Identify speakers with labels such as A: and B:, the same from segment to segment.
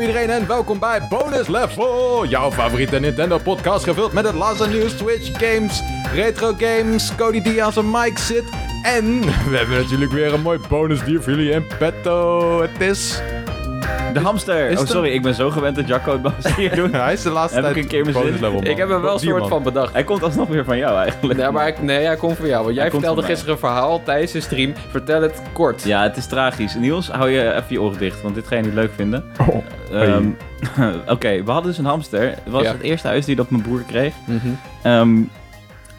A: iedereen en welkom bij Bonus Level, jouw favoriete Nintendo podcast gevuld met het laatste nieuws, Twitch, games, retro games, Cody Diaz en Mike zit. En we hebben natuurlijk weer een mooi bonusdier voor jullie in petto. Het is...
B: De hamster.
A: Is
B: oh,
A: het
B: sorry, ik ben zo gewend dat Jacco het bij hier doet.
A: Hij is de laatste
B: Heb ik
A: tijd
B: een keer mijn
A: Bonus
B: zin?
A: Level, man.
C: Ik heb er wel een
A: Dier,
C: soort
A: man.
C: van bedacht.
B: Hij komt alsnog weer van jou eigenlijk.
C: Nee, maar ik, nee, hij komt voor jou. Want jij
B: Hij komt
C: vertelde
B: van mij.
C: gisteren een verhaal tijdens de stream. Vertel het kort.
B: Ja, het is tragisch. Niels, hou je even je oren dicht, want dit ga je niet leuk vinden.
A: Oh.
B: Ehm, Oké, we hadden dus een hamster. Het was
C: Ja.
B: het eerste huisdier dat mijn broer kreeg.
C: Mhm.
B: Ehm,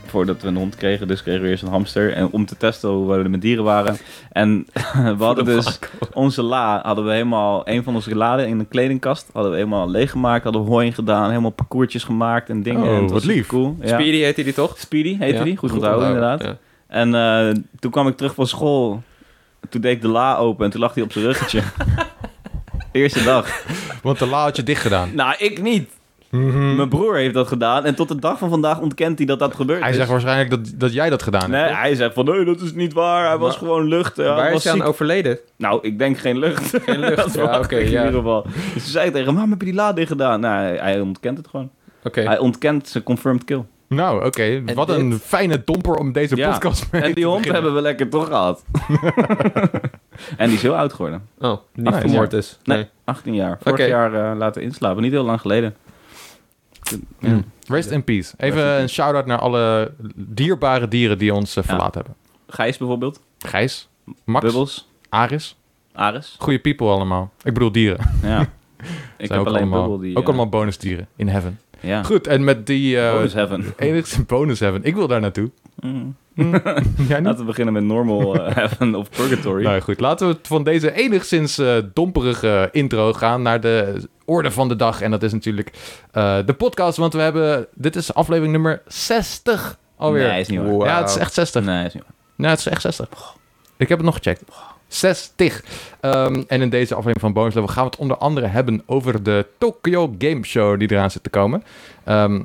B: voordat we een hond kregen, dus kregen we eerst een hamster. En om te testen hoe we met dieren waren. En we hadden dus onze la, hadden we helemaal, een van onze laden in een kledingkast, hadden we helemaal leeggemaakt. Hadden we hooi in gedaan, helemaal parcoursjes gemaakt en dingen.
A: Oh,
B: en het
A: wat
B: was
A: lief.
B: Cool. Ja.
C: Speedy heette die toch?
B: Speedy heette
C: Ja,
B: die, goed, onthouden inderdaad.
C: Ja.
B: En eh, toen kwam ik terug van school. Toen deed ik de la open en toen lag hij op zijn ruggetje. Eerste dag.
A: Want de la had je dicht gedaan.
B: Nou, ik niet.
C: Mhm.
B: Mijn broer heeft dat gedaan. En tot de dag van vandaag ontkent hij dat dat gebeurd
A: Hij
B: is.
A: zegt waarschijnlijk dat, dat jij dat gedaan
B: nee,
A: hebt.
B: hij zegt van, nee, dat is niet waar. Hij was
C: Maar-
B: gewoon lucht. eh, hij
C: Waar
B: was
C: is hij aan
B: ziek.
C: overleden?
B: Nou, ik denk geen lucht.
C: Geen lucht.
B: Dat
C: Ja,
B: verwacht
C: oké,
B: ik in
C: ja.
B: ieder geval. Dus toen zei ik tegen hem, waarom heb je die la dicht gedaan? Nou, hij- hij ontkent het gewoon.
C: Oké.
B: Hij ontkent zijn confirmed kill.
A: Nou, oké. Wat
B: dit?
A: een fijne domper om deze
B: Ja.
A: podcast mee
B: En die
A: te
B: hond
A: beginnen.
B: hebben we lekker toch gehad. en die is heel oud geworden.
C: Oh, niet
A: Ah, ja.
C: vermoord dus.
B: Nee, 18 jaar. Vorig
C: Oké.
B: jaar eh, laten inslapen, niet heel lang geleden. Ja.
A: Mm. Rest in peace. Even
B: in
A: een shout-out naar alle dierbare dieren die ons eh,
B: Ja.
A: verlaten hebben.
B: Gijs bijvoorbeeld,
A: Gijs, Max,
B: Bubbles,
A: Aris.
B: Ares.
A: Goeie people allemaal. Ik bedoel dieren.
B: Ja. Ik
A: Zijn
B: heb
A: ook
B: alleen
A: allemaal,
B: Bubble die...
A: Ook
B: eh,
A: allemaal bonusdieren in heaven.
B: Ja.
A: Goed, en met die... eh
B: Bonus heaven.
A: Enigszins bonus heaven. Ik wil daar naartoe.
B: Mm.
A: Jij niet?
B: Laten we beginnen met normal eh, heaven of purgatory.
A: Nou ja, goed, laten we van deze enigszins eh, domperige intro gaan naar de orde van de dag. En dat is natuurlijk eh, de podcast, want we hebben... Dit is aflevering nummer 60 alweer.
B: Nee, is niet waar.
A: Wow. Ja, het is echt 60.
B: Nee, is niet waar.
A: Nou, het is echt 60. Ik heb het nog gecheckt. 60. Ehm, en in deze aflevering van Bonus Level gaan we het onder andere hebben over de Tokyo Game Show die eraan zit te komen. Ehm,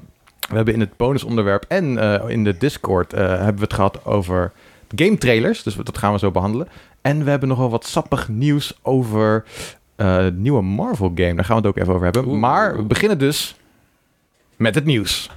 A: we hebben in het bonusonderwerp en eh, in de Discord eh, hebben we het gehad over game trailers. Dus dat gaan we zo behandelen. En we hebben nogal wat sappig nieuws over eh, het nieuwe Marvel game. Daar gaan we het ook even over hebben.
C: Oeh.
A: Maar we beginnen dus met het nieuws.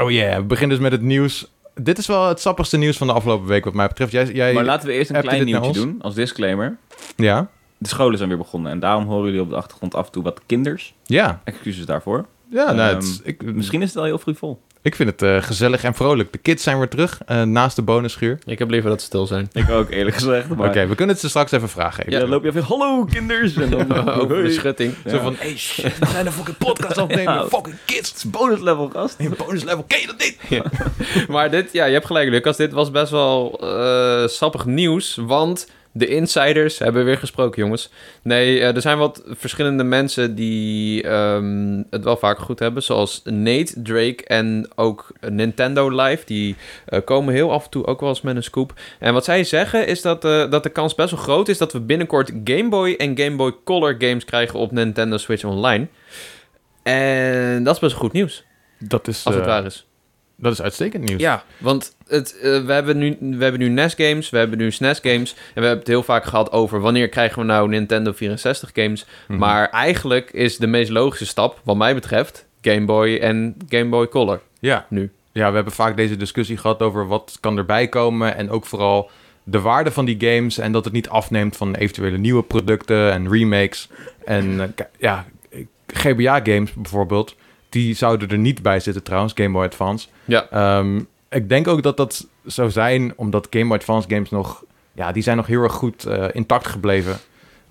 A: Oh yeah, we beginnen dus met het nieuws. Dit is wel het sappigste nieuws van de afgelopen week wat mij betreft. Jij, jij
B: Maar laten we eerst een
A: heb je
B: klein
A: dit naar
B: nieuwtje
A: ons?
B: doen, als disclaimer.
A: Ja?
B: De scholen zijn weer begonnen en daarom horen jullie op de achtergrond af en toe wat kinders.
A: Ja.
B: Excuses daarvoor.
A: Ja, nou,
B: Ehm,
A: het is- ik,
B: Misschien is het al heel frivol.
A: ik vind het eh, gezellig en vrolijk. De kids zijn weer terug, eh, naast de bonusschuur.
C: Ik heb liever dat ze stil zijn.
B: Ik ook, eerlijk gezegd. Maar
A: Oké, we kunnen het ze straks even vragen.
B: ja, dan loop je even, hallo kinders! En dan,
C: Over de
B: Hey.
C: schutting.
A: Zo van, hey shit, we zijn een fucking podcast opnemen.
B: Ja.
A: Fucking kids.
B: bonus level, gast.
A: In bonus level, ken je dat niet?
C: Maar dit, ja, je hebt gelijk, Lucas. Dit was best wel eh, sappig nieuws. Want de insiders hebben weer gesproken, jongens. Nee, eh, er zijn wat verschillende mensen die ehm, het wel vaak goed hebben. Zoals Nate, Drake en ook Nintendo Live. Die eh, komen heel af en toe ook wel eens met een scoop. En wat zij zeggen is dat, eh, dat de kans best wel groot is dat we binnenkort Game Boy en Game Boy Color games krijgen op Nintendo Switch Online. En dat is best goed nieuws,
A: Dat is,
C: als het
A: eh,
C: waar is.
A: dat is uitstekend nieuws.
C: Ja, want het, eh, we, hebben nu, we hebben nu NES games, we hebben nu SNES games. En we hebben het heel vaak gehad over wanneer krijgen we nou Nintendo 64 games.
A: Mhm.
C: Maar eigenlijk is de meest logische stap, wat mij betreft, Game Boy en Game Boy Color.
A: Ja.
C: Nu.
A: Ja, we hebben vaak deze discussie gehad over wat kan erbij komen. En ook vooral de waarde van die games. En dat het niet afneemt van eventuele nieuwe producten en remakes. En eh, k- ja, GBA-games bijvoorbeeld. Die zouden er niet bij zitten trouwens, Game Boy Advance.
C: Ja.
A: Ehm, ik denk ook dat dat zou zijn omdat Game Boy Advance games nog... Ja, die zijn nog heel erg goed eh, intact gebleven.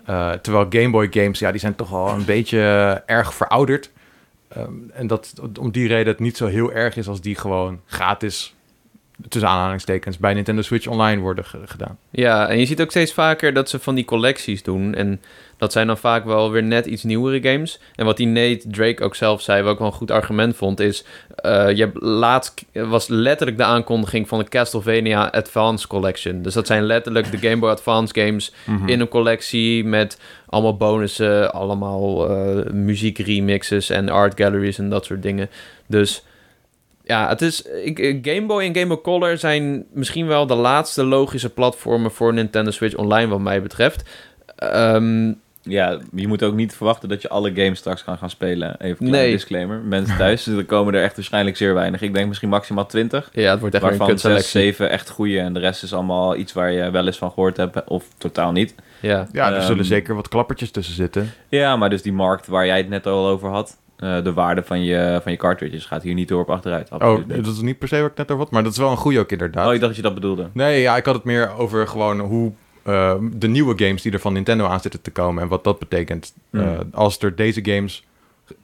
A: Eh, terwijl Game Boy games, ja, die zijn toch al een beetje eh, erg verouderd. Ehm, en dat om die reden het niet zo heel erg is als die gewoon gratis, tussen aanhalingstekens, bij Nintendo Switch Online worden ge- gedaan.
C: Ja, en je ziet ook steeds vaker dat ze van die collecties doen. En dat zijn dan vaak wel weer net iets nieuwere games. En wat die Nate Drake ook zelf zei, wat ik wel een goed argument vond, is... eh, je hebt laatst was letterlijk de aankondiging van de Castlevania Advance Collection. Dus dat zijn letterlijk de Game Boy Advance games in een collectie met allemaal bonussen, allemaal eh, muziekremixes en art galleries en dat soort dingen. Dus Ja, het is, ik, eh, Game Boy en Game Boy Color zijn misschien wel de laatste logische platformen voor Nintendo Switch Online, wat mij betreft. Ehm,
B: Ja, je moet ook niet verwachten dat je alle games straks kan gaan spelen. Even een
C: Nee.
B: disclaimer. Mensen thuis, er komen er echt waarschijnlijk zeer weinig. Ik denk misschien maximaal 20.
C: ja, het wordt echt weer een
B: waarvan 6,
C: kutselectie.
B: 7 echt goede. En de rest is allemaal iets waar je wel eens van gehoord hebt of totaal niet.
C: Ja.
D: Ja, er zullen
B: Ehm,
D: zeker wat klappertjes tussen zitten.
B: Ja, maar dus die markt waar jij het net al over had. eh, de waarde van je, van je cartridges gaat hier niet door op achteruit. Absoluut
A: Oh,
B: niet.
A: dat is niet per se wat ik net over had, maar dat is wel een goede ook
B: oh,
A: inderdaad.
B: ik dacht dat je dat bedoelde.
A: Nee, ja, ik had het meer over gewoon hoe eh, de nieuwe games die er van Nintendo aan zitten te komen en wat dat betekent eh,
B: Mm.
A: als er deze games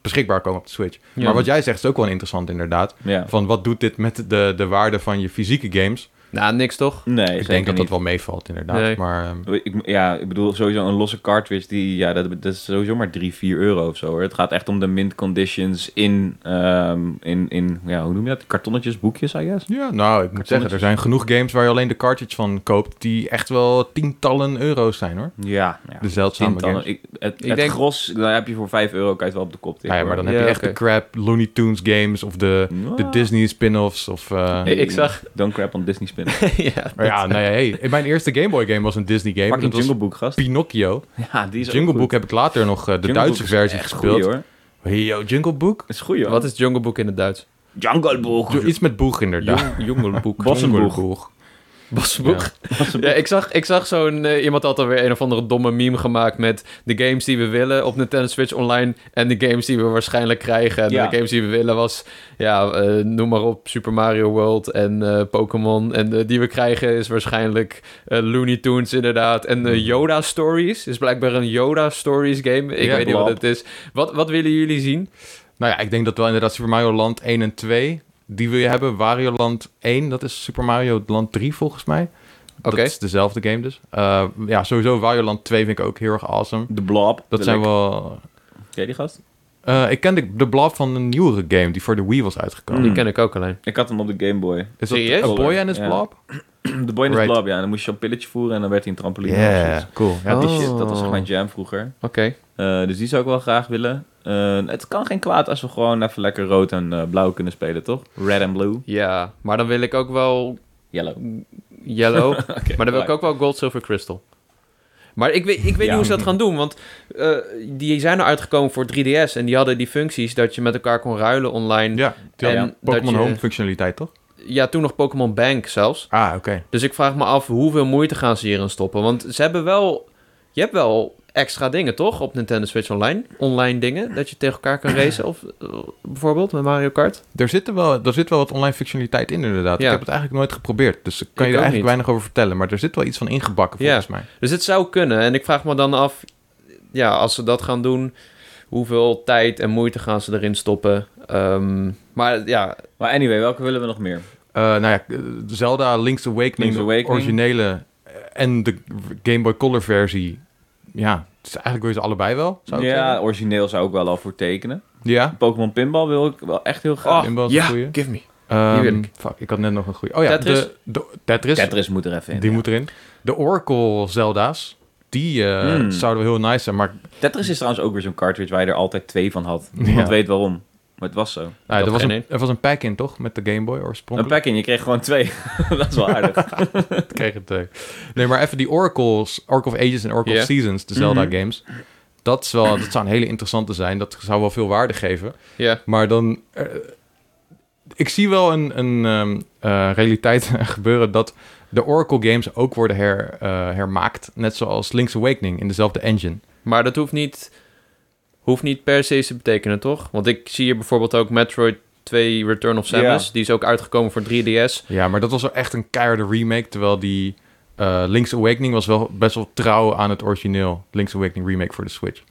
A: beschikbaar komen op de Switch.
C: Ja.
A: Maar wat jij zegt is ook wel interessant inderdaad.
B: Ja.
A: Van wat doet dit met de, de waarde van je fysieke games?
C: Nou, niks toch?
B: Nee,
A: ik
B: zeker
A: denk dat
B: niet.
A: dat wel meevalt inderdaad.
C: Nee.
A: Maar ehm,
B: Ik, ja, ik bedoel, sowieso een losse cartridge, die, ja, dat, dat is sowieso maar 3, 4 euro of zo. Hoor. Het gaat echt om de mint conditions in, ehm, in, in ja, hoe noem je dat? Kartonnetjes, boekjes, I guess?
A: ja, nou, ik moet zeggen, er zijn genoeg games waar je alleen de cartridge van koopt die echt wel tientallen euro's zijn hoor.
B: Ja, ja.
A: De zeldzame Dus games.
B: Tientallen. Ik, het
C: Ik
B: het
C: denk-
B: gros, daar heb je voor 5 euro, kan je het wel op de kop tikken.
A: Nou ja, maar dan
B: hoor.
A: heb je
C: Ja,
A: echt
C: oké.
A: de crap Looney Tunes games of de, de
B: Nou,
A: Disney spin-offs of... eh,
B: hey,
C: Ik zag-
B: Don't crap on Disney spin.
C: ja,
A: Maar ja, nou ja, hey, mijn eerste Game Boy game was een Disney game. en
B: Fucking
A: dat was
B: Jungle Book, gast.
A: Pinocchio.
B: Ja, die is ook
A: Jungle
B: goed.
A: Book heb ik later nog eh, de
B: Jungle
A: Duitse
B: Book is
A: versie
B: echt
A: gespeeld.
B: Goeie, hoor.
A: Yo, Jungle Book?
B: Is goed, hoor.
C: Wat is Jungle Book in het Duits?
B: Jungle Book?
A: Jo- Iets met boeg inderdaad.
C: Jong- Jungle Book.
B: Bossenboeg.
C: Bassenboek. Ja, ik zag, ik zag zo'n... eh, iemand had alweer een of andere domme meme gemaakt met de games die we willen op Nintendo Switch Online en de games die we waarschijnlijk krijgen. En
B: Ja.
C: de games die we willen was, ja, eh, noem maar op, Super Mario World en eh, Pokémon. En eh, die we krijgen is waarschijnlijk eh, Looney Tunes inderdaad. En eh, Yoda Stories is blijkbaar een Yoda Stories game. Ik
A: Ja,
C: weet niet wat
B: blab.
C: het is. Wat, wat willen jullie zien?
A: Nou ja, ik denk dat wel inderdaad Super Mario Land 1 en 2, die wil je hebben. Wario Land 1, dat is Super Mario Land 3 volgens mij.
C: Oké.
A: Dat is dezelfde game dus. Eh, ja, sowieso Wario Land 2 vind ik ook heel erg awesome.
B: De Blob.
A: Dat zijn wel...
B: Ken je die gast?
A: Eh, ik ken de, de blob van een nieuwere game die voor de Wii was uitgekomen.
B: Mm.
C: Die ken ik ook alleen.
B: Ik had hem op de Game Boy.
A: Is dat
C: Serieus?
A: A Boy and His
B: Ja.
A: Blob?
B: De Boy in the
A: Right.
B: Blob, ja. En dan moest je een pilletje voeren en dan werd hij een trampoline. of
A: Yeah,
B: zoiets.
A: cool. Ja,
B: Die
C: Oh.
B: shit, dat was echt mijn jam vroeger.
C: Oké.
B: Eh, dus die zou ik wel graag willen. Eh, het kan geen kwaad als we gewoon even lekker rood en eh, blauw kunnen spelen, toch? Red en blue.
C: Ja, maar dan wil ik ook wel
B: Yellow.
C: Yellow. maar dan wil ik
B: gelijk.
C: ook wel Gold, Silver, Crystal. Maar ik weet, ik weet
B: Ja.
C: niet hoe ze dat gaan doen, want eh, die zijn er uitgekomen voor 3DS en die hadden die functies dat je met elkaar kon ruilen online. Ja,
A: Ja, die
C: En
A: had
C: dat
A: Pokémon
C: je-
A: Home functionaliteit, toch?
C: toen nog Pokémon Bank zelfs.
A: Ah, oké.
C: Dus ik vraag me af hoeveel moeite gaan ze hierin stoppen, want ze hebben wel, je hebt wel extra dingen toch op Nintendo Switch Online, online dingen dat je tegen elkaar kan racen of eh, bijvoorbeeld met Mario Kart.
A: Er, zitten wel, er zit wel wat online functionaliteit in, inderdaad.
C: Ja.
A: Ik heb het eigenlijk nooit geprobeerd, dus ik kan
C: Ik
A: je er
C: ook
A: eigenlijk
C: niet.
A: weinig over vertellen. Maar er zit wel iets van ingebakken,
C: Ja.
A: volgens mij.
C: Dus het zou kunnen en ik vraag me dan af, ja, als ze dat gaan doen, hoeveel tijd en moeite gaan ze erin stoppen? Ehm, maar ja,
B: Maar anyway, welke willen we nog meer?
A: Eh, nou ja, eh, Zelda Link's Awakening,
B: Link's Awakening.
A: de originele eh, en de Game Boy Color versie. Ja, het is eigenlijk wil je ze allebei wel, zou ik
B: ja,
A: zeggen.
B: origineel zou ik wel al voor tekenen.
C: Oh,
A: Ja,
B: Pokémon Pinball wil ik wel echt heel graag.
A: Pinball is een goeie.
C: give me.
A: Ehm,
C: wil ik.
A: fuck, ik had net nog een goeie. Oh ja,
C: Tetris.
A: De, de- Tetris,
B: Tetris moet er even in.
A: die moet erin. De Oracle Zelda's, die eh,
B: Hmm.
A: zouden wel heel nice zijn, maar
B: Tetris is trouwens ook weer zo'n cartridge waar je er altijd twee van had.
A: Ja.
B: Niemand weet waarom. Maar het was zo.
A: Nou ja,
C: Ik
A: er,
C: had
A: was
C: geen
A: een, er was een pack in, toch? Met de Game Boy
B: Een
A: oorspronkelijk.
B: pack in, je kreeg gewoon twee. dat is wel aardig.
A: Een kreeg het. eh. Nee, maar even die Oracles, Oracle of Ages en Oracle
C: Ja. Mhm.
A: of Seasons, de Zelda games. Dat, is wel, dat zou een hele interessante zijn. Dat zou wel veel waarde geven.
C: Ja,
A: Maar dan... eh, ik zie wel een, een ehm, eh, realiteit gebeuren dat de Oracle games ook worden her, eh, hermaakt. Net zoals Link's Awakening in dezelfde engine.
C: maar dat hoeft niet, hoeft niet per se te betekenen, toch? Want ik zie hier bijvoorbeeld ook Metroid 2 Return of Samus. Die is ook uitgekomen voor 3DS.
A: Ja, maar dat was wel echt een keiharde remake. Terwijl die eh, Link's Awakening was wel best wel trouw aan het origineel. Link's Awakening remake voor de Switch.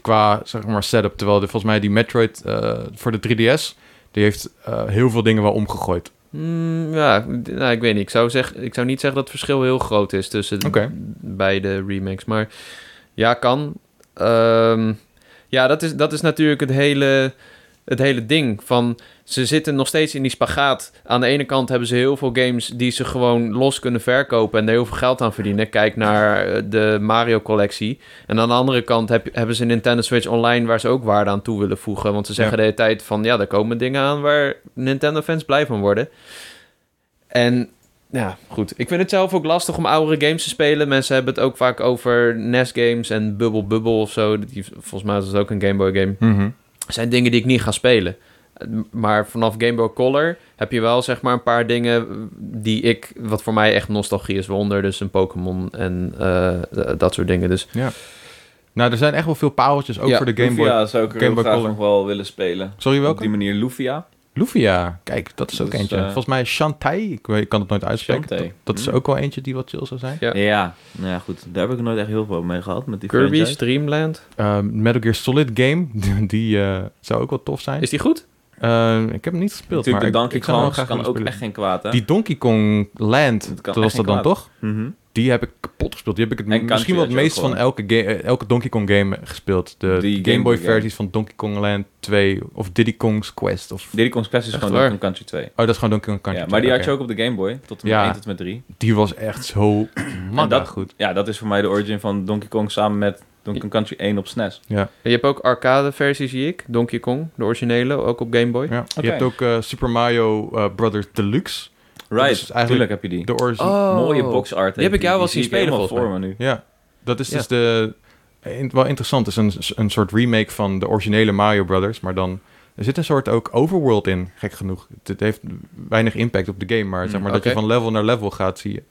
A: Qua, zeg maar, setup. Terwijl de, volgens mij die Metroid eh, voor de 3DS... die heeft eh, heel veel dingen wel omgegooid.
C: Hmm, ja, d- nou, ik weet niet. Ik zou, zeg, ik zou niet zeggen dat het verschil heel groot is tussen
A: Oké.
C: beide remakes. Maar ja, kan. Ehm, ja, dat is, dat is natuurlijk het hele het hele ding. Van ze zitten nog steeds in die spagaat. Aan de ene kant hebben ze heel veel games die ze gewoon los kunnen verkopen en er heel veel geld aan verdienen. Kijk naar eh, de Mario-collectie. En aan de andere kant heb, hebben ze Nintendo Switch Online waar ze ook waarde aan toe willen voegen. Want ze zeggen de hele tijd van ja, er komen dingen aan waar Nintendo-fans blij van worden. En ja, goed. Ik vind het zelf ook lastig om oudere games te spelen. Mensen hebben het ook vaak over NES-games en Bubble Bubble of zo. Die, volgens mij is dat ook een Game Boy game
A: Mhm.
C: zijn dingen die ik niet ga spelen. Eh, Maar vanaf Game Boy Color heb je wel zeg maar een paar dingen die ik, wat voor mij echt nostalgie is, wonder. Dus een Pokémon en eh, d- dat soort dingen. Dus
A: Nou, er zijn echt wel veel pareltjes, ook
C: Ja,
A: voor de Game Boy.
B: Lufia zou ik er
A: Game
B: heel
A: Boy
B: graag
A: Color.
B: nog wel willen spelen.
A: Sorry,
B: Op die
A: welke?
B: manier Lufia.
A: Lufia. Kijk, dat is ook
B: Dus,
A: eentje.
B: eh,
A: Volgens mij Shantai. Ik, weet- ik kan het nooit uitspreken.
B: Shantae.
A: Dat, dat is
B: Mm.
A: ook wel eentje die wat chill zou zijn.
C: Ja.
B: Ja. ja, nou ja, goed. Daar heb ik nooit echt heel veel mee gehad met die
C: Kirby,
B: franchise.
C: Streamland.
A: Ehm, Metal Gear Solid Game, die eh, zou ook wel tof zijn.
C: Is die goed?
A: Ehm, ik heb hem niet gespeeld,
B: Natuurlijk, de
A: maar ik,
B: Donkey
A: ik zou hem wel
B: Kong
A: graag
B: kan ook
A: willen spelen.
B: echt geen kwaad, hè?
A: Die Donkey Kong Land,
B: Dat kan
A: dat
B: echt
A: was
B: geen
A: dat dan
B: kwaad.
A: toch?
B: Mhm.
A: Die heb ik kapot gespeeld. Die heb ik
B: En
A: het, misschien wel het
B: Country
A: meest
B: Road
A: van elke, ga- eh, elke Donkey Kong game gespeeld. De
B: Die
A: Game,
B: Game
A: Boy
B: Boy
A: versies van Donkey Kong Land 2 of Diddy Kong's Quest. Of,
B: Diddy Kong's Quest is
C: Echt
B: gewoon
C: waar?
B: Donkey Kong Country 2.
A: oh, dat is gewoon Donkey Kong Country.
B: ja, maar die had je
A: oké.
B: ook op de Game Boy, tot en met
A: Ja.
B: 1 tot en met 3.
A: Die was echt zo
B: En
A: mega
B: dat-
A: goed.
B: Ja, dat is voor mij de origin van Donkey Kong samen met Donkey Kong Country 1 op E SNES.
A: Ja.
C: Je hebt ook arcade versies, zie ik. Donkey Kong, de originele, ook op Game Boy.
A: Ja.
B: Oké.
A: Je hebt ook eh, Super Mario eh, Brothers Deluxe.
B: Right,
A: is eigenlijk
B: tuurlijk heb je die.
A: De origin.
C: Oh.
B: Mooie box art.
C: Die heb ik jou wel zien
B: zie
C: spelen,
B: helemaal
C: volgens
B: voor me nu.
A: Ja, dat is
C: Ja.
A: dus de... in- wel interessant, het is een, een soort remake van de originele Mario Brothers, maar dan... Er zit een soort ook overworld in, gek genoeg. Het, het heeft weinig impact op de game, maar, zeg
B: Mm,
A: maar dat
C: oké.
A: je van level naar level gaat, zie je.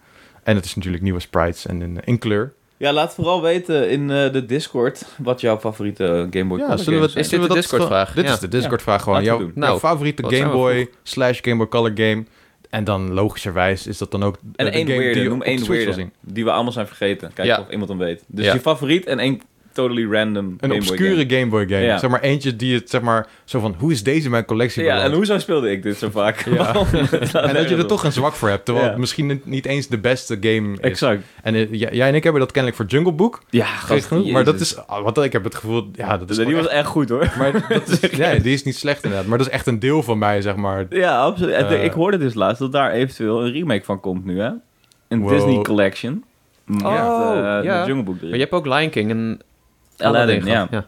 A: En het is natuurlijk nieuwe sprites en in, in kleur.
B: Ja, laat vooral weten in eh, de Discord wat jouw favoriete eh, Game Boy
A: Ja,
B: Color
A: zullen we,
B: games zijn.
C: Is dit de
A: dat
C: Discord-vraag?
A: Dit
C: Ja.
A: is de Discord-vraag gewoon.
B: Laten we
A: Jouw,
B: doen.
A: jouw
C: Nou,
A: favoriete
C: wat zijn
A: Game
C: we
A: Boy
C: vroeg?
A: slash Game Boy Color game. En dan logischerwijs is dat dan ook eh,
B: En
A: de
B: één
A: game
B: weirde,
A: die je
B: noem
A: op de
B: één
A: Switch wil
B: weirde,
A: zien.
B: die we allemaal zijn vergeten. Kijk
C: Ja.
B: of iemand hem weet. Dus
C: Ja.
B: je favoriet en één totally random
A: Een
B: Game Boy
A: obscure
B: game.
A: Game. Boy game.
B: Ja.
A: Zeg maar eentje die het, zeg maar, zo van, hoe is deze in mijn collectie
B: Ja,
A: beland?
B: en hoezo speelde ik dit zo vaak?
A: Ja.
B: Waarom?
A: En dat je er toch een zwak voor hebt, terwijl
B: Ja.
A: het misschien niet- niet eens de beste game is.
B: Exact.
A: En eh, j- jij en ik hebben dat kennelijk voor Jungle Book.
B: Ja,
A: gek
B: gast,
A: genoeg, maar dat
B: jezus. Dus
A: is, ah, want ik heb het gevoel, ja, dat is
B: Die
A: gewoon
B: was echt goed, hoor.
A: echt- maar dat is, ja, die is niet slecht inderdaad, maar dat is echt een deel van mij, zeg maar.
B: Ja, absoluut. En
A: Eh.
B: ik hoorde dus laatst dat daar eventueel een remake van komt nu, hè? Een
A: Wow.
B: Disney Collection. Met,
C: Oh,
B: eh,
C: ja.
B: met Jungle Book erin.
C: Maar je hebt ook Lion King en
B: Aladdin, ja.
C: gehad. ja.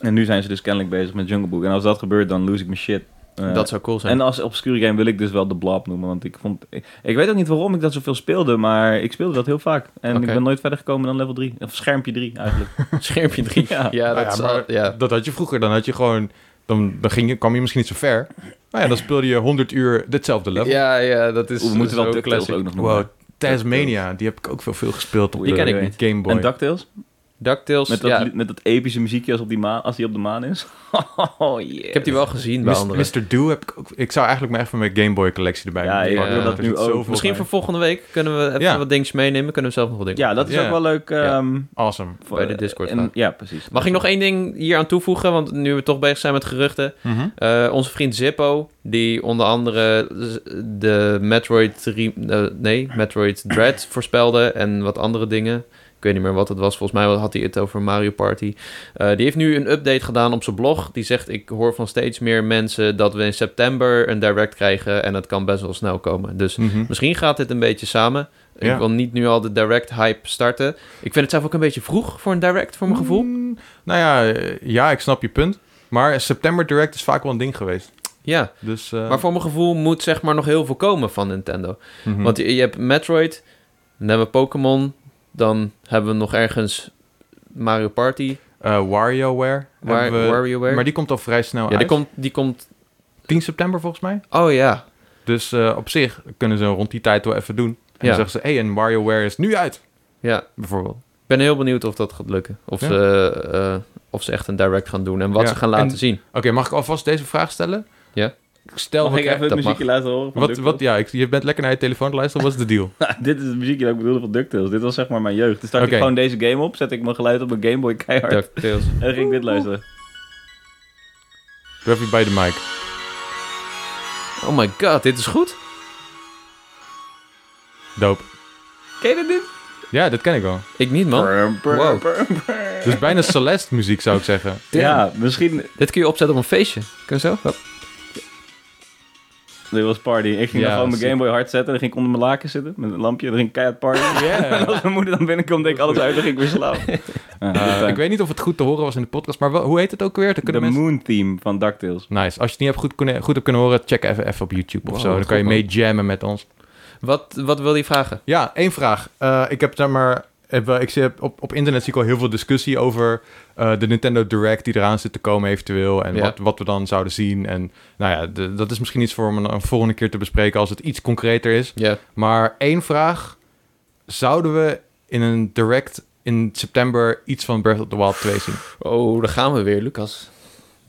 B: En nu zijn ze dus kennelijk bezig met Jungle Book. En als dat gebeurt, dan lose ik mijn shit. Eh,
C: Dat zou cool zijn.
B: en als obscure game wil ik dus wel de Blob noemen, want ik vond... Ik, ik weet ook niet waarom ik dat zoveel speelde, maar ik speelde dat heel vaak. En
C: Oké.
B: ik ben nooit verder gekomen dan level 3. Of schermpje 3, eigenlijk.
C: Schermpje 3. Ja,
B: Ja.
A: Nou
C: dat
A: ja,
C: is
A: maar
C: al- ja.
A: dat had je vroeger, dan had je gewoon, dan, dan ging je, kwam je misschien niet zo ver. Maar ja, dan speelde je 100 uur ditzelfde level.
C: ja, ja, dat is
B: We moeten
C: dus zo
B: wel DuckTales
C: classic.
B: ook nog noemen.
A: Wow, Tasmania, die heb ik ook veel, veel gespeeld op
B: Die
A: de
B: ken ik niet.
A: Game Boy.
B: En DuckTales?
C: DuckTales,
B: Met dat,
C: ja.
B: met dat epische muziekje als, op die maan, als die op de maan is. oh, yeah.
C: Ik heb die wel gezien bij
A: Mis-
C: anderen.
A: Mr. Do heb ik ook. Ik zou eigenlijk maar even mijn Game Boy collectie erbij
B: Ja,
A: moeten
B: ik
A: pakken.
C: wil dat
A: Er
B: nu
A: zit
B: ook.
A: zoveel
C: Misschien
A: bij.
C: voor volgende week kunnen we even
A: Ja.
C: wat dingetjes meenemen. Kunnen we zelf nog wat dingen.
B: Ja, dat is
A: Ja.
B: ook wel leuk.
C: Ja.
B: ehm,
A: Awesome.
B: voor-
C: Bij de Discord
B: en-
C: gaan.
B: ja, precies.
C: Mag ik nog één ding hier aan toevoegen? Want nu we toch bezig zijn met geruchten.
B: Mhm.
C: Eh, onze vriend Zippo, die onder andere z- de Metroid, re- eh, nee, Metroid Dread voorspelde en wat andere dingen. Ik weet niet meer wat het was. Volgens mij had hij het over Mario Party. Eh, die heeft nu een update gedaan op zijn blog. Die zegt, ik hoor van steeds meer mensen dat we in september een direct krijgen. En dat kan best wel snel komen. Dus
A: Mhm.
C: Misschien gaat dit een beetje samen.
A: Ja.
C: Ik wil niet nu al de direct hype starten. Ik vind het zelf ook een beetje vroeg voor een direct, voor mijn gevoel.
A: Mm, nou ja, eh, ja, ik snap je punt. Maar September Direct is vaak wel een ding geweest.
C: Ja,
A: Dus, eh,
C: maar voor mijn gevoel moet zeg maar nog heel veel komen van Nintendo.
A: mhm.
C: Want je, je hebt Metroid, dan hebben we Pokémon, dan hebben we nog ergens Mario Party,
A: Eh, WarioWare.
C: Wa-
A: hebben we-
C: WarioWare.
A: Maar die komt al vrij snel
C: ja, die
A: uit.
C: komt, die komt...
A: 10 september volgens mij.
C: Oh ja,
A: Dus eh, op zich kunnen ze rond die tijd wel even doen. En dan
C: Ja.
A: zeggen ze, hey, en WarioWare is nu uit,
C: ja.
A: bijvoorbeeld.
C: Ik ben heel benieuwd of dat gaat lukken. Of,
A: Ja.
C: ze, eh, of ze echt een direct gaan doen en wat
A: Ja,
C: ze gaan laten
A: en-
C: zien.
A: Oké, mag ik alvast deze vraag stellen?
C: Ja.
A: Stel,
B: Mag
A: we
B: ik even
A: krijgen-
B: het
C: dat
B: muziekje laten horen? van
A: wat,
B: DuckTales?
A: wat, ja, ik, je bent lekker naar je telefoon te luisteren. Wat is de deal?
B: Dit is het muziekje dat ik bedoelde van DuckTales. Dit was zeg maar mijn jeugd. Dus start
A: Oké.
B: ik gewoon deze game op, zet ik mijn geluid op mijn Game Boy keihard
C: DuckTales.
B: en dan ging ik dit luisteren.
A: Doe even bij de mic.
C: Oh my god, dit is goed.
A: Doop.
B: Ken je dit niet?
A: Ja, dat ken ik wel.
C: Ik niet, man.
B: Brum, brum,
C: Wow.
B: brum, brum.
A: Dus bijna Celeste muziek zou ik zeggen.
B: Ja, misschien...
C: Dit kun je opzetten op een feestje. Kun je zo? Hup.
B: Dit was party. Ik ging
A: Ja,
B: dan gewoon mijn
A: super.
B: Game Boy hard zetten. Dan ging ik onder mijn laken zitten met een lampje. Dan ging ik keihard party. En als mijn moeder dan binnenkwam, deed ik alles uit. Dan ging ik weer slapen. Ja,
A: Eh,
B: goed,
A: ik weet niet of het goed te horen was in de podcast, maar wel- hoe heet het ook weer? Dan
B: De
A: kunnen mensen...
B: Moon Theme van DuckTales.
A: Nice. Als je het niet hebt goed, kunnen, goed hebt kunnen horen, check even, even op YouTube of
C: Wow,
A: zo. Dan
C: wat
A: kan je
C: goed,
A: mee jammen met ons.
C: Wat, wat wil je vragen?
A: Ja, één vraag. Eh, ik heb zeg maar. heb wel- Ik zie, op, op internet zie ik al heel veel discussie over eh, de Nintendo Direct die eraan zit te komen eventueel. En
C: Ja.
A: wat, wat we dan zouden zien. En nou ja, de- dat is misschien iets voor om een, een volgende keer te bespreken als het iets concreter is.
C: Ja.
A: Maar één vraag. Zouden we in een Direct in september iets van Breath of the Wild 2 zien?
C: Oh, daar gaan we weer, Lucas.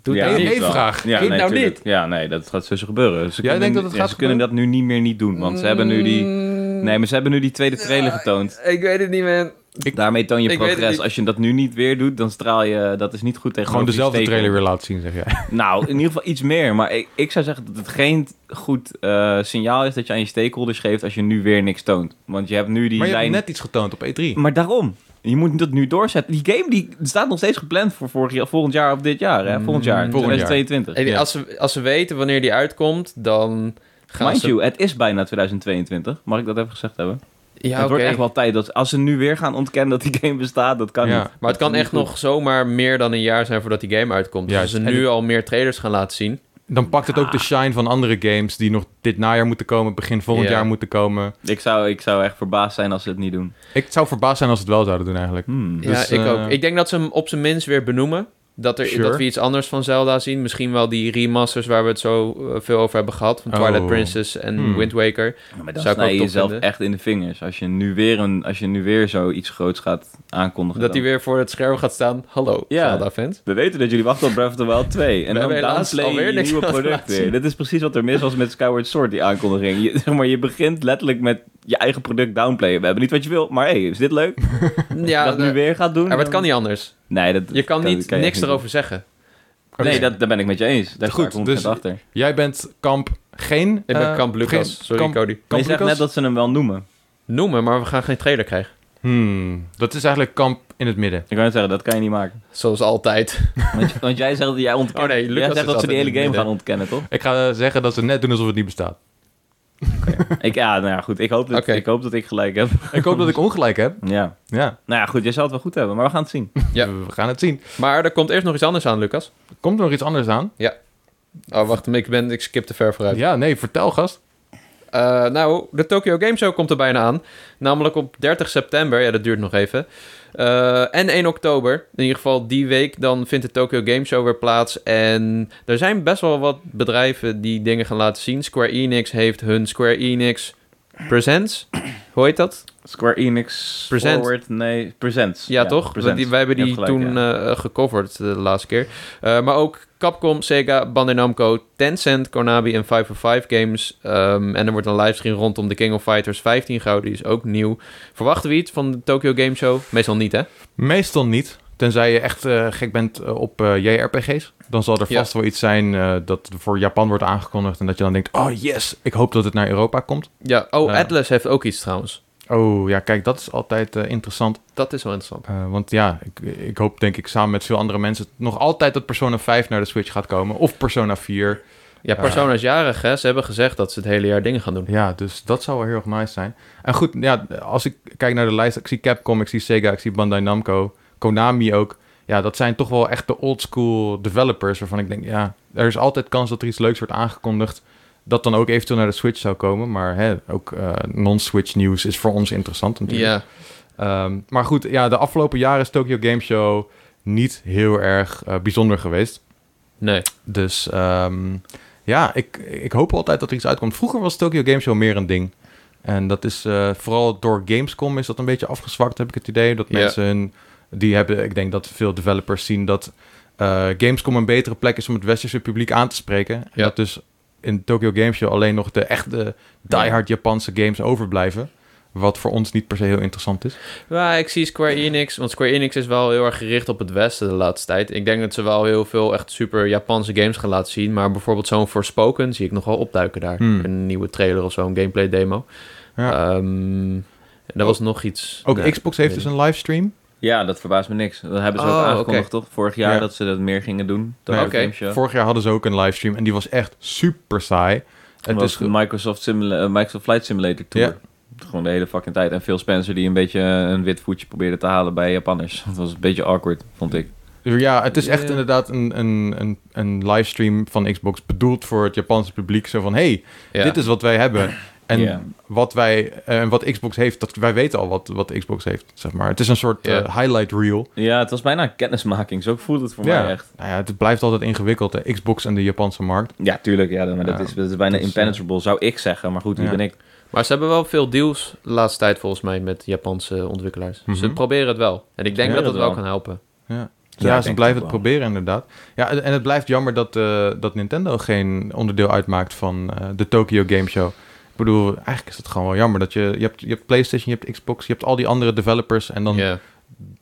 C: Doe
A: Ja.
C: het
A: één-
C: niet.
A: één vraag.
B: Ja,
C: Eén nou
B: tuurlijk. Ja, nee, dat gaat zo gebeuren.
A: Jij
B: Ze kunnen
A: denkt dat
B: nu-
A: het
B: ja,
A: gaat
B: Ze kunnen dat nu niet meer niet doen, want ze hebben nu die...
C: Mm,
B: Nee, maar ze hebben nu die tweede trailer getoond.
C: Ik weet het niet, man.
B: Daarmee toon je
C: ik weet het
B: progress.
C: niet.
B: Als je dat nu niet weer doet, dan straal je... eh, Dat is niet goed tegen
A: Gewoon dezelfde trailer weer laten zien, zeg jij.
B: Nou, in ieder geval iets meer. Maar ik, ik zou zeggen dat het geen goed eh, signaal is dat je aan je stakeholders geeft als je nu weer niks toont. Want je hebt nu die
A: Maar je
B: lijn...
A: hebt net iets getoond op E E3.
B: Maar daarom. Je moet dat nu doorzetten. Die game die staat nog steeds gepland voor vorig jaar, volgend jaar of dit jaar. Hè? Volgend jaar,
A: Mm, volgend jaar.
B: 2022.
C: Hey,
A: Ja.
C: als, ze, als ze weten wanneer die uitkomt, dan gaan
B: Mind
C: ze...
B: you, het is bijna 2022. Mag ik dat even gezegd hebben?
C: ja,
B: het
C: oké.
B: wordt echt wel tijd. Dat, als ze nu weer gaan ontkennen dat die game bestaat, dat kan
A: Ja.
B: niet.
C: Maar het kan
B: Niet
C: echt
B: goed.
C: nog zomaar meer dan een jaar zijn voordat die game uitkomt. Dus als
A: Juist.
C: ze
A: En
C: nu
A: het-
C: al meer trailers gaan laten zien.
A: Dan pakt het ook de shine van andere games die nog dit najaar moeten komen, begin volgend
C: Ja.
A: jaar moeten komen.
B: Ik zou, ik zou echt verbaasd zijn als ze het niet doen.
A: Ik zou verbaasd zijn als ze het wel zouden doen eigenlijk.
B: Hmm.
C: Ja,
A: Dus,
C: ik
A: eh,
C: ook. Ik denk dat ze hem op zijn minst weer benoemen. Dat, er,
A: Sure.
C: dat we iets anders van Zelda zien. Misschien wel die remasters waar we het zo eh, veel over hebben gehad. Van
A: Oh.
C: Twilight Princess en
A: Hmm.
C: Wind Waker.
B: Ja, maar dan
C: Zou ik
B: snij je
C: ook top
B: jezelf
C: vinden.
B: echt in de vingers. Als je nu weer, een, als je nu weer zoiets groots gaat aankondigen.
C: Dat hij
B: dan-
C: weer voor het scherm gaat staan. Hallo,
B: Ja.
C: Zelda-fans.
B: We weten dat jullie wachten op Breath of the Wild 2. En
C: We
B: dan
C: hebben helaas
B: downplay je
C: alweer
B: je
C: niks
B: nieuwe
C: laten
B: product
C: laten
B: weer.
C: zien.
B: Dit is precies wat er mis was met Skyward Sword, die aankondiging. Je, zeg maar, je begint letterlijk met je eigen product downplayen. We hebben niet wat je wil, maar hey, is dit leuk?
C: Ja,
B: dat nu
C: de-
B: weer gaat doen?
C: Ja, maar het
B: dan-
C: kan niet anders.
B: Nee, dat,
C: Je kan
B: dat
C: niet
B: kan je echt
C: niks erover zeggen.
A: Oké.
B: Nee, dat, daar ben ik met je eens. Daar
A: Goed,
B: Goed, sta ik 100%
A: dus-
B: achter.
A: Jij bent kamp geen...
C: Ik ben
A: eh,
C: Kamp Lucas.
A: geen-
C: Sorry,
A: kamp-
C: Cody.
B: Maar
A: Kamp
B: je zegt
A: Lucas?
B: net dat ze hem wel noemen.
C: Noemen, maar we gaan geen trailer krijgen.
A: Hmm, dat is eigenlijk kamp in het midden.
B: Ik kan net zeggen, dat kan je niet maken.
C: Zoals altijd.
B: Want, je- want jij zegt dat jij ontkent.
C: Oh nee, Lucas
B: jij
C: is
B: zegt dat ze
C: altijd
B: die hele
C: in het
B: game
C: midden.
B: gaan ontkennen, toch?
A: Ik ga eh, zeggen dat ze net doen alsof het niet bestaat.
B: Ik, ja, nou ja, goed. Ik hoop, dat,
C: Oké.
B: ik hoop dat ik gelijk heb.
A: Ik hoop dat ik ongelijk heb.
B: Ja.
A: Ja,
B: Nou ja, goed. Jij zal het wel goed hebben, maar we gaan het zien.
C: Ja.
A: we gaan het zien.
C: Maar er komt eerst nog iets anders aan, Lucas.
A: Komt er nog iets anders aan?
C: Oh, wacht, ik, ben, ik skip te ver vooruit.
A: Ja, nee, vertel gast.
C: Eh, nou, de Tokyo Game Show komt er bijna aan. Namelijk op 30 september. Ja, dat duurt nog even. Eh, en 1 oktober. In ieder geval die week. Dan vindt de Tokyo Game Show weer plaats. En er zijn best wel wat bedrijven die dingen gaan laten zien. Square Enix heeft hun Square Enix Presents. Hoe heet dat?
B: Square Enix
C: Present.
B: Forward, nee, Presents.
C: Ja, toch?
B: Presents.
C: Die, wij hebben
B: Je
C: die
B: hebt gelijk,
C: toen
B: ja.
C: eh, gecoverd eh, de laatste keer. Eh, maar ook Capcom, Sega, Bandai Namco, Tencent, Konami en 5 for 5 Games. Ehm, en er wordt een livestream rondom de King of Fighters 15 gehouden. Die is ook nieuw. Verwachten we iets van de Tokyo Game Show? Meestal niet, hè?
A: Meestal niet. Tenzij je echt eh, gek bent eh, op eh, JRPG's. Dan zal er
C: Ja.
A: vast wel iets zijn eh, dat voor Japan wordt aangekondigd. En dat je dan denkt, oh yes, ik hoop dat het naar Europa komt.
C: Ja. Oh,
A: Ja.
C: Atlas heeft ook iets trouwens.
A: Oh ja, kijk, dat is altijd eh, interessant.
C: Dat is wel interessant.
A: Eh, want ja, ik, ik hoop denk ik samen met veel andere mensen nog altijd dat Persona 5 naar de Switch gaat komen. Of Persona 4.
C: Ja,
A: Ja.
C: Persona is jarig, hè? Ze hebben gezegd dat ze het hele jaar dingen gaan doen.
A: Ja, dus dat zou wel heel erg nice zijn. En goed, ja, als ik kijk naar de lijst, ik zie Capcom, ik zie Sega, ik zie Bandai Namco, Konami ook. Ja, dat zijn toch wel echt de oldschool developers waarvan ik denk, ja, er is altijd kans dat er iets leuks wordt aangekondigd. Dat dan ook eventueel naar de Switch zou komen. Maar hè, ook eh, non-Switch nieuws is voor ons interessant natuurlijk.
C: Ja.
A: Ehm, maar goed, ja, de afgelopen jaren is Tokyo Game Show niet heel erg eh, bijzonder geweest.
C: Nee.
A: Dus ehm, ja, ik, ik hoop altijd dat er iets uitkomt. Vroeger was Tokyo Game Show meer een ding. En dat is eh, vooral door Gamescom is dat een beetje afgezwakt, heb ik het idee. Dat
C: Ja.
A: mensen hun- die hebben, ik denk dat veel developers zien dat eh, Gamescom een betere plek is om het westerse publiek aan te spreken. En
C: Ja.
A: dat dus in Tokyo Game Show alleen nog de echte diehard Japanse games overblijven. Wat voor ons niet per se heel interessant is.
C: Ja, ik zie Square Enix, want Square Enix is wel heel erg gericht op het Westen de laatste tijd. Ik denk dat ze wel heel veel echt super Japanse games gaan laten zien, maar bijvoorbeeld zo'n Forspoken zie ik nog wel opduiken daar.
A: Hmm.
C: Een nieuwe trailer of zo, een gameplay demo.
A: Ja.
C: Ehm, en er was nog iets.
A: Ook
C: Nee,
A: Xbox heeft
C: weet
A: dus een livestream.
B: Ja, dat verbaast me niks. Dat hebben ze
C: Oh,
B: ook aangekondigd, toch? Vorig jaar
A: Ja.
B: dat ze dat meer gingen doen.
A: Nee,
B: Oké.
C: oké.
A: Vorig jaar hadden ze ook een livestream en die was echt super saai. Het is ge-
B: Microsoft, Simula- eh, Microsoft Flight Simulator Tour. Gewoon de hele fucking tijd. En Phil Spencer die een beetje eh, een wit voetje probeerde te halen bij Japanners. Dat was een beetje awkward, vond ik.
A: Dus Ja, het is echt
C: Ja.
A: inderdaad een, een, een, een livestream van Xbox bedoeld voor het Japanse publiek. Zo van, hey,
C: Ja.
A: dit is wat wij hebben. En
B: Ja.
A: wat wij eh, en wat Xbox heeft, dat, wij weten al wat, wat Xbox heeft, zeg maar. Het is een soort
C: Ja.
A: eh, highlight reel.
B: Ja, het was bijna kennismaking. Zo voelt het voor
A: Ja.
B: mij echt.
A: Nou ja, het blijft altijd ingewikkeld, de Xbox en de Japanse markt.
B: Ja, tuurlijk. Ja, maar dat,
A: Ja,
B: is, dat is bijna
A: dat is,
B: impenetrable, zou ik zeggen. Maar goed, wie
A: Ja.
B: ben ik?
C: Maar ze hebben wel veel deals de laatste tijd volgens mij met Japanse ontwikkelaars. Ze
A: Mhm.
C: proberen het wel. En ik denk
B: Ja,
C: dat
B: dat
C: het wel
B: wel.
C: kan helpen.
A: Ja,
B: Ja,
A: ja
B: ik
A: ze
B: denk
A: blijven
B: ook
A: het
B: wel.
A: proberen inderdaad. Ja, en en het blijft jammer dat, eh, dat Nintendo geen onderdeel uitmaakt van eh, de Tokyo Game Show. Ik bedoel, eigenlijk is het gewoon wel jammer dat je, je, hebt, je hebt PlayStation, je hebt Xbox, je hebt al die andere developers en dan
C: Ja.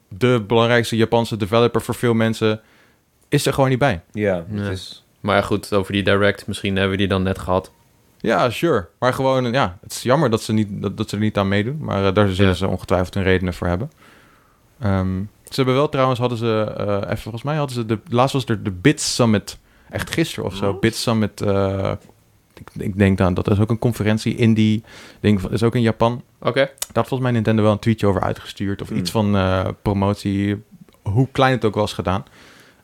A: de belangrijkste Japanse developer voor veel mensen is er gewoon niet bij.
B: Ja,
C: Ja.
B: het is...
C: Maar ja, goed, over die direct, misschien hebben we die dan net gehad.
A: Ja, sure. Maar gewoon, ja, het is jammer dat ze, niet, dat, dat ze er niet aan meedoen. Maar eh, daar zullen
C: Ja.
A: ze ongetwijfeld een reden voor hebben. Ehm, ze hebben wel trouwens, hadden ze, eh, even volgens mij hadden ze, de, laatst was er de Bit Summit, echt gisteren of zo. Bit Summit, eh, ik, ik denk dan, dat is ook een conferentie in die, ding, van- is ook in Japan.
C: Oké.
A: Daar had volgens mij Nintendo wel een tweetje over uitgestuurd. Of
B: Hmm.
A: iets van eh, promotie, hoe klein het ook was gedaan.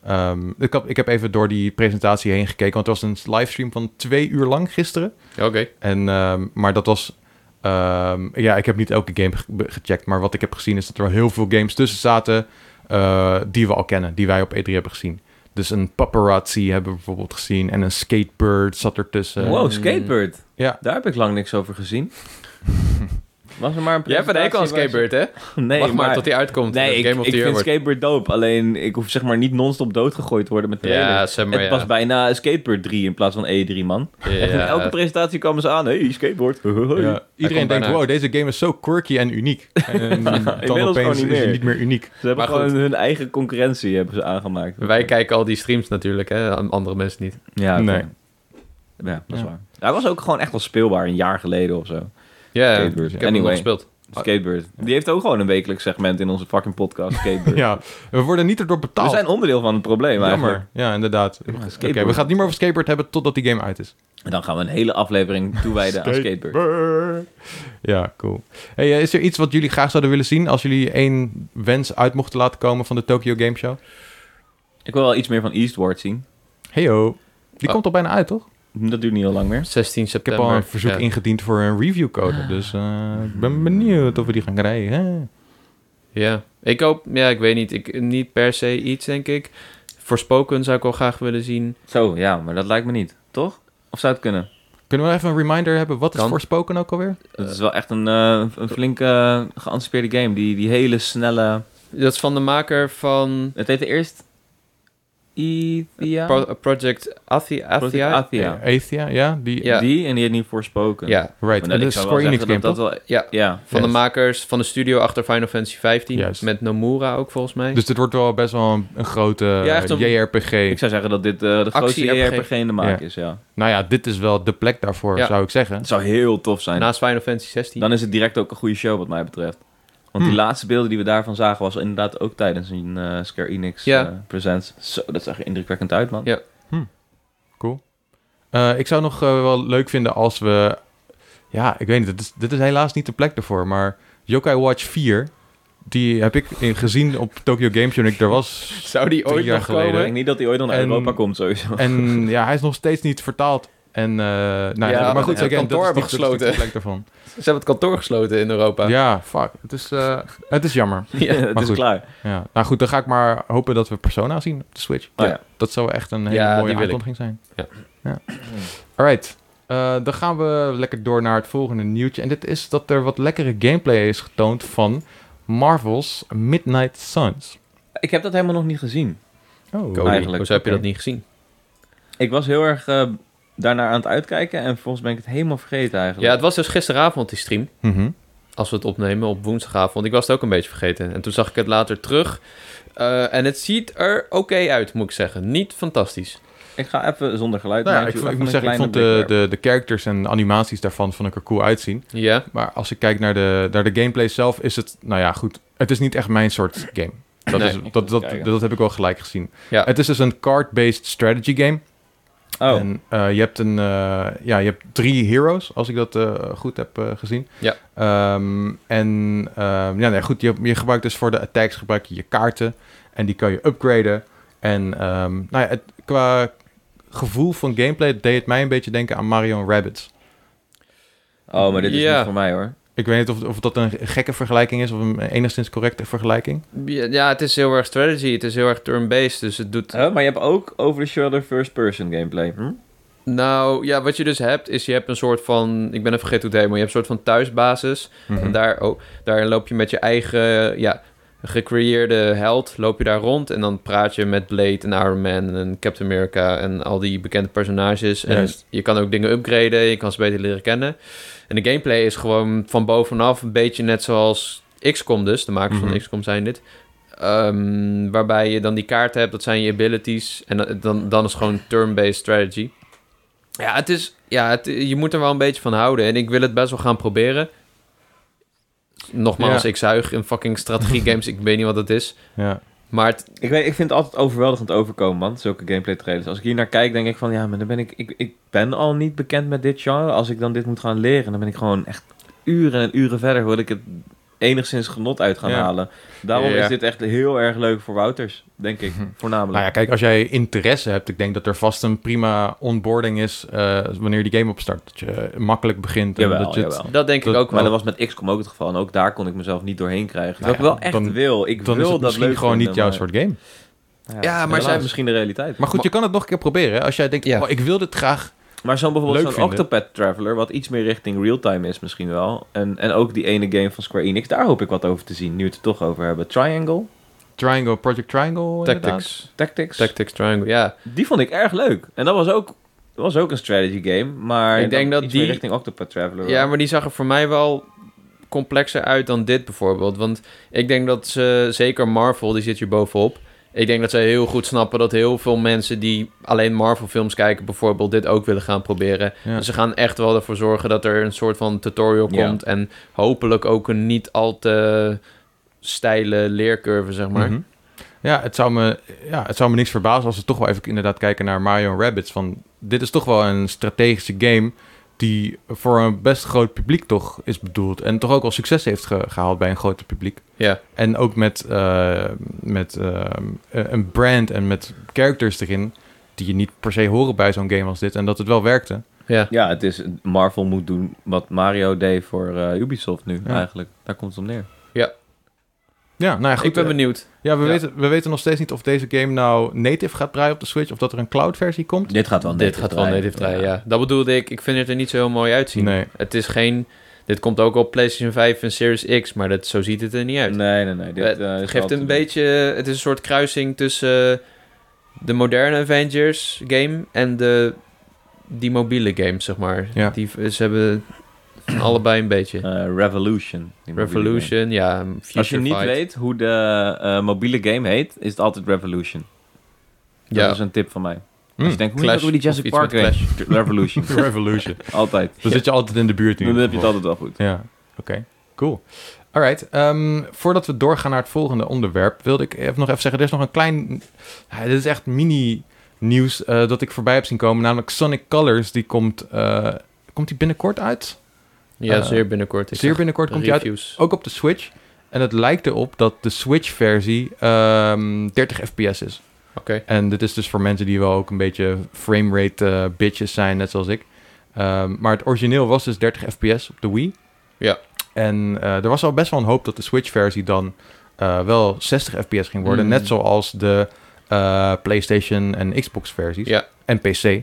A: Ehm, ik, heb, ik heb even door die presentatie heen gekeken, want het was een livestream van twee uur lang gisteren.
C: Oké.
A: En, ehm, maar dat was... ehm, ja, ik heb niet elke game ge- be- gecheckt, maar wat ik heb gezien is dat er heel veel games tussen zaten eh, die we al kennen, die wij op E3 hebben gezien. Dus een paparazzi hebben we bijvoorbeeld gezien en een skatebird zat ertussen.
C: Eh,
B: Wow, Skatebird.
A: Ja.
B: Daar heb ik lang niks over gezien. Was er maar een
C: Jij hebt een hekel aan
B: presentatie waar
C: Skatebird, hè?
B: ze- Nee,
C: Wacht maar,
B: maar
C: tot die uitkomt.
B: Nee,
C: dat
B: ik,
C: Game of
B: ik
C: the Year
B: vind
C: wordt.
B: Skatebird dope. Alleen ik hoef zeg maar niet non-stop doodgegooid te worden met trailers.
C: Ja, zeg maar,
B: het
C: ja.
B: was bijna Skateboard 3 in plaats van E3, man. Echt in
C: Ja.
B: elke presentatie kwamen ze aan. hey, skateboard.
A: Ja, iedereen
C: komt
A: denkt,
C: bijna
A: wow, deze game is zo quirky en uniek. En dan
B: gewoon
A: opeens
B: niet
A: is hij
B: meer.
A: niet meer uniek.
B: Ze hebben
C: Maar goed.
B: gewoon hun eigen concurrentie hebben ze aangemaakt.
C: Wij kijken al die streams natuurlijk, hè? aan Andere mensen niet.
B: Ja, oké.
A: Nee.
B: Ja, dat is
A: Ja.
B: waar. Hij was ook gewoon echt wel speelbaar een jaar geleden of zo.
C: Ja, ik
B: skateboard.
C: heb hem nog
B: Anyway,
C: gespeeld.
B: Skateboard. Oh, Die heeft ook gewoon een wekelijks segment in onze fucking podcast, Skateboard.
A: Ja, we worden niet erdoor
B: We
A: betaald.
B: zijn onderdeel van het probleem eigenlijk.
A: Jammer. Ja, inderdaad. Oké,
B: skateboard.
A: we gaan het niet meer over skateboard hebben totdat die game uit is.
B: En dan gaan we een hele aflevering toewijden aan Skateboard.
A: Skateboard. Ja, cool. Hey, eh, is er iets wat jullie graag zouden willen zien als jullie één wens uit mochten laten komen van de Tokyo Game Show?
B: Ik wil wel iets meer van Eastward zien.
A: Heyo, die
C: Ah.
A: komt al bijna uit, toch?
B: Dat duurt niet heel lang meer.
C: 16
A: Ik heb
C: september.
A: al een verzoek
C: Ja.
A: ingediend voor een reviewcode, dus eh, ik ben benieuwd of we die gaan krijgen. hè?
C: Ja, ik hoop, ja, ik weet niet. Ik, niet per se iets, denk ik. Voorspoken zou ik wel graag willen zien.
B: Zo, ja, maar dat lijkt me niet. Toch? Of zou het kunnen?
A: Kunnen we even een reminder hebben? Wat is
C: Kan.
A: Forspoken ook alweer?
B: Het is wel echt een, eh, een flinke eh, geanticipeerde game. Die, die hele snelle...
C: Dat is van de maker van
B: Het heette eerst... Ethia?
C: Pro- Project Athia.
B: Project
C: Athia?
B: Athia.
A: Athia, Eh, ja? Die,
C: Ja.
B: Die en die had niet voorspoken.
C: Ja,
A: Right,
B: Maar
A: en
B: dat-
A: dat
B: ik
A: is
B: zou wel
A: Square Enix
B: zeggen
A: game,
B: dat
A: toch?
B: dat wel...
C: ja.
B: Ja.
C: Van de
A: Juist.
C: makers, van de studio achter Final Fantasy 15.
A: Juist.
C: Met Nomura ook volgens mij.
A: Dus dit wordt wel best wel een, een grote
C: Ja, echt een-
A: JRPG.
B: Ik zou zeggen dat dit eh, de grootste
C: Actie RPG.
B: JRPG in de maak
A: Ja.
B: is, ja.
A: Nou ja, dit is wel de plek daarvoor,
C: Ja.
A: zou ik zeggen.
B: Het zou heel tof zijn.
C: Naast Final Fantasy 16.
B: Dan is het direct ook een goede show wat mij betreft. Want die
A: Hmm.
B: laatste beelden die we daarvan zagen was inderdaad ook tijdens een eh, Square Enix
C: Ja.
B: eh, Presents. Zo, dat zag er indrukwekkend uit, man.
C: Ja.
A: Cool. Eh, ik zou nog eh, wel leuk vinden als we... Ja, ik weet niet. Dit is, dit is helaas niet de plek ervoor. Maar Yokai Watch 4... Die heb ik in, gezien op Tokyo Game Show en ik daar was.
C: Zou die
A: Drie
C: ooit
A: jaar
C: nog
A: geleden.
B: Ik
C: komen?
B: denk niet dat hij ooit nog naar
A: En-
B: Europa komt, sowieso.
A: En ja, hij is nog steeds niet vertaald. En, eh, nou,
C: Ja,
A: ja, maar
C: dat
A: goed,
C: het
A: again,
C: kantoor
A: dat is
C: hebben
A: niet- dat is niet de
C: gesloten.
A: plek daarvan.
C: Ze hebben het kantoor gesloten in Europa.
A: Ja, fuck. Het is, eh, het is jammer.
B: Ja, het
A: maar
B: is
A: goed.
B: klaar.
A: Ja. Nou goed, dan ga ik maar hopen dat we Persona zien op de Switch.
B: Oh ja.
A: Dat zou echt een hele
C: Ja, die
A: mooie
C: wil ik.
A: aankondiging zijn.
C: Ja.
A: Ja. Alright. Eh, dan gaan we lekker door naar het volgende nieuwtje. En dit is dat er wat lekkere gameplay is getoond van Marvel's Midnight Suns.
B: Ik heb dat helemaal nog niet gezien.
A: Oh,
C: Cody,
B: Eigenlijk,
C: hoezo heb je
A: oké.
C: dat niet gezien?
B: Ik was heel erg eh, daarnaar aan het uitkijken en volgens ben ik het helemaal vergeten eigenlijk.
C: Ja, het was dus gisteravond die stream.
A: Mhm.
C: Als we het opnemen op woensdagavond. Ik was het ook een beetje vergeten. En toen zag ik het later terug. Eh, en het ziet er oké uit, moet ik zeggen. Niet fantastisch.
B: Ik ga even zonder geluid.
A: Nou ja,
B: maar
A: ik,
B: doe
A: vond- ik
B: even
A: moet
B: een
A: zeggen, ik vond eh,
B: kleine
A: de,
B: blik
A: de, de characters en animaties daarvan vond ik er cool uitzien.
C: Ja.
A: Maar als ik kijk naar de, naar de gameplay zelf, is het... Nou ja, goed. Het is niet echt mijn soort game. Dat,
C: Nee,
A: is,
B: ik moet
A: dat, dat, dat,
B: kijken.
A: heb ik wel gelijk gezien.
C: Ja.
A: Het is dus een card-based strategy game.
B: daar. Oh,
A: En eh, je, hebt een, eh, ja, je hebt drie heroes, als ik dat eh, goed heb eh, gezien.
C: Ja.
A: Ehm, en ehm, ja, nee, goed, je, je gebruikt dus voor de attacks gebruik je je kaarten. En die kan je upgraden. En ehm, nou ja, het, qua gevoel van gameplay deed het mij een beetje denken aan Mario en Rabbids.
B: oh, maar dit is
C: Ja.
B: niet voor mij hoor.
A: Ik weet niet of, of dat een gekke vergelijking is of een enigszins correcte vergelijking.
C: Ja, ja, het is heel erg strategy. Het is heel erg turn-based. Dus het doet.
B: Huh, maar je hebt ook over the shoulder first person gameplay. Hm?
C: Nou ja, wat je dus hebt is je hebt een soort van. Ik ben even vergeten hoe het heet, maar je hebt een soort van thuisbasis.
B: Mhm.
A: Mhm.
C: En daar, oh, daar loop je met je eigen. Ja, gecreëerde held. Loop je daar rond. En dan praat je met Blade en Iron Man en Captain America. En al die bekende personages. En
A: Juist.
C: je kan ook dingen upgraden. Je kan ze beter leren kennen. En de gameplay is gewoon van bovenaf een beetje net zoals XCOM dus. De makers
A: Mhm.
C: van XCOM zijn dit. Ehm, waarbij je dan die kaarten hebt, dat zijn je abilities. En dan- dan, dan is het gewoon turn-based strategy. Ja, het is, ja het, je moet er wel een beetje van houden. En ik wil het best wel gaan proberen. Nogmaals,
A: Ja.
C: ik zuig in fucking strategie games. Ik weet niet wat het is.
A: Ja.
C: Maar het,
B: Ik, weet, ik vind het altijd overweldigend overkomen, man. Zulke gameplay trailers. Als ik hier naar kijk, denk ik van ja, maar dan ben ik, ik. Ik ben al niet bekend met dit genre. Als ik dan dit moet gaan leren, dan ben ik gewoon echt uren en uren verder. Wil ik het enigszins genot uit gaan
A: Ja.
B: halen. Daarom
C: Ja.
B: is dit echt heel erg leuk voor Wouters, denk ik. Voornamelijk.
A: Nou ja, kijk, als jij interesse hebt, ik denk dat er vast een prima onboarding is eh, wanneer die game opstart. Dat je eh, makkelijk begint. en
B: Jawel,
A: dat je het-
B: jawel.
C: dat denk
A: Dat-
C: ik ook
B: Maar
C: wel.
B: dat was met XCOM ook het geval. En ook daar kon ik mezelf niet doorheen krijgen.
A: Nou
B: wat
A: ja,
B: ik wel echt
A: dan-
B: wil. Ik
A: dan
B: wil
A: is het
B: dat
A: misschien
B: leuk
A: gewoon niet
B: vinden,
A: jouw
B: maar-
A: soort game.
C: Ja, maar
B: helaas
C: zij-
B: misschien de realiteit.
A: Maar goed,
C: Maar-
A: je kan het nog een keer proberen. hè. Als jij denkt,
C: Ja.
A: oh, ik wil dit graag.
B: Maar zo'n
A: Leuk
B: bijvoorbeeld zo'n
A: vinden.
B: Octopath Traveler, wat iets meer richting real-time is misschien wel. En, en ook die ene game van Square Enix, daar hoop ik wat over te zien, nu we het er toch over hebben. Triangle,
A: Triangle, Project Triangle inderdaad.
C: Tactics.
B: Tactics,
C: Tactics Triangle, ja.
B: die vond ik erg leuk. En dat was ook, was ook een strategy game, maar
C: Ik denk
B: dan
C: dat
B: iets meer
C: die-
B: richting Octopath Traveler.
C: Ja, maar die zag er voor mij wel complexer uit dan dit bijvoorbeeld. Want ik denk dat ze, zeker Marvel, die zit hier bovenop. Ik denk dat ze heel goed snappen dat heel veel mensen die alleen Marvel films kijken bijvoorbeeld dit ook willen gaan proberen.
A: Ja.
C: Dus ze gaan echt wel ervoor zorgen dat er een soort van tutorial
B: Ja.
C: komt. En hopelijk ook een niet al te steile leercurve, zeg maar.
A: Mhm. ja, het zou me, ja, het zou me niks verbazen als we toch wel even inderdaad kijken naar Mario Rabbits. Van, dit is toch wel een strategische game die voor een best groot publiek toch is bedoeld. En toch ook wel succes heeft ge- gehaald bij een groter publiek.
C: Ja.
A: En ook met, eh, met ehm, eh, een brand en met characters erin die je niet per se horen bij zo'n game als dit. En dat het wel werkte.
C: ja.
B: Ja, het is, Marvel moet doen wat Mario deed voor eh, Ubisoft nu
A: Ja.
B: eigenlijk. Daar komt het om neer.
A: Ja, nou ja, goed.
C: ik ben
A: eh,
C: benieuwd.
A: Ja, we,
C: Ja.
A: Weten, we weten nog steeds niet of deze game nou native gaat draaien op de Switch... of dat er een cloud versie komt.
B: Dit gaat wel
C: Dit gaat wel native draaien, ja. Dat bedoelde ik. Ik vind het er niet zo heel mooi uitzien.
A: Nee.
C: Het is geen... Dit komt ook op PlayStation 5 en Series X, maar dat, zo ziet het er niet uit.
B: Nee, nee, nee. Dit,
C: Het
B: eh, is wel
C: geeft
B: te
C: een
B: doen.
C: beetje... Het is een soort kruising tussen eh, de moderne Avengers game en de, die mobiele game, zeg maar.
A: Ja.
C: Die, ze hebben allebei een beetje.
B: Eh, Revolution. die mobiele game.
C: Revolution, ja, Future
B: Als je niet
C: Fight.
B: weet hoe de eh, mobiele game heet, is het altijd Revolution. Dat
C: Ja.
B: is een tip van mij. Als
A: Mm.
B: je denkt, hoe
C: Clash
B: heet dat hoe die
C: of
B: Jurassic
C: iets
B: Park
C: met
B: heet? Revolution.
A: Hm. Revolution.
B: altijd.
A: Dan zit je altijd in de buurt nu.
B: Dan heb je het altijd wel goed.
A: Ja, oké. Cool. Alright, ehm, voordat we doorgaan naar het volgende onderwerp, wilde ik even nog even zeggen, er is nog een klein, ja, dit is echt mini nieuws eh, dat ik voorbij heb zien komen, namelijk Sonic Colors, die komt, eh, komt die binnenkort uit?
C: Ja,
A: Eh,
C: zeer binnenkort. Ik
A: Zeer
C: zag
A: binnenkort komt die uit,
C: reviews.
A: ook op de Switch. En het lijkt erop dat de Switch-versie ehm, 30 fps is.
C: Oké.
A: En dit is dus voor mensen die wel ook een beetje framerate eh, bitches zijn, net zoals ik. Ehm, maar het origineel was dus 30 fps op de Wii.
C: Ja.
A: En eh, er was al best wel een hoop dat de Switch-versie dan eh, wel 60 fps ging worden.
C: Mm.
A: Net zoals de eh, PlayStation en Xbox-versies.
C: Ja.
A: En PC. Eh,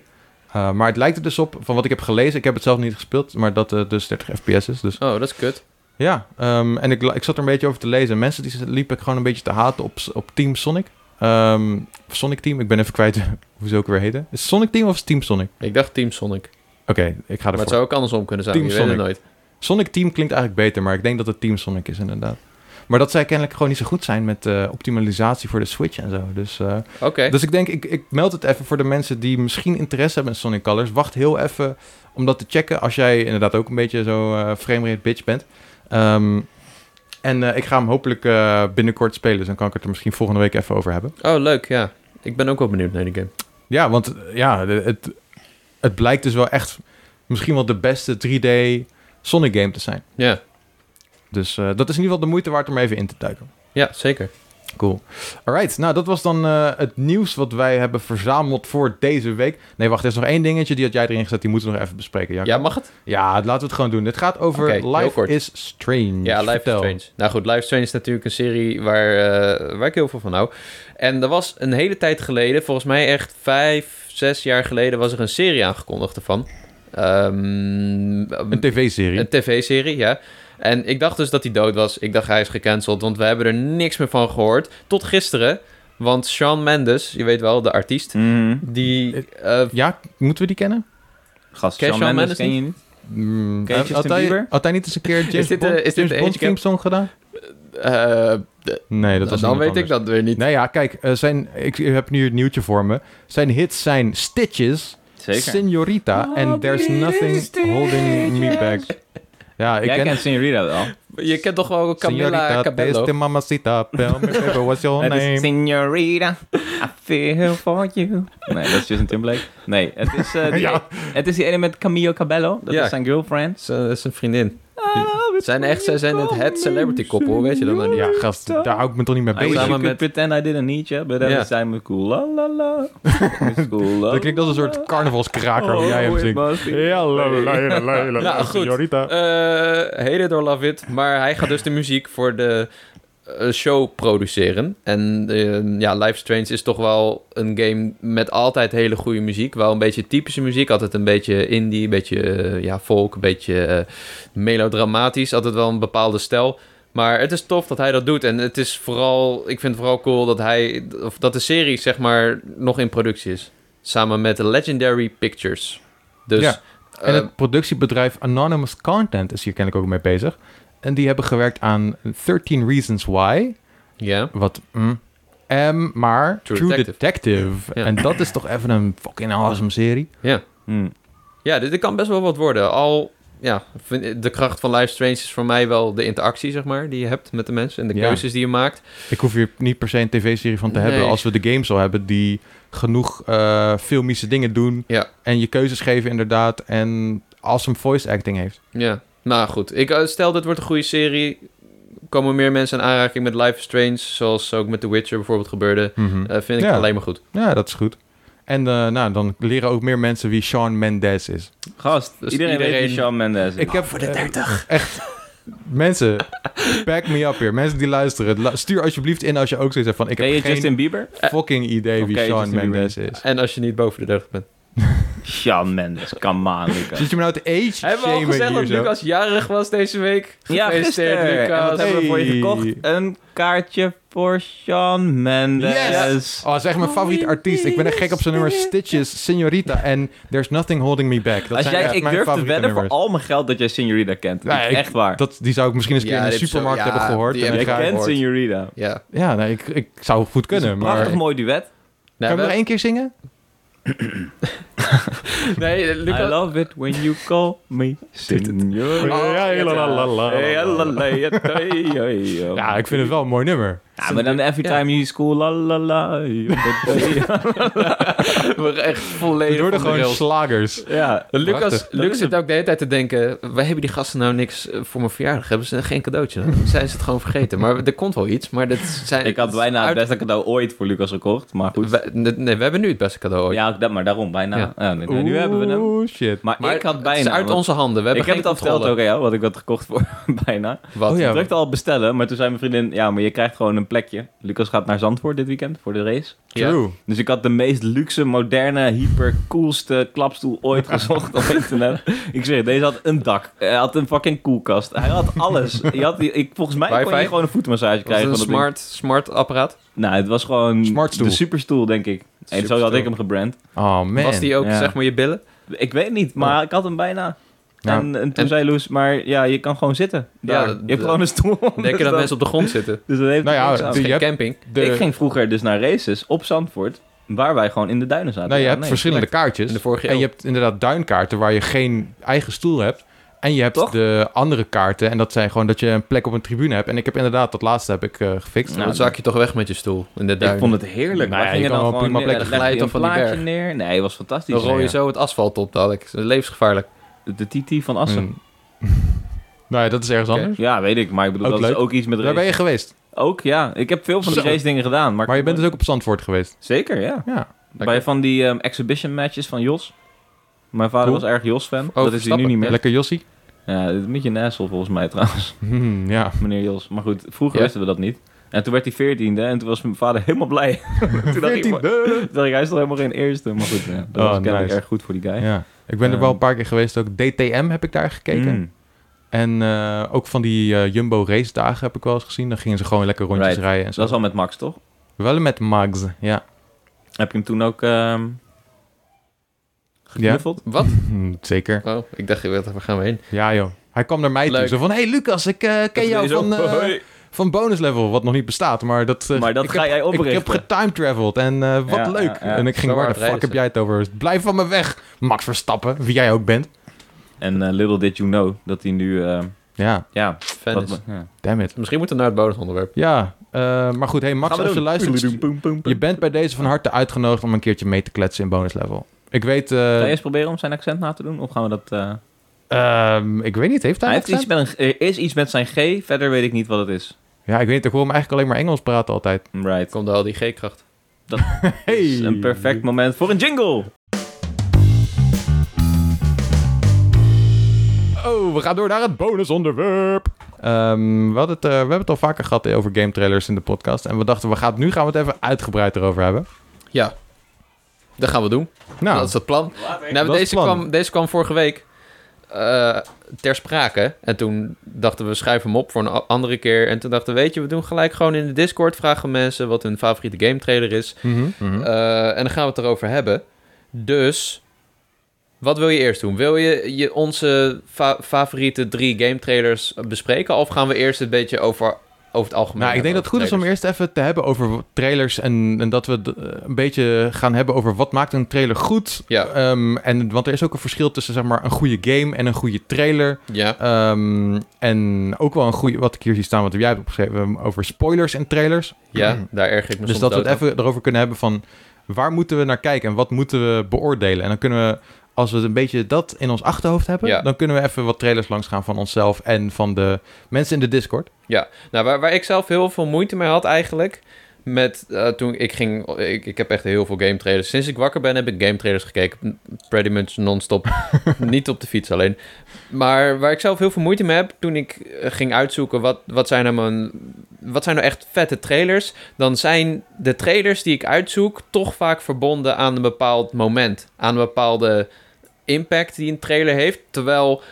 A: maar het lijkt er dus op, van wat ik heb gelezen, ik heb het zelf niet gespeeld, maar dat het dus 30 fps is. Dus
C: Oh, dat is kut.
A: ja, ehm, en ik, la- ik zat er een beetje over te lezen. Mensen die z- liepen gewoon een beetje te haten op, s- op Team Sonic. Ehm, of Sonic Team, ik ben even kwijt hoe ze ook weer heten. Is het Sonic Team of is het Team Sonic?
C: Ik dacht Team Sonic.
A: Oké, ik ga
C: Maar het
A: ervoor.
C: zou ook andersom kunnen zijn.
A: Team
C: je weet het
A: Sonic.
C: nooit.
A: Sonic Team klinkt eigenlijk beter, maar ik denk dat het Team Sonic is inderdaad. Maar dat zij kennelijk gewoon niet zo goed zijn met eh, optimalisatie voor de Switch en zo. Dus, eh,
C: Oké.
A: dus ik denk, ik, ik meld het even voor de mensen die misschien interesse hebben in Sonic Colors. Wacht heel even om dat te checken als jij inderdaad ook een beetje zo eh framerate bitch bent. Ehm, en eh, ik ga hem hopelijk eh, binnenkort spelen, dus dan kan ik het er misschien volgende week even over hebben.
C: Oh, leuk, ja. Ik ben ook wel benieuwd naar die game.
A: Ja, want eh, ja, de- het, het blijkt dus wel echt misschien wel de beste 3D Sonic game te zijn.
C: Ja,
A: Dus eh, dat is in ieder geval de moeite waard om even in te duiken.
C: ja zeker.
A: Cool. Alright, nou dat was dan eh, het nieuws wat wij hebben verzameld voor deze week. Nee, wacht, er is nog één dingetje die had jij erin gezet, die moeten we nog even bespreken. Jacob.
C: Ja, mag het?
A: Ja, laten we het gewoon doen. Dit gaat over
C: Oké, heel
A: Life
C: kort.
A: is Strange.
C: Ja, Life
A: Hmm. Vertel.
C: is Strange. Nou goed, Life is Strange is natuurlijk een serie waar, eh, waar ik heel veel van hou. En er was een hele tijd geleden, volgens mij echt vijf, zes jaar geleden, was er een serie aangekondigd ervan. Ehm,
A: Een tv-serie.
C: Een tv-serie, ja. En ik dacht dus dat hij dood was. Ik dacht hij is gecanceld, want we hebben er niks meer van gehoord. Tot gisteren, want Shawn Mendes, je weet wel, de artiest,
B: Mhm.
C: die... eh,
A: Ja, moeten we die kennen?
B: Gast,
C: Ken je
B: Shawn
C: Shawn
B: Mendes
C: Mendes
B: ken je niet?
A: Mm,
B: Ken je Justin
A: had, hij,
B: Bieber?
A: had hij niet eens een keer James
C: dit, eh,
A: Bond,
C: is dit
A: James
C: de
A: Bond
C: age gap?
A: theme song gedaan?
C: eh,
A: Nee, dat was
C: dan weet
A: iemand
C: ik dat weer niet.
A: Nou ja, kijk, eh, zijn, ik heb nu het nieuwtje voor me. Zijn hits zijn Stitches,
B: Zeker.
A: Senorita en There's Nothing Holding Me Back. Ja, ik
B: Jij
A: ken
B: kent Senorita wel.
C: Je kent toch wel Camilla
A: Senorita,
C: Cabello?
A: beste mamacita, tell me baby, what's your
B: Het is
A: name?
B: Senorita, I feel for you. Nee, dat is Justin Timberlake. Nee, het is, eh, die,
A: Ja.
B: het is die ene met Camilo Cabello. Dat
C: Ja.
B: is zijn girlfriend.
C: Ze is een vriendin. Zijn echt, zij zijn het het celebrity koppel, weet je dat nou niet?
A: Ja, gast, daar hou ik me toch niet mee
B: I wish you
A: bezig.
C: Samen
B: could
C: met-
B: pretend I didn't need you, but
C: Ja.
B: every time we cool, la la la. It's cool, la,
A: Dat klinkt als een
B: la,
A: soort
B: la.
A: carnavalskraker hoe jij hem
B: Oh, it
A: zingt.
B: must be-
A: Ja, la, la, la, la, la, la,
C: Nou, goed.
A: Senorita.
C: Eh heden door Love It. Maar hij gaat dus de muziek voor de eh, show produceren. En eh, ja, Life is Strange is toch wel een game met altijd hele goede muziek. Wel een beetje typische muziek. Altijd een beetje indie, een beetje eh, ja, folk, een beetje eh, melodramatisch. Altijd wel een bepaalde stijl. Maar het is tof dat hij dat doet. En het is vooral, ik vind het vooral cool dat hij, of dat de serie zeg maar nog in productie is. Samen met Legendary Pictures. Dus,
A: Ja. En
C: eh,
A: het productiebedrijf Anonymous Content is hier kennelijk ook mee bezig. En die hebben gewerkt aan 13 Reasons Why.
C: ja.
A: Wat mm, M, maar True,
C: True
A: Detective.
C: Detective. Ja.
A: En dat is toch even een fucking awesome serie.
C: Ja.
B: Hmm.
C: Ja, dit, dit kan best wel wat worden. Al, ja, vind- de kracht van Life is Strange is voor mij wel de interactie, zeg maar, die je hebt met de mensen en de
A: Ja.
C: keuzes die je maakt.
A: Ik hoef hier niet per se een tv-serie van te
C: Nee.
A: hebben als we de games al hebben die genoeg eh, filmische dingen doen.
C: Ja.
A: En je keuzes geven inderdaad. En awesome voice acting heeft.
C: Ja, nou goed. Ik, eh, stel, dit wordt een goede serie. Komen meer mensen in aanraking met Life is Strange, zoals ook met The Witcher bijvoorbeeld gebeurde. Eh, vind ik
A: Ja.
C: alleen maar goed.
A: Ja, dat is goed. En eh, nou, dan leren ook meer mensen wie Sean Mendes is.
B: Gast,
C: Dus
B: iedereen, weet
C: iedereen-
B: wie Shawn Mendes is.
A: Ik heb voor de 30. Echt. Mensen, back me up hier. Mensen die luisteren, la- stuur alsjeblieft in als je ook zoiets hebt van... Ik
B: Ken je
A: heb geen
B: Justin Bieber?
A: fucking idee wie
B: Oké,
A: Sean
B: Justin Bieber.
A: Mendes is.
C: En als je niet boven de 30 bent.
B: Shawn Mendes, come on, Lucas.
A: Zit je me nou te age
C: Hebben we al
A: shamen
C: gezegd
A: hier
C: dat
A: zo?
C: Lucas jarig was deze week?
B: Ja,
C: Gefeliciteerd,
B: gisteren. En
C: Lucas.
B: wat hebben we voor je
A: Hey.
B: gekocht? Een kaartje voor Shawn Mendes.
A: Yes! Oh, zeg mijn favoriete artiest. Ik ben echt gek op zijn nummers Stitches, Senorita en There's Nothing Holding Me Back. Dat
B: Als
A: zijn
B: jij,
A: echt
B: ik
A: mijn
B: durf te
A: favoriete
B: wedden voor
A: nummers.
B: al mijn geld dat jij Senorita kent.
A: Nee, ik-
B: echt waar.
A: Dat, die zou ik misschien eens een keer
C: Ja,
A: in de
C: dit is zo-
A: supermarkt
C: ja,
A: hebben gehoord.
C: die
A: en
C: heb
B: jij
A: ik ga-
C: graag
B: kent
C: gehoord.
B: Senorita.
C: Ja.
A: Ja, nee, ik, ik zou het goed kunnen, maar...
B: Prachtig mooi duet.
C: Nee,
A: Kan je
C: Nou, we-
A: nog één keer zingen?
C: nee,
B: I
C: Lucas...
B: love it when you call me Senorita.
A: Ja, la, la, la, la, la.
B: Hey, la, la, hey, hey, hey, yo.
A: Ja, ik vind het wel een mooi nummer.
B: Ja, maar dan every time you school, la la la. yo, hey.
C: we echt
A: Het
C: volledig
A: worden
C: van de
A: gewoon
C: rails.
A: slagers.
B: Ja,
C: Lucas,
A: Prachtig.
B: is
C: Lucas
B: het.
C: zit ook de hele tijd te denken... wij hebben die gasten nou niks eh, voor mijn verjaardag? Hebben ze geen cadeautje? Dan zijn ze het gewoon vergeten. Maar er komt wel iets, maar dat zijn...
B: ik had bijna het
C: uit-
B: beste cadeau ooit voor Lucas gekocht, maar goed.
C: We- nee, we hebben nu het beste cadeau ooit.
B: Ja, dat, maar daarom, bijna.
C: Ja.
B: Ja, nee, nu hebben we hem.
A: Oeh, shit.
B: Maar,
C: Maar
B: ik had bijna.
C: Het is uit
B: want
C: onze handen. We
B: ik
C: hebben
B: heb
C: geen
B: het al verteld ook
C: controle.
B: aan jou, wat ik had gekocht voor bijna.
C: Wat?
A: Oh ja.
B: Ik drukte al bestellen, maar toen zei mijn vriendin, ja, maar je krijgt gewoon een plekje. Lucas gaat naar Zandvoort dit weekend voor de race.
C: Ja.
A: True.
B: Dus ik had de meest luxe, moderne, hyper coolste klapstoel ooit gezocht op internet. Ik zeg, deze had een dak. Hij had een fucking koelkast. Hij had alles. Je had, die- ik, volgens mij kon je
C: Wifi?
B: gewoon een voetmassage
C: Was het
B: krijgen.
C: een
B: van dat ding.
C: smart, smart apparaat?
B: Nou, het was gewoon
A: Smartstoel.
B: de superstoel, denk ik. En zo had
C: Superstoel.
B: ik hem gebrand.
A: Oh man.
C: Was die ook,
B: Ja.
C: zeg maar, je billen?
B: Ik weet niet, maar ik had hem bijna.
A: Ja.
B: En, en toen zei Loes, maar ja, je kan gewoon zitten. Daar.
C: Ja,
B: je
C: dat-
B: hebt gewoon een stoel.
C: Denk je dat mensen op de grond zitten?
B: Dus dat heeft
A: Nou ja,
B: niks aan.
C: Dat
A: je
C: is geen
A: hebt-
C: camping. Nou,
A: De,
B: Ik ging vroeger dus naar races op Zandvoort, waar wij gewoon in de duinen zaten.
A: nou, je
B: Ja,
A: hebt
B: nee.
A: verschillende kaartjes.
C: In de vorige
A: En
C: eeuw.
A: je hebt inderdaad duinkaarten waar je geen eigen stoel hebt. En je hebt
B: Toch?
A: de andere kaarten. En dat zijn gewoon dat je een plek op een tribune hebt. En ik heb inderdaad, dat laatste heb ik eh, gefixt.
B: Nou,
C: dan zak je toch weg met je stoel in de duin.
B: Ik vond het heerlijk.
A: Nou
B: Wij
A: ja,
B: gingen
A: je kan
B: dan
A: wel
B: gewoon
A: prima
B: neer-
A: plekken
B: legde je
C: glijden
B: een
C: van die
B: plaatje
C: berg.
B: neer. Nee, het was fantastisch.
C: Dan rol je
A: Ja.
C: zo het asfalt op dadelijk. Dat is levensgevaarlijk.
B: De Titi van Assen.
A: Mm. nou ja, dat is ergens
C: Oké.
A: anders.
B: Ja, weet ik. Maar ik bedoel,
A: Ook
B: dat
A: leuk.
B: is ook iets met
A: Daar ben
B: race.
A: je geweest.
B: Ook, ja. Ik heb veel van die
A: Zo.
B: race dingen gedaan. Maar,
A: Maar je bent dus ook op Zandvoort geweest.
B: Zeker, ja.
A: Ja.
B: Bij van die ehm, exhibition matches van Jos. Mijn vader
A: Cool.
B: was erg Jos-fan.
C: Oh,
B: dat is hij nu
C: Verstappen.
B: niet meer.
A: Lekker Jossie.
B: Ja, dit is een beetje een asshole volgens mij trouwens,
A: Hmm, ja.
B: meneer Jos. Maar goed, vroeger
C: Ja.
B: wisten we dat niet. En toen werd hij veertiende en toen was mijn vader helemaal blij. toen dacht ik,
A: Veertiende.
B: toen dacht ik, hij is toch helemaal geen eerste. Maar goed, ja, dat
A: Oh,
B: was kennelijk
A: nice.
B: erg goed voor die guy.
A: Ja. Ik ben er
B: Ehm.
A: wel een paar keer geweest ook. DTM heb ik daar gekeken.
B: Mm.
A: En eh, ook van die eh, Jumbo race dagen heb ik wel eens gezien. Dan gingen ze gewoon lekker rondjes
B: Right.
A: rijden en
B: Dat
A: zo.
B: was al met Max, toch?
A: Wel met Mags, ja.
B: Heb je hem toen ook ehm
A: ja.
B: geknuffeld?
C: Wat?
A: Hm, Zeker.
C: Oh, ik dacht, waar gaan we heen?
A: Ja joh. Hij kwam naar mij toe
C: Leuk.
A: zo van... Hey Lucas, ik eh, ken jou van, eh
B: Hoi.
A: van bonus level. Wat nog niet bestaat, maar dat... eh,
B: Maar dat
A: ik
B: ga
A: heb,
B: jij
A: Ik heb
B: oprichten.
A: getimetaveled en eh, wat
B: Ja,
A: leuk.
B: ja, ja.
A: En ik ging,
C: Zo
A: waar de
C: hard
A: fuck
C: reizen.
A: heb jij het over? Blijf van me weg. Max Verstappen, wie jij ook bent.
B: En eh, little did you know dat hij nu... ehm,
A: Ja,
B: ja,
C: Fan
B: wat-
C: is.
B: ja.
A: damn it.
C: Misschien moeten we naar het bonusonderwerp.
A: Ja, eh, maar goed. Hey Max,
B: Gaan we
A: als je
B: doen.
A: luistert...
B: Poem, poem, poem, poem.
A: Je bent bij deze van harte uitgenodigd om een keertje mee te kletsen in bonus level. Ik weet... eh,
B: Ga je eens proberen om zijn accent na te doen? Of gaan we dat... eh,
A: ehm, ik weet niet, heeft hij
B: Hij
A: een
B: heeft iets
A: accent?
B: met een, er is iets met zijn G, verder weet ik niet wat het is.
A: Ja, ik weet niet. Ik hoor hem eigenlijk alleen maar Engels praten altijd.
B: Right.
C: Komt al die G-kracht.
A: Hey!
B: is een perfect moment voor een jingle.
A: Oh, we gaan door naar het bonusonderwerp. Ehm, we, hadden het, eh, we hebben het al vaker gehad eh, over game trailers in de podcast. En we dachten, we gaan het, nu gaan we het even uitgebreid erover hebben.
C: Ja. Dat gaan we doen.
A: Nou,
C: Dat is het plan.
A: Dat
C: Nou,
A: is
C: deze,
A: het plan.
C: kwam, deze kwam vorige week eh, ter sprake. En toen dachten we, schrijf hem op voor een a- andere keer. En toen dachten we, weet je, we doen gelijk gewoon in de Discord. Vragen mensen wat hun favoriete game trailer is.
A: mhm, mhm.
C: Eh, en dan gaan we het erover hebben. Dus, wat wil je eerst doen? Wil je, je onze fa- favoriete drie game trailers bespreken? Of gaan we eerst een beetje over, over het algemeen?
A: nou, ik denk
C: hebben
A: dat het goed is om
C: over
A: eerst even te hebben over trailers. En, en dat we d- eh, een beetje gaan hebben over wat maakt een trailer goed.
C: Ja.
A: Ehm, en, want er is ook een verschil tussen zeg maar, een goede game en een goede trailer.
C: trailers? Ja.
A: Ehm, en ook wel een goede, wat ik hier zie staan, wat jij hebt opgeschreven, ehm, over spoilers en trailers.
C: Ja, daar erg ik me
A: Dus
C: soms
A: dat we het
C: dood aan.
A: even erover kunnen hebben van waar moeten we naar kijken en wat moeten we beoordelen. En dan kunnen we, als we een beetje dat in ons achterhoofd hebben,
C: Ja.
A: dan kunnen we even wat trailers langs gaan van onszelf en van de mensen in de Discord.
C: Nou, waar, waar ik zelf heel veel moeite mee had eigenlijk. Met eh, toen ik ging. Ik, ik heb echt heel veel game trailers. Sinds ik wakker ben heb ik game trailers gekeken. M- Pretty much non-stop. Niet op de fiets alleen. Maar waar ik zelf heel veel moeite mee heb. Toen ik eh, ging uitzoeken. Wat, wat, zijn nou mijn, wat zijn nou echt vette trailers. Dan zijn de trailers die ik uitzoek. toch vaak verbonden aan een bepaald moment. Aan een bepaalde impact die een trailer heeft. Terwijl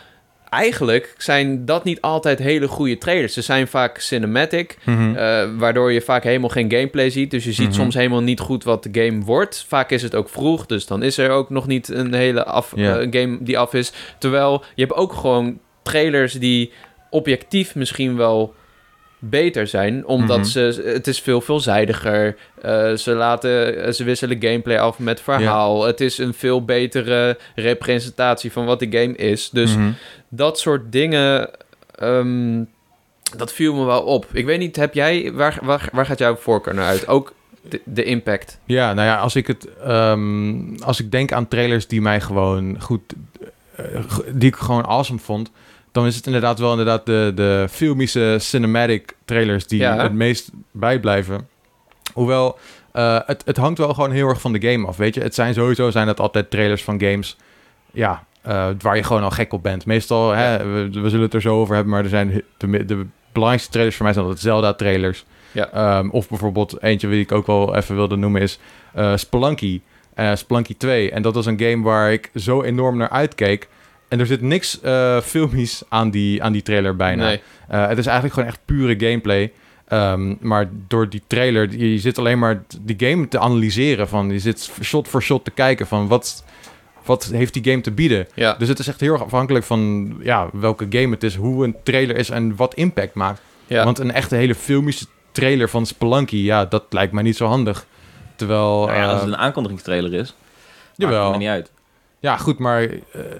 C: eigenlijk zijn dat niet altijd hele goede trailers. Ze zijn vaak cinematic, eh, waardoor je vaak helemaal geen gameplay ziet. Dus je ziet
A: Mhm.
C: soms helemaal niet goed wat de game wordt. Vaak is het ook vroeg, dus dan is er ook nog niet een hele af,
A: Ja.
C: eh, game die af is. Terwijl je hebt ook gewoon trailers die objectief misschien wel beter zijn, omdat
A: Mhm.
C: ze het is veel veelzijdiger. Eh, ze laten eh, ze wisselen gameplay af met verhaal. Het is een veel betere representatie van wat de game is. Dus
A: Mhm.
C: dat soort dingen, ehm, dat viel me wel op. Ik weet niet, heb jij, waar, waar, waar gaat jouw voorkeur naar uit? Ook de, de impact.
A: Ja, nou ja, als ik het, ehm, als ik denk aan trailers die mij gewoon goed, eh, go- die ik gewoon awesome vond, dan is het inderdaad wel inderdaad de, de filmische cinematic trailers die
C: Ja.
A: het meest bijblijven. Hoewel, eh, het, het hangt wel gewoon heel erg van de game af, weet je. Het zijn sowieso zijn dat altijd trailers van games, ja, eh, waar je gewoon al gek op bent. Meestal, hè, we, we zullen het er zo over hebben, maar er zijn de, de belangrijkste trailers voor mij zijn altijd Zelda-trailers. Ehm, of bijvoorbeeld eentje die ik ook wel even wilde noemen is eh Spelunky. Eh, Spelunky 2. En dat was een game waar ik zo enorm naar uitkeek. En er zit niks eh, filmisch aan die, aan die trailer bijna.
C: Nee.
A: Eh, het is eigenlijk gewoon echt pure gameplay. Ehm, maar door die trailer, je, je zit alleen maar die game te analyseren. Van, je zit shot voor shot te kijken van wat, wat heeft die game te bieden?
C: Ja.
A: Dus het is echt heel erg afhankelijk van ja, welke game het is, hoe een trailer is en wat impact maakt.
C: ja.
A: Want een echte hele filmische trailer van Spelunky, ja, dat lijkt mij niet zo handig. Terwijl,
B: Nou ja, als
A: eh,
B: het een aankondigingstrailer is, maakt het
A: jawel.
B: me niet uit.
A: Ja, goed, maar eh,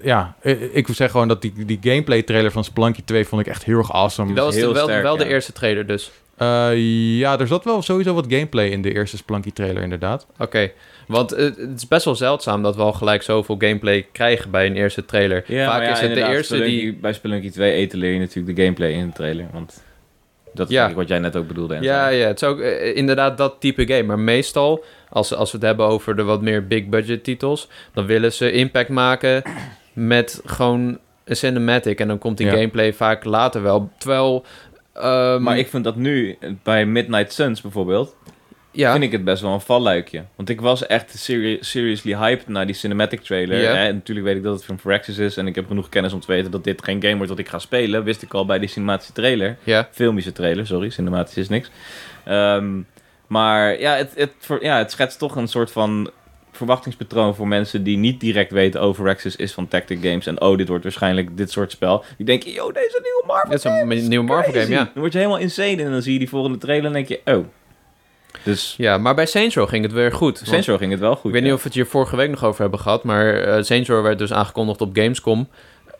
A: ja, eh, ik wil zeggen gewoon dat die, die gameplay trailer van Spelunky 2 vond ik echt heel erg awesome.
C: dat was
B: heel
C: de- wel,
B: sterk,
C: wel de
B: ja.
C: eerste trailer dus.
A: Eh, ja, er zat wel sowieso wat gameplay in de eerste Spelunky trailer inderdaad.
C: Oké, want het, het is best wel zeldzaam dat we al gelijk zoveel gameplay krijgen bij een eerste trailer. Vaak is het de eerste die...
B: Bij Spelunky 2 eten leer je natuurlijk de gameplay in de trailer, want dat is
C: Ja.
B: denk ik wat jij net ook bedoelde. en
C: Ja,
B: zo.
C: ja, het is ook eh, inderdaad dat type game. Maar meestal, als, als we het hebben over de wat meer big budget titels, dan willen ze impact maken met gewoon een cinematic. En dan komt die
A: Ja.
C: gameplay vaak later wel. Terwijl... ehm,
B: Maar ik vind dat nu, eh, bij Midnight Suns bijvoorbeeld,
C: ja.
B: vind ik het best wel een valluikje. Want ik was echt seri- seriously hyped naar die cinematic trailer.
C: Ja.
B: Hè? En natuurlijk weet ik dat het van Firaxis is en ik heb genoeg kennis om te weten dat dit geen game wordt dat ik ga spelen. Wist ik al bij die cinematische trailer.
C: ja.
B: filmische trailer, sorry, cinematisch is niks. Ehm, maar ja het, het, ver- ja, het schetst toch een soort van verwachtingspatroon voor mensen die niet direct weten over Access is van Tactic Games en oh, dit wordt waarschijnlijk dit soort spel. Die denken, yo, deze nieuwe Marvel
C: Het is een
B: game is
C: nieuwe Marvel
B: crazy.
C: game, ja.
B: Dan word je helemaal insane en dan zie je die volgende trailer en denk je, oh. Dus
C: ja, maar bij Saints Row ging het weer goed. Want-
B: Sensor ging het wel goed.
C: Ik weet
B: ja.
C: niet of we het hier vorige week nog over hebben gehad, maar eh Saints Row werd dus aangekondigd op Gamescom.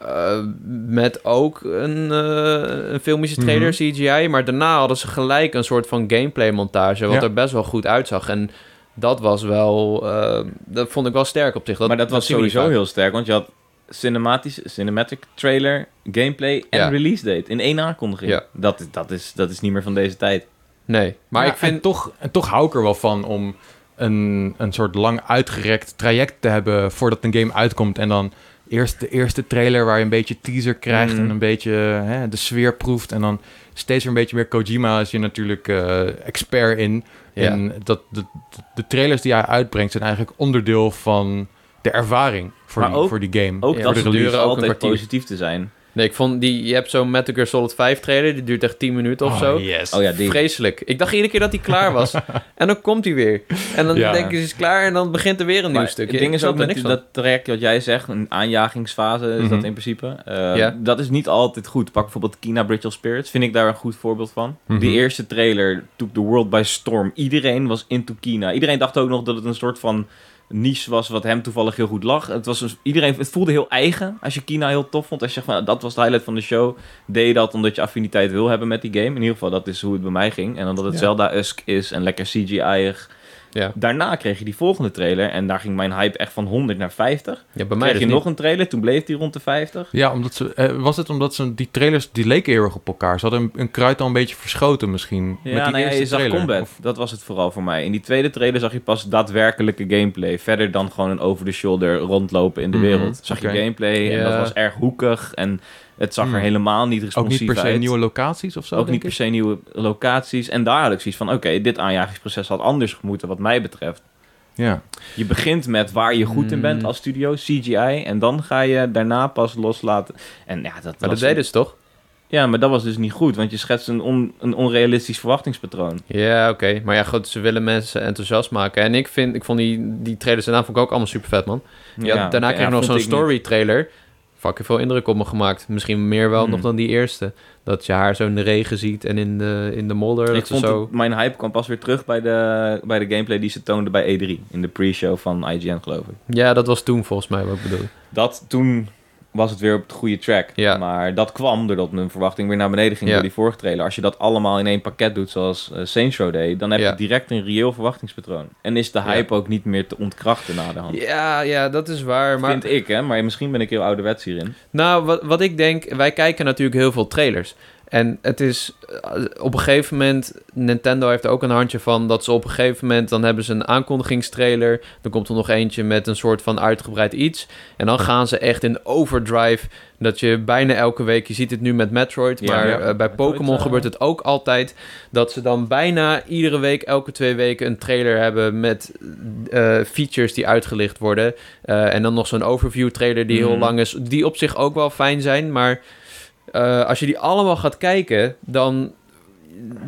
C: eh, met ook een, eh, een filmische
B: Mhm.
C: trailer, CGI. Maar daarna hadden ze gelijk een soort van gameplay montage, wat
A: Ja.
C: er best wel goed uitzag. En dat was wel, eh, dat vond ik wel sterk op zich. Dat,
B: maar dat was
C: zien we niet
B: sowieso
C: vaak.
B: heel sterk, want je had cinematisch, cinematic trailer, gameplay en
C: Ja.
B: release date in één aankondiging.
C: Ja.
B: Dat, dat, is, dat is niet meer van deze tijd.
C: Nee, maar
A: Ja,
C: ik vind
A: en toch, en toch hou ik er wel van om een, een soort lang uitgerekt traject te hebben voordat een game uitkomt. En dan eerst de eerste trailer waar je een beetje teaser
C: Mhm.
A: krijgt
B: Mm.
A: en een beetje hè, de sfeer proeft. En dan steeds weer een beetje meer Kojima is je natuurlijk eh, expert in.
C: Ja.
A: En dat, de, de trailers die hij uitbrengt zijn eigenlijk onderdeel van de ervaring voor,
B: Maar
A: die,
B: ook-
A: voor die game.
B: Ook
C: Ja,
B: dat
C: voor
B: ze
C: de
B: duren
C: release ook een
B: altijd
C: kwartier.
B: positief te zijn.
C: Nee, ik vond die. Je hebt zo'n Metal Gear Solid 5 trailer. Die duurt echt 10 minuten of
A: Oh,
C: zo.
A: yes.
B: Oh ja, die.
C: Vreselijk. Ik dacht iedere keer dat hij klaar was. en dan komt hij weer. En dan
A: Ja.
C: denk ik, het is klaar. En dan begint er weer een nieuw
B: Maar
C: stuk.
B: Het ding
C: Ik
B: is
C: snap
B: ook
C: er
B: met
C: niks
B: die-
C: van.
B: dat traject wat jij zegt, een aanjagingsfase is dat
A: Mhm.
B: in principe. Eh,
C: Ja.
B: Dat is niet altijd goed. Pak bijvoorbeeld Kina Bridge of Spirits, vind ik daar een goed voorbeeld van.
A: Mhm.
B: Die eerste trailer took the world by storm. Iedereen was into Kina. Iedereen dacht ook nog dat het een soort van niche was wat hem toevallig heel goed lag. Het, was een, iedereen, het voelde heel eigen als je Kina heel tof vond. Als je zegt van nou, dat was het highlight van de show, deed je dat omdat je affiniteit wil hebben met die game. In ieder geval, dat is hoe het bij mij ging. En omdat het
A: Ja.
B: Zelda-esque is en lekker CGI-ig.
C: Ja.
B: Daarna kreeg je die volgende trailer en daar ging mijn hype echt van 100 naar 50.
C: Ja, bij mij
B: Kreeg
C: dus
B: je
C: niet.
B: nog een trailer, toen bleef die rond de 50.
A: Ja, omdat ze, eh, was het omdat ze die trailers die leken heel erg op elkaar. Ze hadden een, een kruid al een beetje verschoten misschien.
B: Ja,
A: met die
B: nou ja,
A: eerste
B: je zag
A: trailer.
B: combat.
A: Of-
B: Dat was het vooral voor mij. In die tweede trailer zag je pas daadwerkelijke gameplay. Verder dan gewoon een over-the-shoulder rondlopen in de
A: Mhm,
B: wereld. Zag
A: oké.
B: je gameplay en
C: Ja.
B: dat was erg hoekig. En het zag
A: Hmm.
B: er helemaal niet
A: ook
B: responsief
A: niet per se
B: uit.
A: nieuwe locaties of zo.
B: ook
A: denk
B: niet per
A: ik?
B: se nieuwe locaties. En daar had ik zoiets van, oké, dit aanjagingsproces had anders moeten wat mij betreft.
A: Ja.
B: Je begint met waar je goed in bent
A: Mhm.
C: Mm.
B: als studio, CGI, en dan ga je daarna pas loslaten. En ja, dat,
C: Maar dat
B: was
A: dus-
C: deden ze toch?
B: Ja, maar dat was dus niet goed, want je schetst een, on- een onrealistisch verwachtingspatroon.
C: Ja, oké. Maar ja, goed, ze willen mensen enthousiast maken. En ik, vind, ik vond die, die trailers daarna vond ik ook allemaal super vet, man. Ja, daarna
B: oké,
C: kreeg ik
B: vond
C: nog zo'n
B: ik niet.
C: story trailer. Fucking veel indruk op me gemaakt. Misschien meer wel
B: Hmm.
C: nog dan die eerste. Dat je haar zo in de regen ziet en in de, in de modder.
B: Ik
C: dat ze
B: vond
C: zo...
B: het- mijn hype kwam pas weer terug bij de, bij de gameplay die ze toonden bij E3, in de pre-show van IGN, geloof ik.
C: Ja, dat was toen volgens mij wat ik bedoel.
B: Dat toen was het weer op de goede track.
C: Ja.
B: Maar dat kwam doordat mijn verwachting weer naar beneden ging
C: Ja.
B: door die vorige trailer. Als je dat allemaal in één pakket doet, zoals eh, Saints Row deed, dan heb
C: Ja.
B: je direct een reëel verwachtingspatroon. En is de
C: Ja.
B: hype ook niet meer te ontkrachten na de hand.
C: Ja, ja, dat is waar. Maar
B: Vind Oh. ik, hè? Maar misschien ben ik heel ouderwets hierin.
C: Nou, wat, wat ik denk, wij kijken natuurlijk heel veel trailers. En het is eh, op een gegeven moment, Nintendo heeft er ook een handje van, dat ze op een gegeven moment, dan hebben ze een aankondigingstrailer, dan komt er nog eentje met een soort van uitgebreid iets. En dan gaan ze echt in overdrive, dat je bijna elke week, je ziet het nu met Metroid,
B: Ja,
C: maar
B: ja.
C: eh, bij
B: Metroid,
C: Pokémon
B: eh.
C: gebeurt het ook altijd, dat ze dan bijna iedere week, elke twee weken een trailer hebben met eh, features die uitgelicht worden. Eh, en dan nog zo'n overview trailer die heel
B: Mhm.
C: lang is. Die op zich ook wel fijn zijn. Maar eh, als je die allemaal gaat kijken, dan,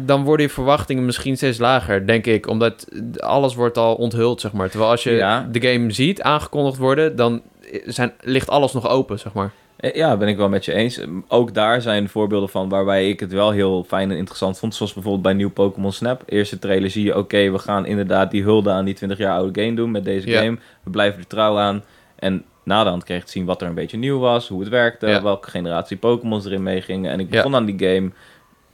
C: dan worden je verwachtingen misschien steeds lager, denk ik. Omdat alles wordt al onthuld, zeg maar. Terwijl als je
B: Ja.
C: de game ziet aangekondigd worden, dan zijn, ligt alles nog open, zeg maar.
B: Eh, Ja, ben ik wel met je eens. Eh, Ook daar zijn voorbeelden van waarbij ik het wel heel fijn en interessant vond. Zoals bijvoorbeeld bij nieuw Pokémon Snap. Eerste trailer zie je, oké, we gaan inderdaad die hulde aan die 20 jaar oude game doen met deze
C: Ja.
B: game. We blijven er trouw aan. En naderhand kreeg ik te zien wat er een beetje nieuw was, hoe het werkte,
C: Ja.
B: welke generatie Pokémon erin meegingen. En ik
C: Ja.
B: begon aan die game,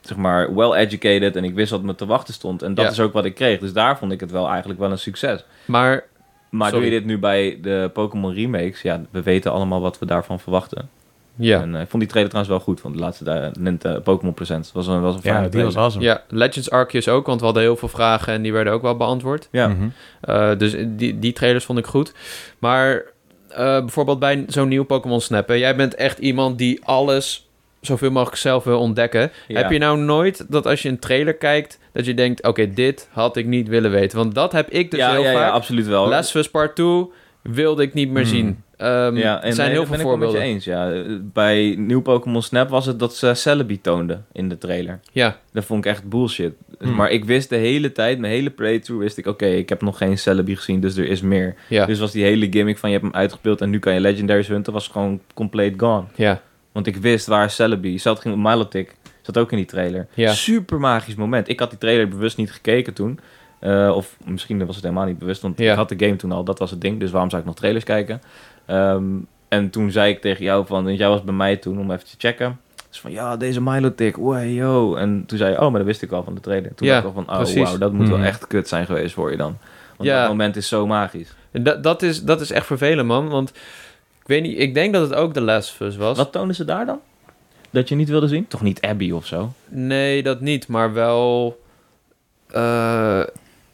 B: zeg maar, well-educated en ik wist wat me te wachten stond. En dat
C: Ja.
B: is ook wat ik kreeg. Dus daar vond ik het wel eigenlijk wel een succes.
C: Maar
B: Maar
C: Sorry.
B: doe je dit nu bij de Pokémon remakes? Ja, we weten allemaal wat we daarvan verwachten.
C: ja,
B: En, eh, ik vond die trailer trouwens wel goed van de laatste daar, Nintendo Pokémon Presents. Was een, was een fijne
D: Ja, die was
B: trailer.
D: awesome.
C: ja Legends Arceus ook, want we hadden heel veel vragen en die werden ook wel beantwoord.
B: Ja.
A: Mhm.
C: Eh, dus die, die trailers vond ik goed. Maar eh, bijvoorbeeld bij zo'n nieuw Pokémon Snap, hè, jij bent echt iemand die alles zoveel mogelijk zelf wil ontdekken.
B: Ja.
C: Heb je nou nooit dat als je een trailer kijkt, dat je denkt, oké, dit had ik niet willen weten. Want dat heb ik dus
B: ja,
C: heel
B: ja, ja,
C: vaak.
B: absoluut wel.
C: Last of Us Part 2 wilde ik niet meer
A: Hmm.
C: zien. Ehm
B: ja,
C: er zijn
B: nee, dat
C: heel
B: ben ik
C: veel
B: wel met je
C: voorbeelden.
B: eens, ja. Eh, Bij nieuw Pokémon Snap was het dat ze Celebi toonden in de trailer.
C: Ja,
B: Dat vond ik echt bullshit.
C: Mm.
A: Hmm.
B: Maar ik wist de hele tijd, mijn hele playthrough, wist ik... Oké, ik heb nog geen Celebi gezien, dus er is meer.
C: ja,
B: Dus was die hele gimmick van je hebt hem uitgebeeld en nu kan je Legendaries hunten... was gewoon compleet gone.
C: ja,
B: Want ik wist waar Celebi zat. Ging op Milotic. Zat ook in die trailer.
C: Ja.
B: Super magisch moment. Ik had die trailer bewust niet gekeken toen. Eh, of misschien was het helemaal niet bewust. Want
C: Ja.
B: ik had de game toen al. Dat was het ding. Dus waarom zou ik nog trailers kijken? Ehm, en toen zei ik tegen jou van... want Jij was bij mij toen om even te checken. Dus van, ja, deze Milotic. Wow, yo. En toen zei je... Oh, maar dat wist ik al van de trailer. Toen
C: Ja,
B: dacht ik al van... Oh,
C: precies. Hmm.
B: wauw. Dat moet
A: Mhm.
B: wel echt kut zijn geweest voor je dan. Want
C: Ja.
B: dat moment is zo magisch.
C: En Dat, dat, is, dat is echt vervelend, man. Want ik weet niet, ik denk dat het ook de Last of Us was.
B: Wat toonden ze daar dan? Dat je niet wilde zien? Toch niet Abby of zo?
C: Nee, dat niet, maar wel. eh,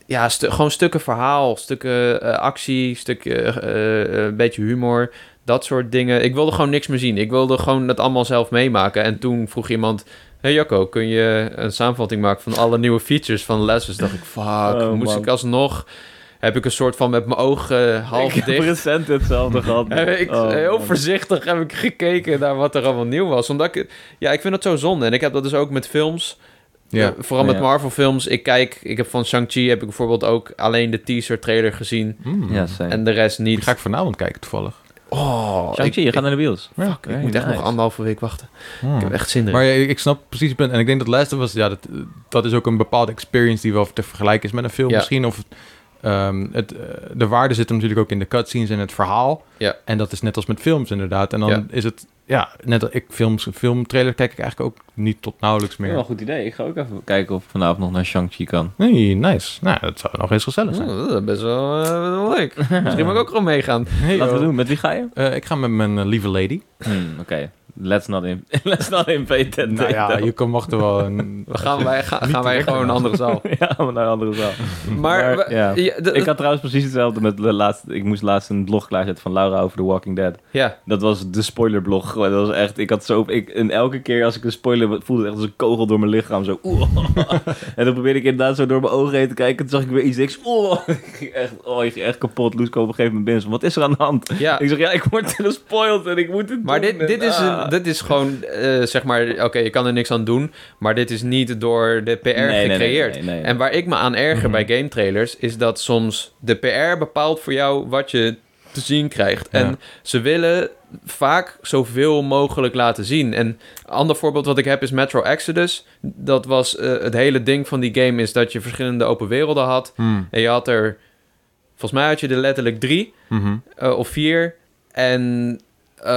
C: ja, stu- gewoon stukken verhaal, stukken eh, actie, stukken eh, eh, een beetje humor, dat soort dingen. Ik wilde gewoon niks meer zien. Ik wilde gewoon dat allemaal zelf meemaken. En toen vroeg iemand: Hey Jacco, kun je een samenvatting maken van alle nieuwe features van Les? Dus dacht ik: Fuck,
B: Oh,
C: moest
B: man.
C: ik alsnog. Heb ik een soort van met mijn ogen eh, half
B: ik
C: dicht.
B: heb recent hetzelfde gehad.
C: Heb ik eh,
B: Oh,
C: heel
B: man.
C: voorzichtig heb ik gekeken naar wat er allemaal nieuw was. Omdat ik, ja, ik vind dat zo zonde. En ik heb dat dus ook met films.
A: Ja.
C: Eh, vooral met
B: Ja.
C: Marvel films. Ik kijk, ik heb van Shang-Chi heb ik bijvoorbeeld ook alleen de teaser trailer gezien.
A: Mm.
B: Ja, same.
C: En de rest
A: Die
C: niet.
A: ga ik vanavond kijken, toevallig.
C: Oh, ik,
B: Shang-Chi, je gaat naar de bios.
A: Ja.
C: ik moet echt nog anderhalve week wachten.
A: Mm.
C: Ik heb echt zin in.
A: Maar ja, ik snap precies het punt. En ik denk dat Last of Us, ja, dat, dat is ook een bepaalde experience die wel te vergelijken is met een film
C: Ja.
A: misschien. Of ehm, het, eh, de waarde zit hem natuurlijk ook in de cutscenes en het verhaal.
C: Ja.
A: En dat is net als met films inderdaad. En dan
C: Ja.
A: is het, ja, net als ik films, filmtrailer kijk ik eigenlijk ook niet tot nauwelijks meer.
B: Wel een goed idee. Ik ga ook even kijken of ik vanavond nog naar Shang-Chi kan.
A: Nee, nice. Nou, dat zou nog eens gezellig zijn.
C: Oh, dat is best wel, eh, wel leuk. Misschien mag ik ook gewoon meegaan.
A: Hey,
B: Laten we
A: oh.
B: doen. Met wie ga je?
A: Eh, ik ga met mijn eh, lieve lady.
C: Hm,
B: Oké. Let's not in. Let's not invade that
A: Nou ja,
B: date,
A: je kan mag er wel een...
C: We gaan wij, ga- gaan wij gewoon een andere zaal.
B: though. ja, maar naar een andere zaal.
C: Maar,
B: Maar,
C: we-
B: ja.
C: ja, d-
B: Ik had trouwens precies hetzelfde met de laatste... Ik moest laatst een blog klaarzetten van Laura over The Walking Dead.
C: ja,
B: Dat was de spoilerblog. Gewoon, Dat was echt... Ik had zo... Ik, en elke keer als ik een spoiler voelde het echt als een kogel door mijn lichaam. Zo... oeh. en dan probeerde ik inderdaad zo door mijn ogen heen te kijken. Toen zag ik weer iets. Ik oeh. Ik ging echt, oh, ik ging echt kapot. Loes kwam op een gegeven moment binnen. Zo, Wat is er aan de hand?
C: ja.
B: Ik zeg, ja, ik word gespoild en ik moet het
C: Maar
B: doen
C: dit,
B: en,
C: dit, is
B: ah.
C: een, dit is gewoon, eh, zeg maar, oké, je kan er niks aan doen, maar dit is niet door de PR
B: Nee, nee, nee,
C: gecreëerd.
B: nee, nee, nee.
C: En waar ik me aan erger bij game trailers, is dat soms de PR bepaalt voor jou wat je te zien krijgt.
A: Ja.
C: En ze willen vaak zoveel mogelijk laten zien. En een ander voorbeeld wat ik heb is Metro Exodus. Dat was eh, het hele ding van die game is dat je verschillende open werelden had.
A: Hmm.
C: En je had er, volgens mij had je er letterlijk drie.
A: Mhm.
C: Eh, of vier. En eh,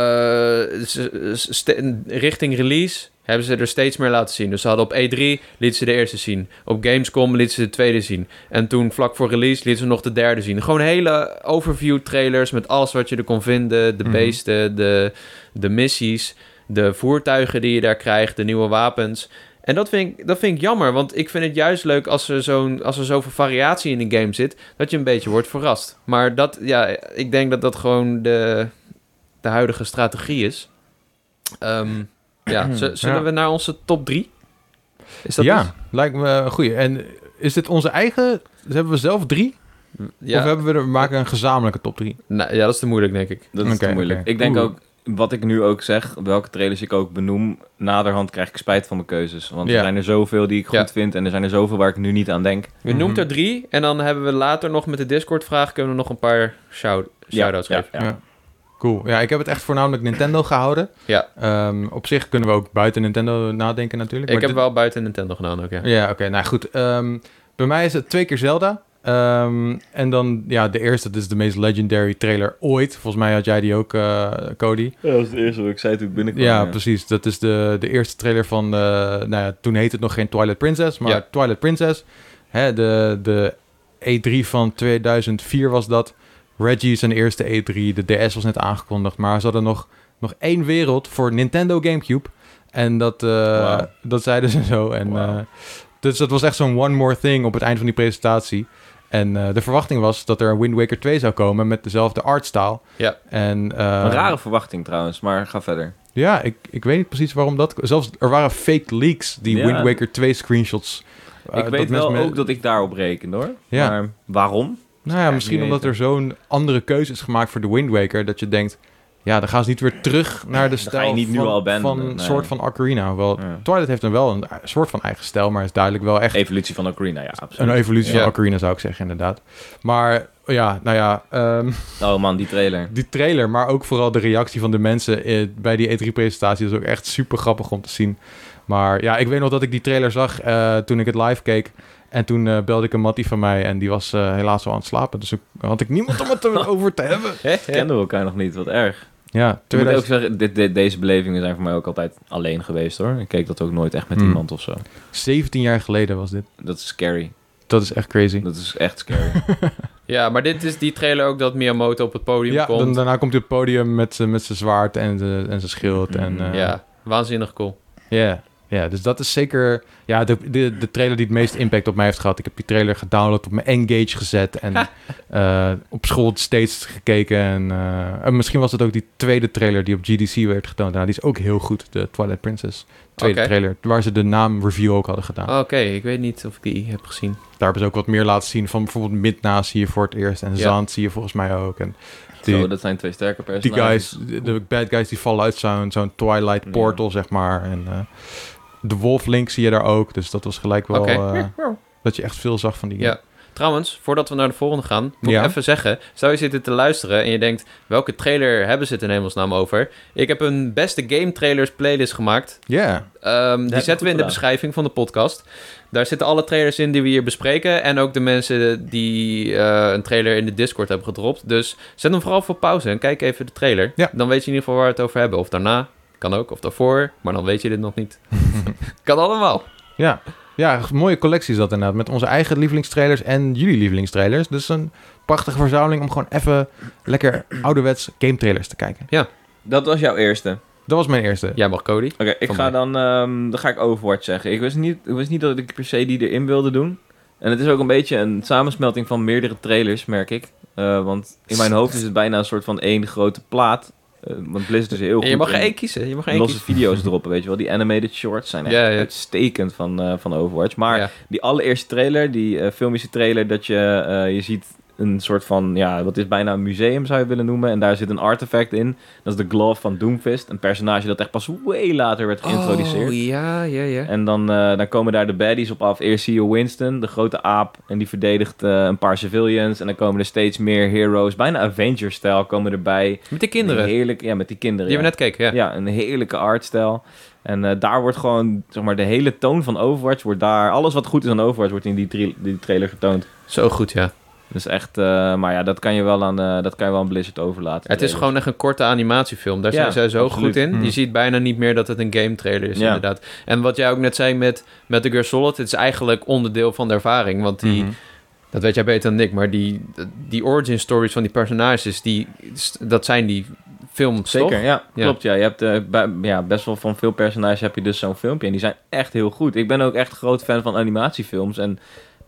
C: ze- ze- ste- richting release hebben ze er steeds meer laten zien. Dus ze hadden op E3 lieten ze de eerste zien. Op Gamescom lieten ze de tweede zien. En toen vlak voor release lieten ze nog de derde zien. Gewoon hele overview trailers met alles wat je er kon vinden. De
A: Mhm.
C: beesten, de, de missies, de voertuigen die je daar krijgt, de nieuwe wapens. En dat vind, ik, dat vind ik jammer, want ik vind het juist leuk als er, zo'n, als er zoveel variatie in een game zit, dat je een beetje wordt verrast. Maar dat, ja, ik denk dat dat gewoon de, de huidige strategie is. Ehm, ja, z- zullen
A: Ja.
C: we naar onze top 3? Is dat
A: ja,
C: het?
A: lijkt me een goeie. En is dit onze eigen... Dus hebben we zelf drie?
C: Ja,
A: Of hebben we er, we maken een gezamenlijke top drie?
C: nou, ja, dat is te moeilijk, denk ik.
B: Dat is
A: Oké,
B: te moeilijk.
A: oké.
B: Ik denk
A: Oeh.
B: ook, wat ik nu ook zeg, welke trailers ik ook benoem, naderhand krijg ik spijt van mijn keuzes. Want
A: Ja.
B: er zijn er zoveel die ik
C: Ja.
B: goed vind en er zijn er zoveel waar ik nu niet aan denk.
C: Je noemt er
A: Mhm.
C: drie en dan hebben we later nog met de Discord-vraag kunnen we nog een paar shout- shout-outs
B: ja,
C: geven.
B: ja.
A: Ja. Cool. Ja, ik heb het echt voornamelijk Nintendo gehouden.
C: Ja.
A: Ehm, op zich kunnen we ook buiten Nintendo nadenken natuurlijk.
C: Ik heb
A: maar
C: wel buiten Nintendo gedaan ook, ja.
A: dit- Ja, oké. nou goed. Ehm, bij mij is het twee keer Zelda. Ehm, en dan, ja, de eerste, dat is de meest legendary trailer ooit. Volgens mij had jij die ook, eh, Cody.
B: Ja, dat was het eerste wat ik zei toen ik binnenkwam.
A: Ja, precies. Dat is de, de eerste trailer van, eh, nou ja, toen heette het nog geen Twilight Princess, maar
C: Ja.
A: Twilight Princess. Hè, de, de E3 van 2004 was dat. Reggie zijn eerste E3, de DS was net aangekondigd, maar ze hadden nog, nog één wereld voor Nintendo Gamecube. En dat, eh,
B: Wauw.
A: dat zeiden ze zo. En,
B: Wauw.
A: eh, dus dat was echt zo'n one more thing op het eind van die presentatie. En eh, de verwachting was dat er een Wind Waker 2 zou komen met dezelfde artstyle.
C: Ja.
A: En, eh,
B: Een rare verwachting trouwens, maar ga verder.
A: ja, ik, ik weet niet precies waarom dat... Zelfs, er waren fake leaks, die
B: Ja.
A: Wind Waker 2 screenshots. Eh,
B: ik
A: dat
B: weet wel
A: mensen met-
B: ook dat ik daarop reken hoor.
A: Ja.
B: Maar waarom?
A: Nou ja,
B: Ja,
A: misschien
B: niet
A: omdat er zo'n andere keuze is gemaakt voor de Wind Waker... dat je denkt, ja, dan gaan ze niet weer terug naar de
B: ga
A: stijl
B: je niet nu
A: van,
B: al benden,
A: van
B: nee.
A: soort van Ocarina. Wel,
B: Ja.
A: Twilight heeft dan wel een soort van eigen stijl... maar is duidelijk wel echt
B: Evolutie van Ocarina, ja, absoluut.
A: een evolutie
C: Ja.
A: van Ocarina, zou ik zeggen, inderdaad. Maar ja, nou ja... ehm,
B: Oh man, die trailer.
A: die trailer, maar ook vooral de reactie van de mensen eh, bij die E3-presentatie is ook echt super grappig om te zien. Maar ja, ik weet nog dat ik die trailer zag eh, toen ik het live keek. En toen eh, belde ik een mattie van mij en die was eh, helaas al aan het slapen. Dus ik, had ik niemand om het er over te hebben.
B: Kenden we elkaar nog niet, wat erg.
A: Ja,
B: Ik moet ook
A: 2000
B: zeggen, dit, dit- deze belevingen zijn voor mij ook altijd alleen geweest hoor. Ik keek dat ook nooit echt met
A: Hmm.
B: iemand of zo.
A: 17 jaar geleden was dit.
B: Dat is scary.
A: Dat is echt crazy.
B: Dat is echt scary.
C: Ja, maar dit is die trailer ook dat Miyamoto op het podium
A: Ja, dan,
C: komt.
A: daarna komt hij op het podium met, zijn- met zijn zwaard en zijn en zijn schild. En, eh,
C: Ja, waanzinnig cool.
A: Ja, ja, dus dat is zeker ja, de, de, de trailer die het meest impact op mij heeft gehad. Ik heb die trailer gedownload, op mijn Engage gezet en eh, op school steeds gekeken. En, eh, en misschien was het ook die tweede trailer die op GDC werd getoond. Nou, die is ook heel goed, de Twilight Princess. Tweede
C: Oké. Oh.
A: trailer, waar ze de naam review ook hadden gedaan.
C: Oké, ik weet niet of ik die heb gezien.
A: Daar hebben ze ook wat meer laten zien van bijvoorbeeld Midna zie je voor het eerst en
C: Ja.
A: Zand zie je volgens mij ook. En die,
B: zo, dat zijn twee sterke
A: die
B: personages.
A: guys, de de bad guys die vallen uit zo'n zo'n Twilight Portal, zeg maar. En eh, de Wolf Link zie je daar ook. Dus dat was gelijk wel...
C: Oké.
A: eh, dat je echt veel zag van die...
C: Ja. Trouwens, voordat we naar de volgende gaan, moet
A: Ja.
C: ik even zeggen. Zou je zitten te luisteren en je denkt, welke trailer hebben ze het in hemelsnaam over? Ik heb een beste game trailers playlist gemaakt.
A: Ja.
C: Ehm, die
B: heb je
C: zetten we in
B: goed
C: de
B: gedaan.
C: beschrijving van de podcast. Daar zitten alle trailers in die we hier bespreken. En ook de mensen die eh, een trailer in de Discord hebben gedropt. Dus zet hem vooral voor pauze en kijk even de trailer.
A: Ja.
C: Dan weet je in ieder geval waar we het over hebben. Of daarna, kan ook. Of daarvoor, maar dan weet je dit nog niet. kan allemaal.
A: ja. Ja, mooie collectie is dat inderdaad. Met onze eigen lievelingstrailers en jullie lievelingstrailers. Dus een prachtige verzameling om gewoon even lekker ouderwets game trailers te kijken.
B: Dat was jouw eerste.
A: Dat was mijn eerste.
C: Jij mag Cody.
B: Oké, ik
C: Van
B: ga
C: mij.
B: dan, ehm, dan ga ik Overwatch zeggen. Ik wist, niet, ik wist niet dat ik per se die erin wilde doen. En het is ook een beetje een samensmelting van meerdere trailers, merk ik. Eh, want in mijn hoofd is het bijna een soort van één grote plaat. Eh, want Blizzard is heel goed
C: En je mag
B: in
C: er één kiezen. Je mag er één
B: losse
C: kiezen.
B: video's droppen, weet je wel. Die animated shorts zijn echt
C: Ja, ja.
B: uitstekend van, eh, van Overwatch. Maar
C: Ja.
B: die allereerste trailer, die eh, filmische trailer, dat je, eh, je ziet een soort van, ja, wat is bijna een museum zou je willen noemen. En daar zit een artefact in. Dat is de glove van Doomfist. Een personage dat echt pas way later werd geïntroduceerd.
C: Oh, ja, ja, ja.
B: En dan, eh, dan komen daar de baddies op af. Eerst zie je Winston, de grote aap. En die verdedigt eh, een paar civilians. En dan komen er steeds meer heroes. Bijna Avengers-stijl komen erbij.
C: Met de kinderen. Die
B: Heerlijk, ja, met die kinderen.
C: hebben
B: ja.
C: we net gekeken, ja.
B: Ja, een heerlijke artstijl. En eh, daar wordt gewoon, zeg maar, de hele toon van Overwatch wordt daar... Alles wat goed is aan Overwatch wordt in die, tri- die trailer getoond.
C: Zo goed, ja.
B: Dus echt, eh, maar ja, dat kan je wel aan, eh, dat kan je wel aan Blizzard overlaten.
C: Het is
B: Trailers.
C: gewoon echt een korte animatiefilm. Daar
B: Ja,
C: zijn zij zo
B: absoluut.
C: goed in.
A: Mm.
C: Je ziet bijna niet meer dat het een game trailer is,
B: Ja.
C: inderdaad. En wat jij ook net zei met, met The Gear Solid... het is eigenlijk onderdeel van de ervaring. Want die,
A: Mhm.
C: dat weet jij beter dan ik... maar die, die origin stories van die personages... Die, dat zijn die films, toch?
B: Zeker, ja,
C: Ja.
B: Klopt, ja. Je hebt eh, bij- ja, best wel van veel personages heb je dus zo'n filmpje. En die zijn echt heel goed. Ik ben ook echt groot fan van animatiefilms. En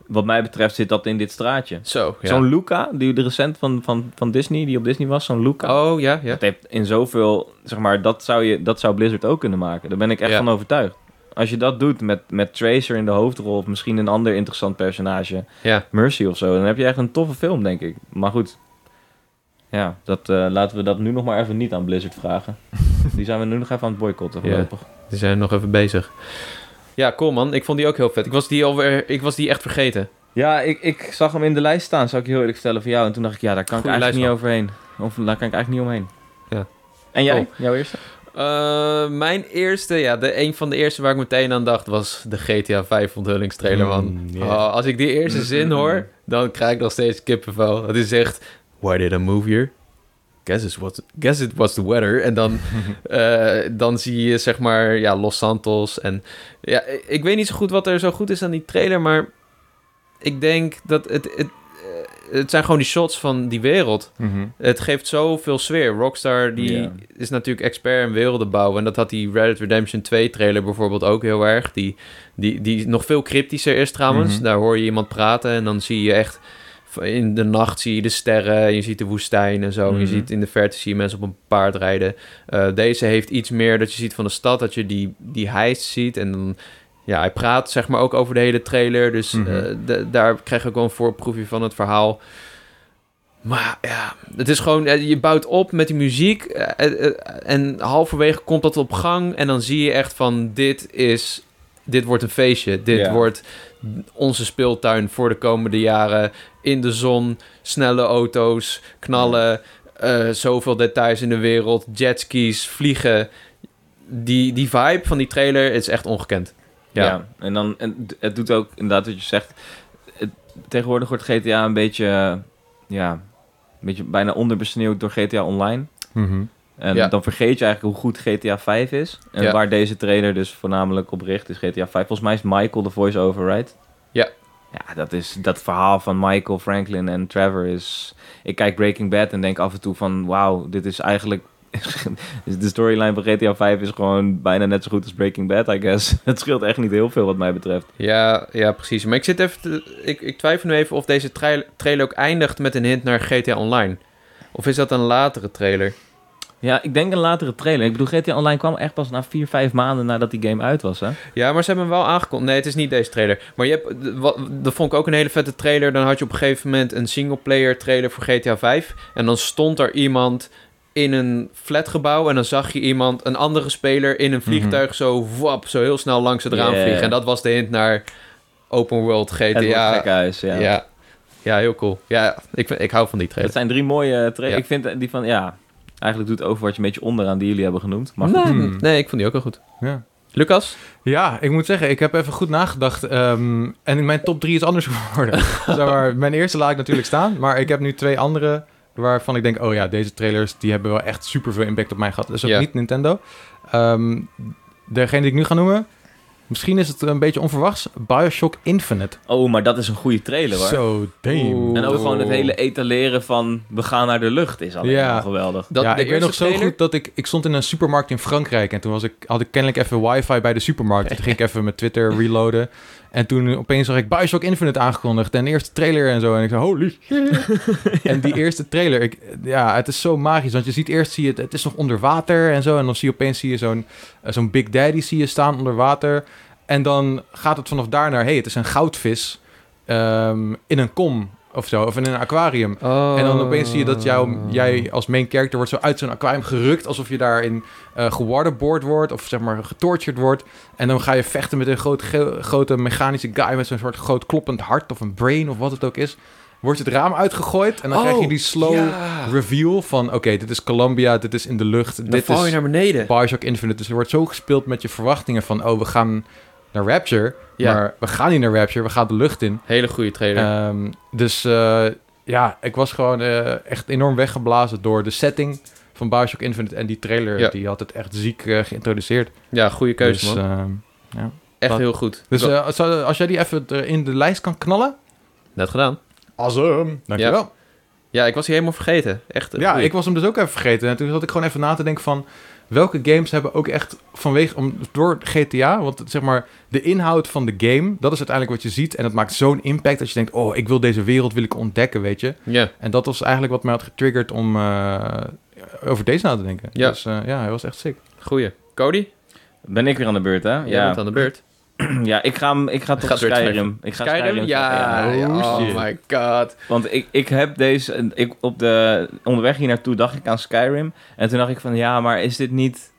B: wat mij betreft zit dat in dit straatje.
C: Zo, ja.
B: Zo'n Luca, die de recent van, van, van Disney, die op Disney was. Zo'n Luca.
C: Oh, ja, ja.
B: Dat heeft in zoveel, zeg maar, dat zou, je, dat zou Blizzard ook kunnen maken. Daar ben ik echt
C: Ja.
B: van overtuigd. Als je dat doet met, met Tracer in de hoofdrol, of misschien een ander interessant personage,
C: Ja.
B: Mercy of zo, dan heb je echt een toffe film, denk ik. Maar goed, ja, dat, eh, laten we dat nu nog maar even niet aan Blizzard vragen. Die zijn we nu nog even aan het boycotten.
C: Ja.
B: Voorlopig.
C: Die zijn nog even bezig. Ja, cool man. Ik vond die ook heel vet. Ik was die, alweer, ik was die echt vergeten.
B: Ja, ik, ik zag hem in de lijst staan, zou ik je heel eerlijk vertellen, voor jou. En toen dacht ik, ja, daar kan
C: Goeie
B: ik eigenlijk
C: lijst
B: niet overheen. Of daar kan ik eigenlijk niet omheen. En jij?
C: Oh.
B: Jouw eerste?
C: Eh, mijn eerste, ja, de, een van de eerste waar ik meteen aan dacht was de GTA 5 onthullingstrailer, man.
A: Mm, ja.
C: Oh, als ik die eerste zin
B: Mm.
C: hoor, dan krijg ik nog steeds kippenvel. Het is echt, why did I move here? Guess, it's what, guess it was the weather. En dan, eh, dan zie je, zeg maar, ja, Los Santos. En ja, ik- ik weet niet zo goed wat er zo goed is aan die trailer, maar ik denk dat het... het eh, het zijn gewoon die shots van die wereld.
A: Mhm.
C: Het geeft zoveel sfeer. Rockstar die
B: Ja.
C: is natuurlijk expert in werelden bouwen. En dat had die Red Dead Redemption 2 trailer bijvoorbeeld ook heel erg. Die, die, die nog veel cryptischer is trouwens.
A: Mhm.
C: Daar hoor je iemand praten en dan zie je echt... In de nacht zie je de sterren, en je ziet de woestijn en zo. En Je
A: Mhm.
C: ziet in de verte zie je mensen op een paard rijden. Eh, deze heeft iets meer dat je ziet van de stad, dat je die, die heist ziet. En dan, ja, hij praat zeg maar ook over de hele trailer. Dus
A: Mhm.
C: eh, de- daar krijg ik ook wel een voorproefje van het verhaal. Maar ja, het is gewoon, eh, je bouwt op met die muziek eh, eh, eh, en halverwege komt dat op gang en dan zie je echt van dit is, dit wordt een feestje, dit
B: Ja.
C: wordt onze speeltuin voor de komende jaren in de zon, snelle auto's, knallen, eh, zoveel details in de wereld, jetskis, vliegen. Die, die vibe van die trailer is echt ongekend.
B: Ja.
C: Ja.
B: En dan, en d- het doet ook inderdaad wat je zegt. Het, tegenwoordig wordt GTA een beetje, eh, ja, een beetje bijna onderbesneeuwd door GTA Online.
A: Mhm.
B: En
C: Ja.
B: dan vergeet je eigenlijk hoe goed GTA 5 is. En
C: Ja.
B: waar deze trailer dus voornamelijk op richt is GTA 5. Volgens mij is Michael de voice-over, right?
C: Ja.
B: Ja, dat, is, dat verhaal van Michael, Franklin en Trevor is... Ik kijk Breaking Bad en denk af en toe van... Wauw, dit is eigenlijk... de storyline van GTA 5 is gewoon bijna net zo goed als Breaking Bad, I guess. Het scheelt echt niet heel veel wat mij betreft.
C: Ja, ja, precies. Maar ik zit even te- ik, ik twijfel nu even of deze trail- trailer ook eindigt met een hint naar GTA Online. Of is dat een latere trailer?
B: Ja, ik denk een latere trailer. Ik bedoel, GTA Online kwam echt pas na 4, 5 maanden nadat die game uit was, hè?
C: Ja, maar ze hebben hem wel aangekondigd. Nee, het is niet deze trailer. Maar je hebt, d- wat, dat vond ik ook een hele vette trailer. Dan had je op een gegeven moment een singleplayer trailer voor GTA 5. En dan stond er iemand in een flatgebouw. En dan zag je iemand, een andere speler, in
B: Mhm.
C: een vliegtuig zo, wap, zo heel snel langs het raam
B: Yeah.
C: vliegen. En dat was de hint naar open world GTA.
B: Het wordt gekhuis,
C: ja. Ja. heel cool. Ja, ik, vind- ik hou van die trailer.
B: Dat zijn drie mooie trailers.
C: Ja.
B: Ik vind eh, die van, ja... Eigenlijk doet Overwatch een beetje onderaan die jullie hebben genoemd. Maar
C: nee,
B: goed.
A: Hmm.
C: nee, ik vond die ook wel goed.
A: Ja.
C: Lucas?
A: Ja, ik moet zeggen, ik heb even goed nagedacht. ehm, en mijn top 3 is anders geworden. zeg maar, mijn eerste laat ik natuurlijk staan. Maar ik heb nu twee andere waarvan ik denk... oh ja, deze trailers die hebben wel echt superveel impact op mij gehad. Dus ook
C: Ja.
A: niet Nintendo. Ehm, degene die ik nu ga noemen... misschien is het een beetje onverwachts. Bioshock Infinite.
B: Oh, maar dat is een goede trailer, hoor.
A: Zo, damn.
C: Oeh.
B: En ook gewoon het
C: Oeh.
B: hele etaleren van... we gaan naar de lucht is alleen
A: Ja.
B: al geweldig.
C: Dat,
A: ja,
C: de
A: ik weet
C: eerste
A: nog zo
C: trailer?
A: goed dat ik... Ik stond in een supermarkt in Frankrijk. En toen was ik, had ik kennelijk even wifi bij de supermarkt. Toen ging ik even mijn Twitter reloaden. En toen opeens zag ik Bioshock Infinite aangekondigd. En de eerste trailer en zo. En ik zei, holy shit. En die eerste trailer, ik, ja, het is zo magisch. Want je ziet eerst, zie je het, het is nog onder water en zo. En dan zie je opeens zie je zo'n eh, zo'n Big Daddy zie je staan onder water. En dan gaat het vanaf daar naar, hey, het is een goudvis ehm, in een kom of zo. Of in een aquarium.
C: Oh.
A: En dan opeens zie je dat jou, jij als main character wordt zo uit zo'n aquarium gerukt. Alsof je daarin eh gewaterboard wordt. Of zeg maar getortured wordt. En dan ga je vechten met een groot, ge- grote mechanische guy. Met zo'n soort groot kloppend hart of een brain of wat het ook is. Wordt het raam uitgegooid. En dan krijg je die slow
C: Oh, ja.
A: reveal van... Oké, dit is Columbia. Dit is in de lucht.
C: Dan
A: dit
C: val je
A: is
C: naar beneden.
A: Bioshock Infinite. Dus er wordt zo gespeeld met je verwachtingen van... Oh, we gaan naar Rapture.
C: Ja.
A: Maar we gaan niet naar Rapture. We gaan de lucht in.
C: Hele goede trailer.
A: Ehm, dus eh, ja, ik was gewoon eh, echt enorm weggeblazen door de setting van Bioshock Infinite. En die trailer,
C: Ja.
A: die had het echt ziek eh, geïntroduceerd.
C: ja, goede
A: dus,
C: keuze, man.
A: ehm,
C: Echt
A: dat-
C: heel goed.
A: dus
C: Ik
A: eh, zou- als jij die even er in de lijst kan knallen...
C: wil- Net gedaan.
A: Awesome. Dankjewel.
C: Ja, ik was hier helemaal vergeten. Echt.
A: Ja,
C: een
A: ja
C: goeie.
A: ik was hem dus ook even vergeten. En toen zat ik gewoon even na te denken van... Welke games hebben ook echt vanwege... Om, door GTA, want zeg maar... De inhoud van de game, dat is uiteindelijk wat je ziet. En dat maakt zo'n impact dat je denkt... Oh, ik wil deze wereld wil ik ontdekken, weet je.
C: Ja.
A: En dat was eigenlijk wat mij had getriggerd om eh, over deze na te denken.
C: Ja.
A: Dus eh, ja, hij was echt sick.
C: goeie. Cody,
B: Ben ik weer aan de beurt, hè?
C: jij bent aan de beurt.
B: ja ik, ga, hem- ik ga toch
C: Gaat weer
B: Skyrim. Ik ga Skyrim?
C: Ja,
A: ja.
C: ja,
A: Oh
C: Oh
A: shit.
C: my god.
B: Want ik, ik heb deze... Ik, op de, onderweg hier naartoe dacht ik aan Skyrim. En toen dacht ik van, ja, maar is dit niet...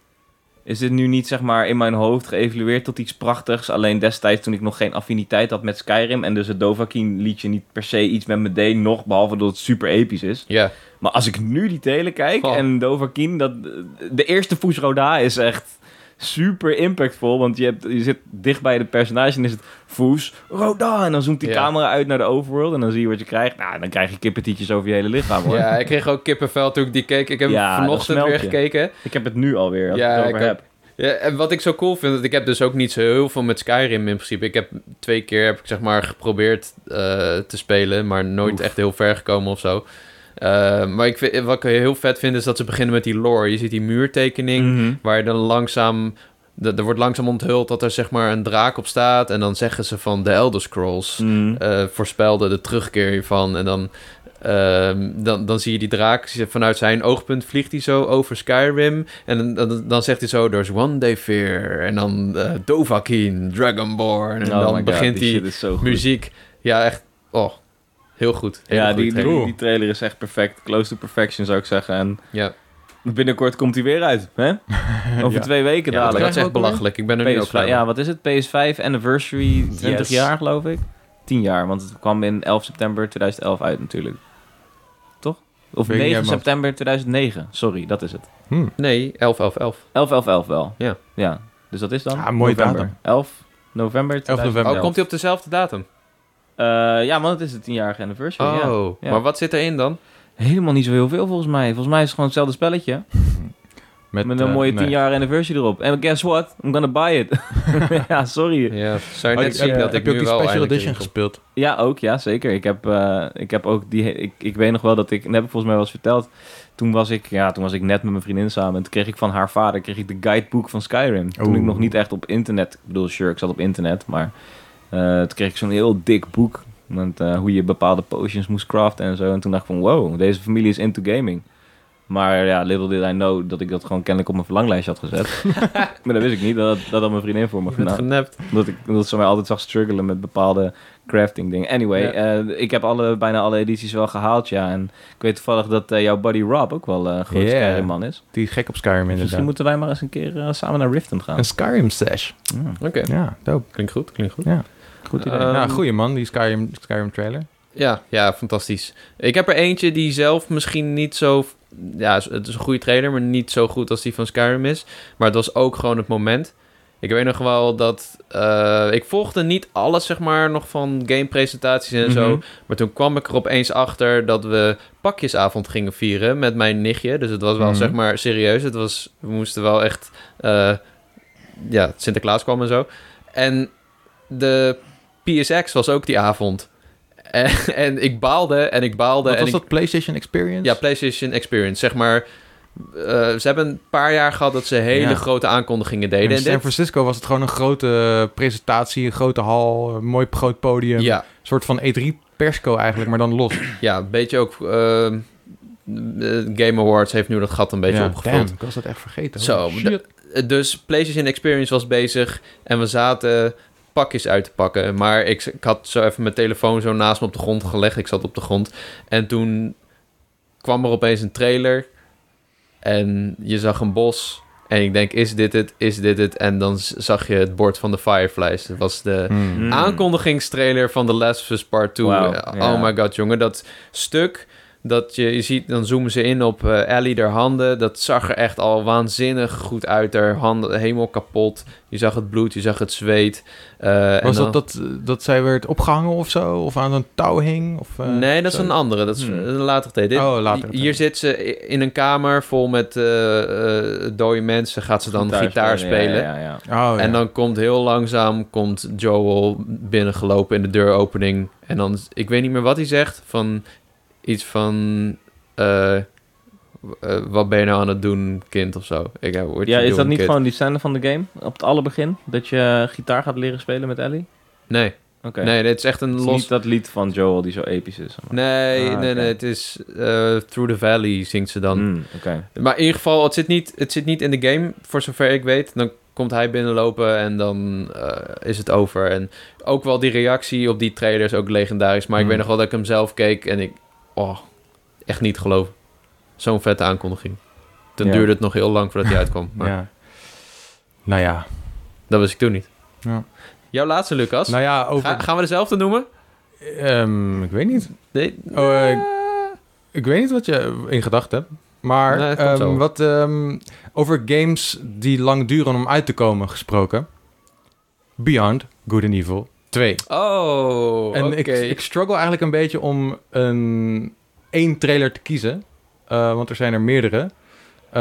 B: is dit nu niet zeg maar in mijn hoofd geëvalueerd tot iets prachtigs. Alleen destijds toen ik nog geen affiniteit had met Skyrim en dus het Dovahkiin liedje niet per se iets met me deed, nog behalve dat het super episch is.
C: Ja.
B: Maar als ik nu die telen kijk
C: Goh.
B: en Dovahkiin, dat, de eerste Fus Roda is echt super impactvol. Want je, hebt, je zit dicht bij de personage en is het Fus Roda. En dan zoomt die
C: Ja.
B: camera uit naar de overworld en dan zie je wat je krijgt. Nou, dan krijg je kippetietjes over je hele lichaam hoor.
C: ja, ik kreeg ook kippenvel toen ik die keek. Ik heb hem
B: Ja, dat
C: vanochtend
B: smelt
C: weer
B: je.
C: gekeken.
B: Ik heb het nu alweer, als
C: Ja,
B: ik het
C: ik
B: over
C: ook.
B: heb.
C: Ja, en wat ik zo cool vind, dat ik heb dus ook niet zo heel veel met Skyrim in principe. Ik heb twee keer heb ik zeg maar geprobeerd eh, te spelen, maar nooit echt heel ver gekomen of zo. Eh, maar ik vind, wat ik heel vet vind is dat ze beginnen met die lore. Je ziet die muurtekening
B: Mhm.
C: waar je dan langzaam dat- er wordt langzaam onthuld dat er zeg maar een draak op staat en dan zeggen ze van de Elder Scrolls
B: Mhm.
C: eh, voorspelde de terugkeer hiervan. En dan, ehm, dan, dan zie je die draak zie je vanuit zijn oogpunt vliegt hij zo over Skyrim. En dan, dan, dan zegt hij zo, there's one day fear. En dan eh Dovahkiin, Dragonborn. En
B: Oh my
C: dan
B: God,
C: begint
B: die
C: die,
B: shit is zo goed.
C: muziek. Ja, echt, oh, heel goed. Heel
B: Ja,
C: goed,
B: die,
C: heel
B: die,
C: goed.
B: die trailer is echt perfect. Close to perfection zou ik zeggen. En
C: Ja,
B: binnenkort komt hij weer uit. Hè? Over
A: Ja.
B: twee weken
C: ja dat,
B: dadelijk.
C: is echt belachelijk. Ik ben er nu ook
B: PS5,
C: klaar
B: ja,
C: mee.
B: wat is het? PS5 Anniversary 20
A: Yes.
B: jaar, geloof ik. 10 jaar, want het kwam in 11 september 2011 uit natuurlijk. Toch? Of
A: Weet ik
B: 9
A: niet uit
B: september 2009. Sorry, dat is het.
A: Hm.
C: Nee, 11, 11, 11.
B: 11, 11, 11 wel.
C: Ja.
B: ja. Dus dat is dan?
A: Ah, mooie
B: november.
A: datum.
B: 11 november 2011.
A: november.
C: Oh, komt hij op dezelfde datum?
B: Eh, ja, want het is de 10-jarige anniversary. ja.
C: Oh, maar wat zit erin dan?
B: Helemaal niet zo heel veel volgens mij. Volgens mij is het gewoon hetzelfde spelletje. Met, een
A: eh,
B: mooie 10
A: nee.
B: jaar anniversary erop. En guess what? I'm gonna buy it. ja, sorry.
C: Ja, zou je
A: Oh,
C: net
A: die-
C: zien
A: heb-
C: dat
A: heb
C: ik
A: je ook
C: nu
A: die special
C: wel eindelijk
A: edition
C: inkom.
A: gespeeld?
B: Ja, ook. Ja, zeker. Ik heb, eh, ik heb ook die... Ik, ik weet nog wel dat ik... Dat heb ik volgens mij wel eens verteld. Toen was ik... Ja, toen was ik net met mijn vriendin samen. En toen kreeg ik van haar vader... Kreeg ik de guidebook van Skyrim. Toen
A: Oeh.
B: ik nog niet echt op internet... Ik bedoel, sure, ik zat op internet. Maar eh, toen kreeg ik zo'n heel dik boek. Met eh, hoe je bepaalde potions moest craften en zo. En toen dacht ik van... Wow, deze familie is into gaming. Maar ja, little did I know dat ik dat gewoon kennelijk op mijn verlanglijstje had gezet. maar dat wist ik niet, dat dat had mijn vriendin voor me
C: Je bent
B: gedaan.
C: genept.
B: Omdat, ik, omdat ze mij altijd zag struggelen met bepaalde crafting dingen. Anyway,
C: Ja.
B: eh, ik heb alle, bijna alle edities wel gehaald, ja. En ik weet toevallig dat eh, jouw buddy Rob ook wel eh, een groot
A: Yeah.
B: Skyrim-man is.
A: Die gek op Skyrim
B: Dus
A: inderdaad.
B: misschien moeten wij maar eens een keer eh, samen naar Riften gaan.
A: Een Skyrim stash.
B: Mm,
C: Oké,
A: Ja, dope.
C: klinkt goed, klinkt goed.
B: goed idee.
C: Eh,
A: nou,
C: Ehm,
A: goeie man, die Skyrim, Skyrim trailer.
C: Ja, ja, fantastisch. Ik heb er eentje die zelf misschien niet zo... Ja, het is een goede trailer, maar niet zo goed als die van Skyrim is. Maar het was ook gewoon het moment. Ik weet nog wel dat... eh, ik volgde niet alles, zeg maar, nog van gamepresentaties en zo.
B: Mhm.
C: Maar toen kwam ik er opeens achter dat we pakjesavond gingen vieren met mijn nichtje. Dus het was wel,
A: Mhm.
C: zeg maar, serieus. Het was, we moesten wel echt... eh, ja, Sinterklaas kwam en zo. En de PSX was ook die avond. En, en ik baalde en ik baalde.
A: Wat
C: en
A: was
C: ik-
A: dat, PlayStation Experience?
C: Ja, PlayStation Experience. Zeg maar, eh, ze hebben een paar jaar gehad dat ze hele
A: Ja.
C: grote aankondigingen
A: In
C: deden. En
A: San
C: dit-
A: Francisco was het gewoon een grote eh, presentatie, een grote hal, een mooi groot podium.
C: ja,
A: Een soort van E3-persco eigenlijk, maar dan los.
C: ja, een beetje ook... ehm, eh, Game Awards heeft nu dat gat een beetje
A: Ja,
C: opgevuld.
A: damn, ik was dat echt vergeten.
C: Zo,
A: Holy shit.
C: Dus PlayStation Experience was bezig en we zaten pakjes uit te pakken. Maar ik, ik had zo even mijn telefoon zo naast me op de grond gelegd. Ik zat op de grond. En toen kwam er opeens een trailer. En je zag een bos. En ik denk, is dit het? Is dit het? En dan z- zag je het bord van de Fireflies. Dat was de
A: Hmm.
B: Mm.
C: aankondigingstrailer van The Last of Us Part 2.
B: Wauw,
C: Eh,
B: ja.
C: Oh my god, jongen. Dat stuk dat je, je ziet, dan zoomen ze in op eh, Ellie, haar handen. Dat zag er echt al waanzinnig goed uit. Haar handen helemaal kapot. Je zag het bloed, je zag het zweet. Eh, en
A: Was
C: dan-
A: dat, dat dat zij werd opgehangen of zo? Of aan een touw hing? Of, eh,
C: nee, dat
A: zo?
C: is een andere. Dat is
B: Hmm.
C: een later tijd. Dit,
A: Oh, later.
C: Hier zit ze i- in een kamer vol met eh, eh, dode mensen. Gaat ze dan gitaar, spelen.
B: Ja, ja, ja.
A: Oh,
C: en
A: ja.
C: dan komt heel langzaam komt Joel binnengelopen in de deuropening. En dan, ik weet niet meer wat hij zegt. Van iets van. eh, eh, wat ben je nou aan het doen, kind of zo? Ik, ja, what
B: Ja,
C: you
B: is dat
C: doing,
B: niet
C: kid?
B: gewoon die scène van de game? Op het allerbegin? Dat je eh, gitaar gaat leren spelen met Ellie?
C: Nee,
B: Oké.
C: nee, dit is echt een
B: Het is
C: los.
B: niet dat lied van Joel die zo episch is. maar-
C: Nee,
B: Ah,
C: nee,
B: oké.
C: nee. Het is eh, Through the Valley zingt ze dan.
B: Mm, Oké.
C: Maar in ieder geval, het zit, niet, het zit niet in de game, voor zover ik weet. Dan komt hij binnenlopen en dan eh, is het over. En ook wel die reactie op die trailer is ook legendarisch. Maar ik
A: Mm.
C: weet nog wel dat ik hem zelf keek en ik... Oh, echt niet geloven. Zo'n vette aankondiging. Toen
B: Ja.
C: duurde het nog heel lang voordat hij uitkwam. Maar
A: Ja. Nou ja.
C: Dat wist ik toen niet.
A: Ja.
C: Jouw laatste, Lucas.
A: Nou ja, over...
C: Ga- gaan we dezelfde noemen?
A: Ehm, ik weet niet.
C: Nee.
A: Oh, eh, ik- ik weet niet wat je in gedachten hebt. Maar
C: Nee, het komt
A: ehm,
C: zo.
A: wat ehm, over games die lang duren om uit te komen gesproken. Beyond Good and Evil 2.
C: Oh,
A: en
C: oké.
A: ik, ik struggle eigenlijk een beetje om een, één trailer te kiezen. eh, want er zijn er meerdere.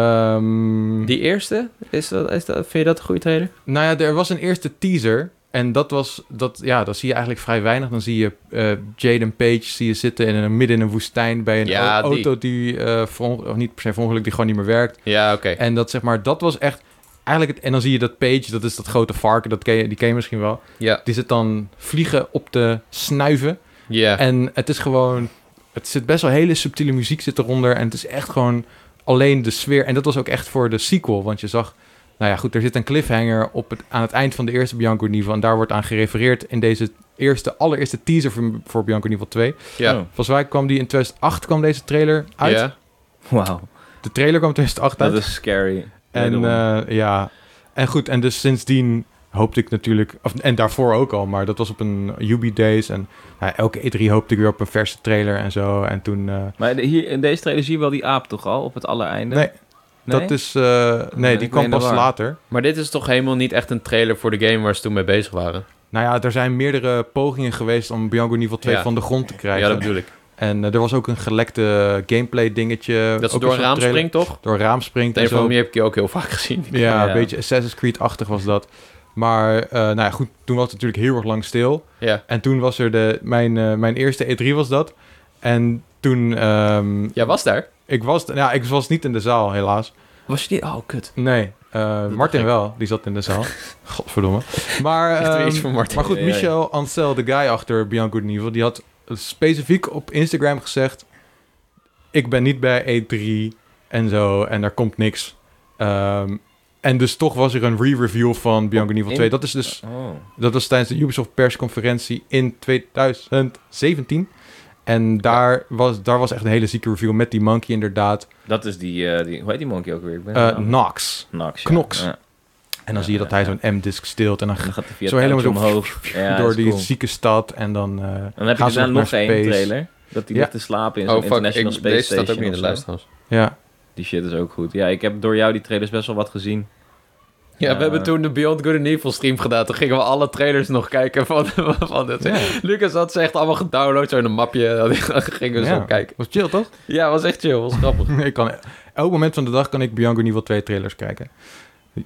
A: Ehm,
C: Die eerste, is dat, is dat, vind je dat een goede trailer?
A: Nou ja, er was een eerste teaser. En dat was, dat, ja, dan zie je eigenlijk vrij weinig. Dan zie je eh Jaden Page zie je zitten in een, midden in een woestijn bij een
C: Ja,
A: au-
C: die.
A: auto die, eh veron- of niet per se verongelukt, die gewoon niet meer werkt.
C: Ja, oké.
A: En dat zeg maar, dat was echt eigenlijk het, en dan zie je dat Page, dat is dat grote varken, dat ken je, die ken je misschien wel.
C: Ja,
A: Die zit dan vliegen op te snuiven.
C: ja.
A: En het is gewoon, het zit best wel hele subtiele muziek zit eronder. En het is echt gewoon alleen de sfeer. En dat was ook echt voor de sequel, want je zag, nou ja goed, er zit een cliffhanger op het, aan het eind van de eerste Bianco Niveau. En daar wordt aan gerefereerd in deze eerste, allereerste teaser voor, voor Bianco Niveau 2.
C: ja.
B: Oh,
A: Volgens mij kwam die in 2008 kwam deze trailer uit.
C: Ja.
B: Wauw,
A: De trailer kwam in 2008 uit.
B: dat is scary.
A: En
B: Wederom.
A: eh, ja, en goed, en dus sindsdien hoopte ik natuurlijk, of, en daarvoor ook al, maar dat was op een Ubi Days. En nou, elke E3 hoopte ik weer op een verse trailer en zo. En toen, eh,
B: Maar de- hier, in deze trailer zie je wel die aap toch al, op het allereinde?
A: Nee, dat is, eh, nee,
B: ik
A: die
B: ben
A: kwam
B: in de
A: pas
B: war.
A: later.
C: Maar dit is toch helemaal niet echt een trailer voor de game waar ze toen mee bezig waren?
A: Nou ja, er zijn meerdere pogingen geweest om Bianco Niveau 2
C: Ja.
A: van de grond te
C: Ja,
A: krijgen.
C: dat bedoel ik.
A: En eh, er was ook een gelekte gameplay dingetje.
C: Dat ze
A: ook
C: door een
A: soort
C: raam
A: trailer-
C: springt, toch?
A: Door een raam springt
C: Op een
A: en
C: of andere
A: zo.
C: manier heb ik die ook heel vaak gezien.
A: Ja,
B: Ja.
A: een beetje Assassin's Creed-achtig was dat. Maar eh, nou ja, goed, toen was het natuurlijk heel erg lang stil.
C: Ja.
A: En toen was er de, mijn, eh, mijn eerste E3 was dat. En toen, ehm,
C: Jij was daar?
A: ik, was, nou ja, ik was niet in de zaal helaas.
C: Was je niet? Oh, kut.
A: Nee, eh,
C: dacht
A: Martin
C: ik.
A: wel, die zat in de zaal. Godverdomme. Maar,
C: Echt weer iets
A: ehm,
C: voor Martin.
A: maar goed,
B: Ja, ja, ja.
A: Michel Ancel, de guy achter Bianco de Nivel, die had specifiek op Instagram gezegd... Ik ben niet bij E3 en zo, en er komt niks. Ehm, en dus toch was er een re-review van Bianco de Nivel
B: in-
A: 2. Dat is dus
B: Oh.
A: dat was tijdens de Ubisoft persconferentie in 2017. En daar was, daar was echt een hele zieke review met die monkey inderdaad.
B: Dat is die, eh, die, hoe heet die monkey ook weer? Ik ben
A: Eh,
B: zijn naam-
A: Knox.
B: Knox.
A: Knox.
B: Ja.
A: En dan
B: Ja,
A: zie je dat
B: ja,
A: hij
B: ja.
A: zo'n M-disc steelt. En dan
B: En
A: gaat
B: dan gaat hij via
A: Zo
B: het
A: helemaal
B: touwtje
A: zo
B: omhoog. Ja,
A: door
B: is
A: die
B: cool.
A: zieke stad. En dan, eh,
B: Dan heb je
A: gaan ze
B: daarna nog
A: naar
B: één
A: space.
B: trailer. Dat hij
A: Ja.
B: ligt te slapen in zo'n
C: Oh, fuck.
B: International
C: Ik,
B: Space
C: deze
B: Station.
C: staat ook niet in de
B: of zo.
C: lijst, trouwens.
A: Ja,
B: Die shit is ook goed. Ja, ik heb door jou die trailers best wel wat gezien.
C: Ja,
B: Ja.
C: we hebben toen de Beyond Good and Evil stream gedaan. Toen gingen we alle trailers nog kijken van, van dit. Lucas had ze echt allemaal gedownload, zo in een mapje. Dan gingen we
A: Ja.
C: zo kijken.
A: was chill toch?
C: Ja, was echt chill. Was grappig.
A: ik kan, elk moment van de dag kan ik Bianco Niveau 2 trailers kijken.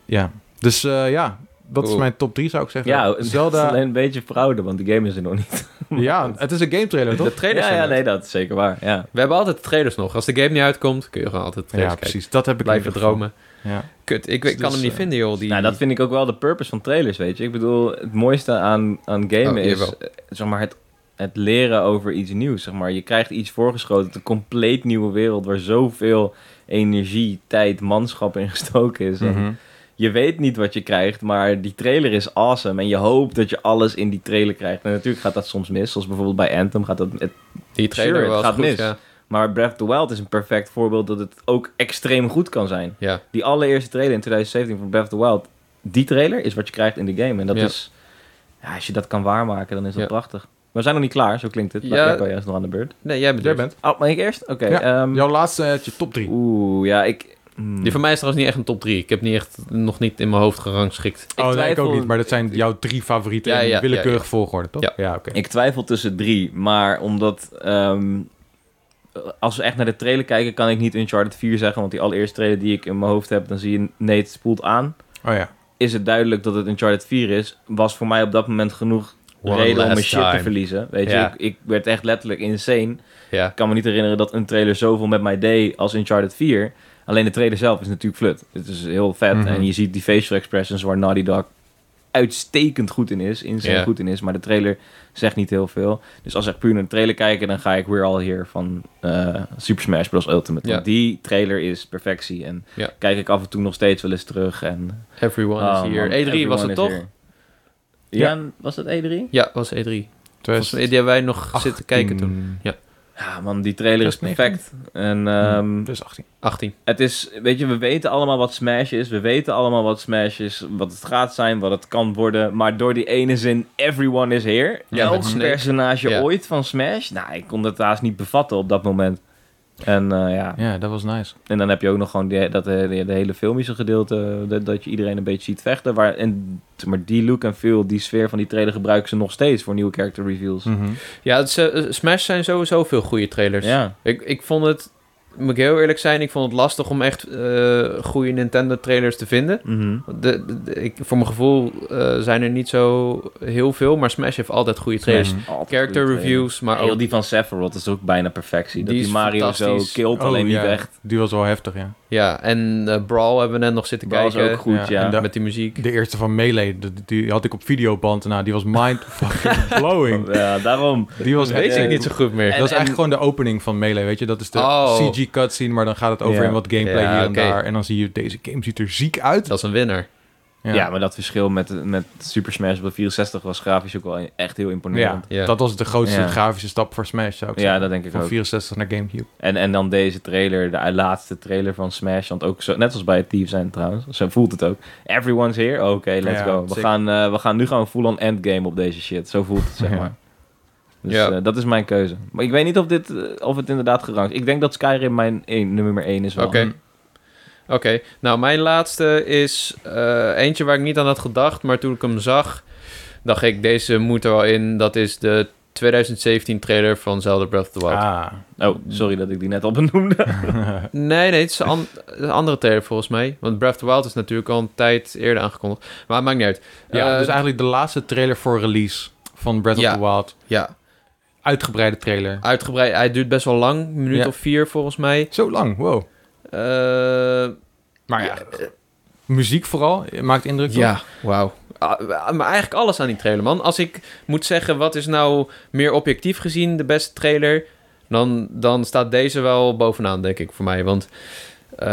A: Ja, dus eh, ja, dat is
C: Cool.
A: mijn top 3 zou ik zeggen.
B: Ja, Zelda...
A: Zelda,
B: alleen een beetje fraude, want die game is er nog niet.
A: ja, het is een game trailer toch?
C: De trailers
B: ja,
C: zijn
B: ja,
C: er.
B: nee, dat is zeker waar. Ja.
C: We hebben altijd trailers nog. Als de game niet uitkomt, kun je gewoon altijd trailers
A: Ja,
C: kijken.
A: precies. Dat heb ik in
C: Blijven
A: ieder geval.
C: dromen.
A: Ja.
C: Kut, ik,
A: Dus
C: ik kan hem
A: dus,
C: niet
A: eh,
C: vinden, joh. Die... Oh,
B: Nou, dat vind ik ook wel de purpose van trailers, weet je. Ik bedoel, het mooiste aan, aan gamen
C: Oh,
B: is
C: jawel.
B: eh, zeg maar, het, het leren over iets nieuws. Zeg maar. Je krijgt iets voorgeschoten, een compleet nieuwe wereld waar zoveel energie, tijd, manschap in gestoken is. En
A: Mhm.
B: Je weet niet wat je krijgt, maar die trailer is awesome. En je hoopt dat je alles in die trailer krijgt. En natuurlijk gaat dat soms mis, zoals bijvoorbeeld bij Anthem gaat dat... het-
C: die trailer
B: Sure, het
C: was
B: gaat
C: goed,
B: mis.
C: Ja.
B: maar Breath of the Wild is een perfect voorbeeld dat het ook extreem goed kan zijn
C: ja.
B: die allereerste trailer in 2017 van Breath of the Wild, die trailer is wat je krijgt in de game. En dat
C: Ja.
B: is, ja, als je dat kan waarmaken, dan is dat
C: Ja.
B: prachtig. Maar we zijn nog niet klaar, zo klinkt het.
C: Ja.
B: Ja. Ik ben juist nog aan de beurt.
C: Nee, jij bent,
A: Jij bent.
B: Oh, ben ik eerst? Oké.
A: Ja.
B: ehm,
A: Jouw laatste, eh, je top 3.
B: Oeh, ja, ik... hmm.
C: Die van mij is trouwens niet echt een top 3. Ik heb niet echt, nog niet in mijn hoofd gerangschikt.
A: oh, nee, ik
B: twijfel-
A: ook niet. Maar dat zijn jouw drie favorieten
C: Ja,
A: in
C: ja,
A: willekeurige
C: ja,
A: volgorde, toch?
C: Ja.
A: oké.
B: Ik twijfel tussen drie, maar omdat... ehm, als we echt naar de trailer kijken, kan ik niet Uncharted 4 zeggen. Want die allereerste trailer die ik in mijn hoofd heb, dan zie je... Nee, het spoelt aan.
A: Oh ja.
B: Is het duidelijk dat het Uncharted 4 is? Was voor mij op dat moment genoeg reden om mijn shit te verliezen. Weet
C: Ja.
B: je, ik, ik werd echt letterlijk insane.
C: Ja.
B: Ik kan me niet herinneren dat een trailer zoveel met mij deed als Uncharted 4. Alleen de trailer zelf is natuurlijk flut. Het is heel vet
A: Mhm.
B: en je ziet die facial expressions waar Naughty Dog uitstekend goed in is, insane
C: Ja.
B: goed in is, maar de trailer zegt niet heel veel. Dus als we echt puur naar de trailer kijken, dan ga ik We're All Here van eh, Super Smash Bros. Ultimate.
C: Ja.
B: Want die trailer is perfectie en
C: Ja.
B: kijk ik af en toe nog steeds wel eens terug. En,
C: Everyone
B: Oh,
C: is
B: man,
C: here. E3 was
B: everyone
C: het
B: is
C: toch? E
B: here. Ja, was E dat E3?
C: Ja, was E3. Volgens mij, die hebben wij nog zitten kijken toen. Ja.
B: Ja, man, die trailer is
A: Plus
B: perfect. En ehm,
A: Plus 18.
C: 18.
B: het is, weet je, we weten allemaal wat Smash is. We weten allemaal wat Smash is, wat het gaat zijn, wat het kan worden. Maar door die ene zin, everyone is here.
C: Ja,
B: Elk
C: met Snake.
B: personage
C: Ja.
B: ooit van Smash. Nou, ik kon dat haast niet bevatten op dat moment. En eh, ja,
A: Ja, dat was nice.
B: en dan heb je ook nog gewoon die, dat, hele- de hele filmische gedeelte, dat, dat je iedereen een beetje ziet vechten. Waar, en, maar die look en feel, die sfeer van die trailer gebruiken ze nog steeds voor nieuwe character reveals.
C: Ja, het is, eh, Smash zijn sowieso veel goede trailers.
B: Ja.
C: Ik, ik vond het, moet ik heel eerlijk zijn, ik vond het lastig om echt eh, goede Nintendo trailers te vinden.
B: Mhm.
C: De, de- de- ik, voor mijn gevoel eh, zijn er niet zo heel veel, maar Smash heeft altijd goede trailers.
A: Mhm.
B: Altijd
C: Character
B: goede trailer.
C: reviews, maar
B: Heel
C: ook...
B: die van Sephiroth is ook bijna perfectie. dat
C: Die
B: die
C: is
B: Mario zo
C: fantastisch.
B: kilt, alleen
A: Oh, ja.
B: niet echt.
A: Die was wel heftig, ja.
C: Ja, en eh, Brawl hebben we net nog zitten
B: Dat was
C: kijken.
B: ook goed,
A: Ja,
B: ja.
A: en dat-
C: Met die muziek.
A: De eerste van Melee, die, die had ik op videoband en nou, die was mind fucking blowing.
B: Ja, daarom.
A: Die was
C: Dat weet
A: echt-
C: ik niet zo goed meer.
A: Dat is eigenlijk gewoon de opening van Melee, weet je? Dat is de
C: Oh.
A: CG cutscene, maar dan gaat het over
B: Ja.
A: in wat gameplay
C: Ja,
A: hier en
C: oké.
A: daar. En dan zie je, deze game ziet er ziek uit.
C: Dat is een winnaar.
B: Ja. maar dat verschil met, met Super Smash Bros. 64 was grafisch ook wel echt heel
A: Ja,
B: imponerend.
C: Ja.
A: dat was de grootste
B: Ja.
A: grafische stap voor Smash, zou ik
B: Ja,
A: zeggen.
B: dat denk ik
A: Van
B: ook.
A: 64 naar Gamecube.
B: En, en dan deze trailer, de laatste trailer van Smash. Want ook zo, net als bij Thieves zijn trouwens, zo voelt het ook. Everyone's here, Oh, oké, let's
A: Ja,
B: go. We
A: sick.
B: gaan, eh, we gaan nu gewoon full-on endgame op deze shit. Zo voelt het, zeg
A: Ja.
B: maar. Dus
C: Ja.
B: eh, dat is mijn keuze. Maar ik weet niet of, dit, eh, of het inderdaad gerankt is. Ik denk dat Skyrim mijn één- nummer 1 is wel.
C: Oké. Oké, nou mijn laatste is eh, eentje waar ik niet aan had gedacht, maar toen ik hem zag, dacht ik, deze moet er wel in. Dat is de 2017 trailer van Zelda Breath of the Wild.
A: Ah.
B: Oh, sorry dat ik die net al benoemde.
C: Nee, nee, het is een, an- een andere trailer volgens mij. Want Breath of the Wild is natuurlijk al een tijd eerder aangekondigd. Maar het maakt niet uit.
A: Ja,
C: Eh,
A: dus eigenlijk de laatste trailer voor release van Breath
C: Ja.
A: of the Wild.
C: ja,
A: Uitgebreide trailer.
C: uitgebreid. Hij duurt best wel lang, een minuut
A: Ja.
C: of vier volgens mij.
A: Zo lang, wow.
C: Eh,
A: Maar ja, eh, muziek vooral eh, maakt indruk. toch?
C: Ja, wauw. Ah, Maar eigenlijk alles aan die trailer, man. Als ik moet zeggen, wat is nou meer objectief gezien de beste trailer... dan, dan staat deze wel bovenaan, denk ik, voor mij. Want eh,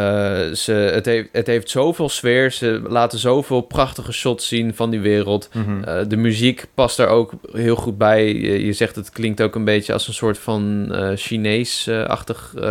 C: ze, het, heeft, het heeft zoveel sfeer. Ze laten zoveel prachtige shots zien van die wereld.
A: Mhm.
C: Eh, de muziek past daar ook heel goed bij. Je, je zegt, het klinkt ook een beetje als een soort van eh Chinees-achtig... eh,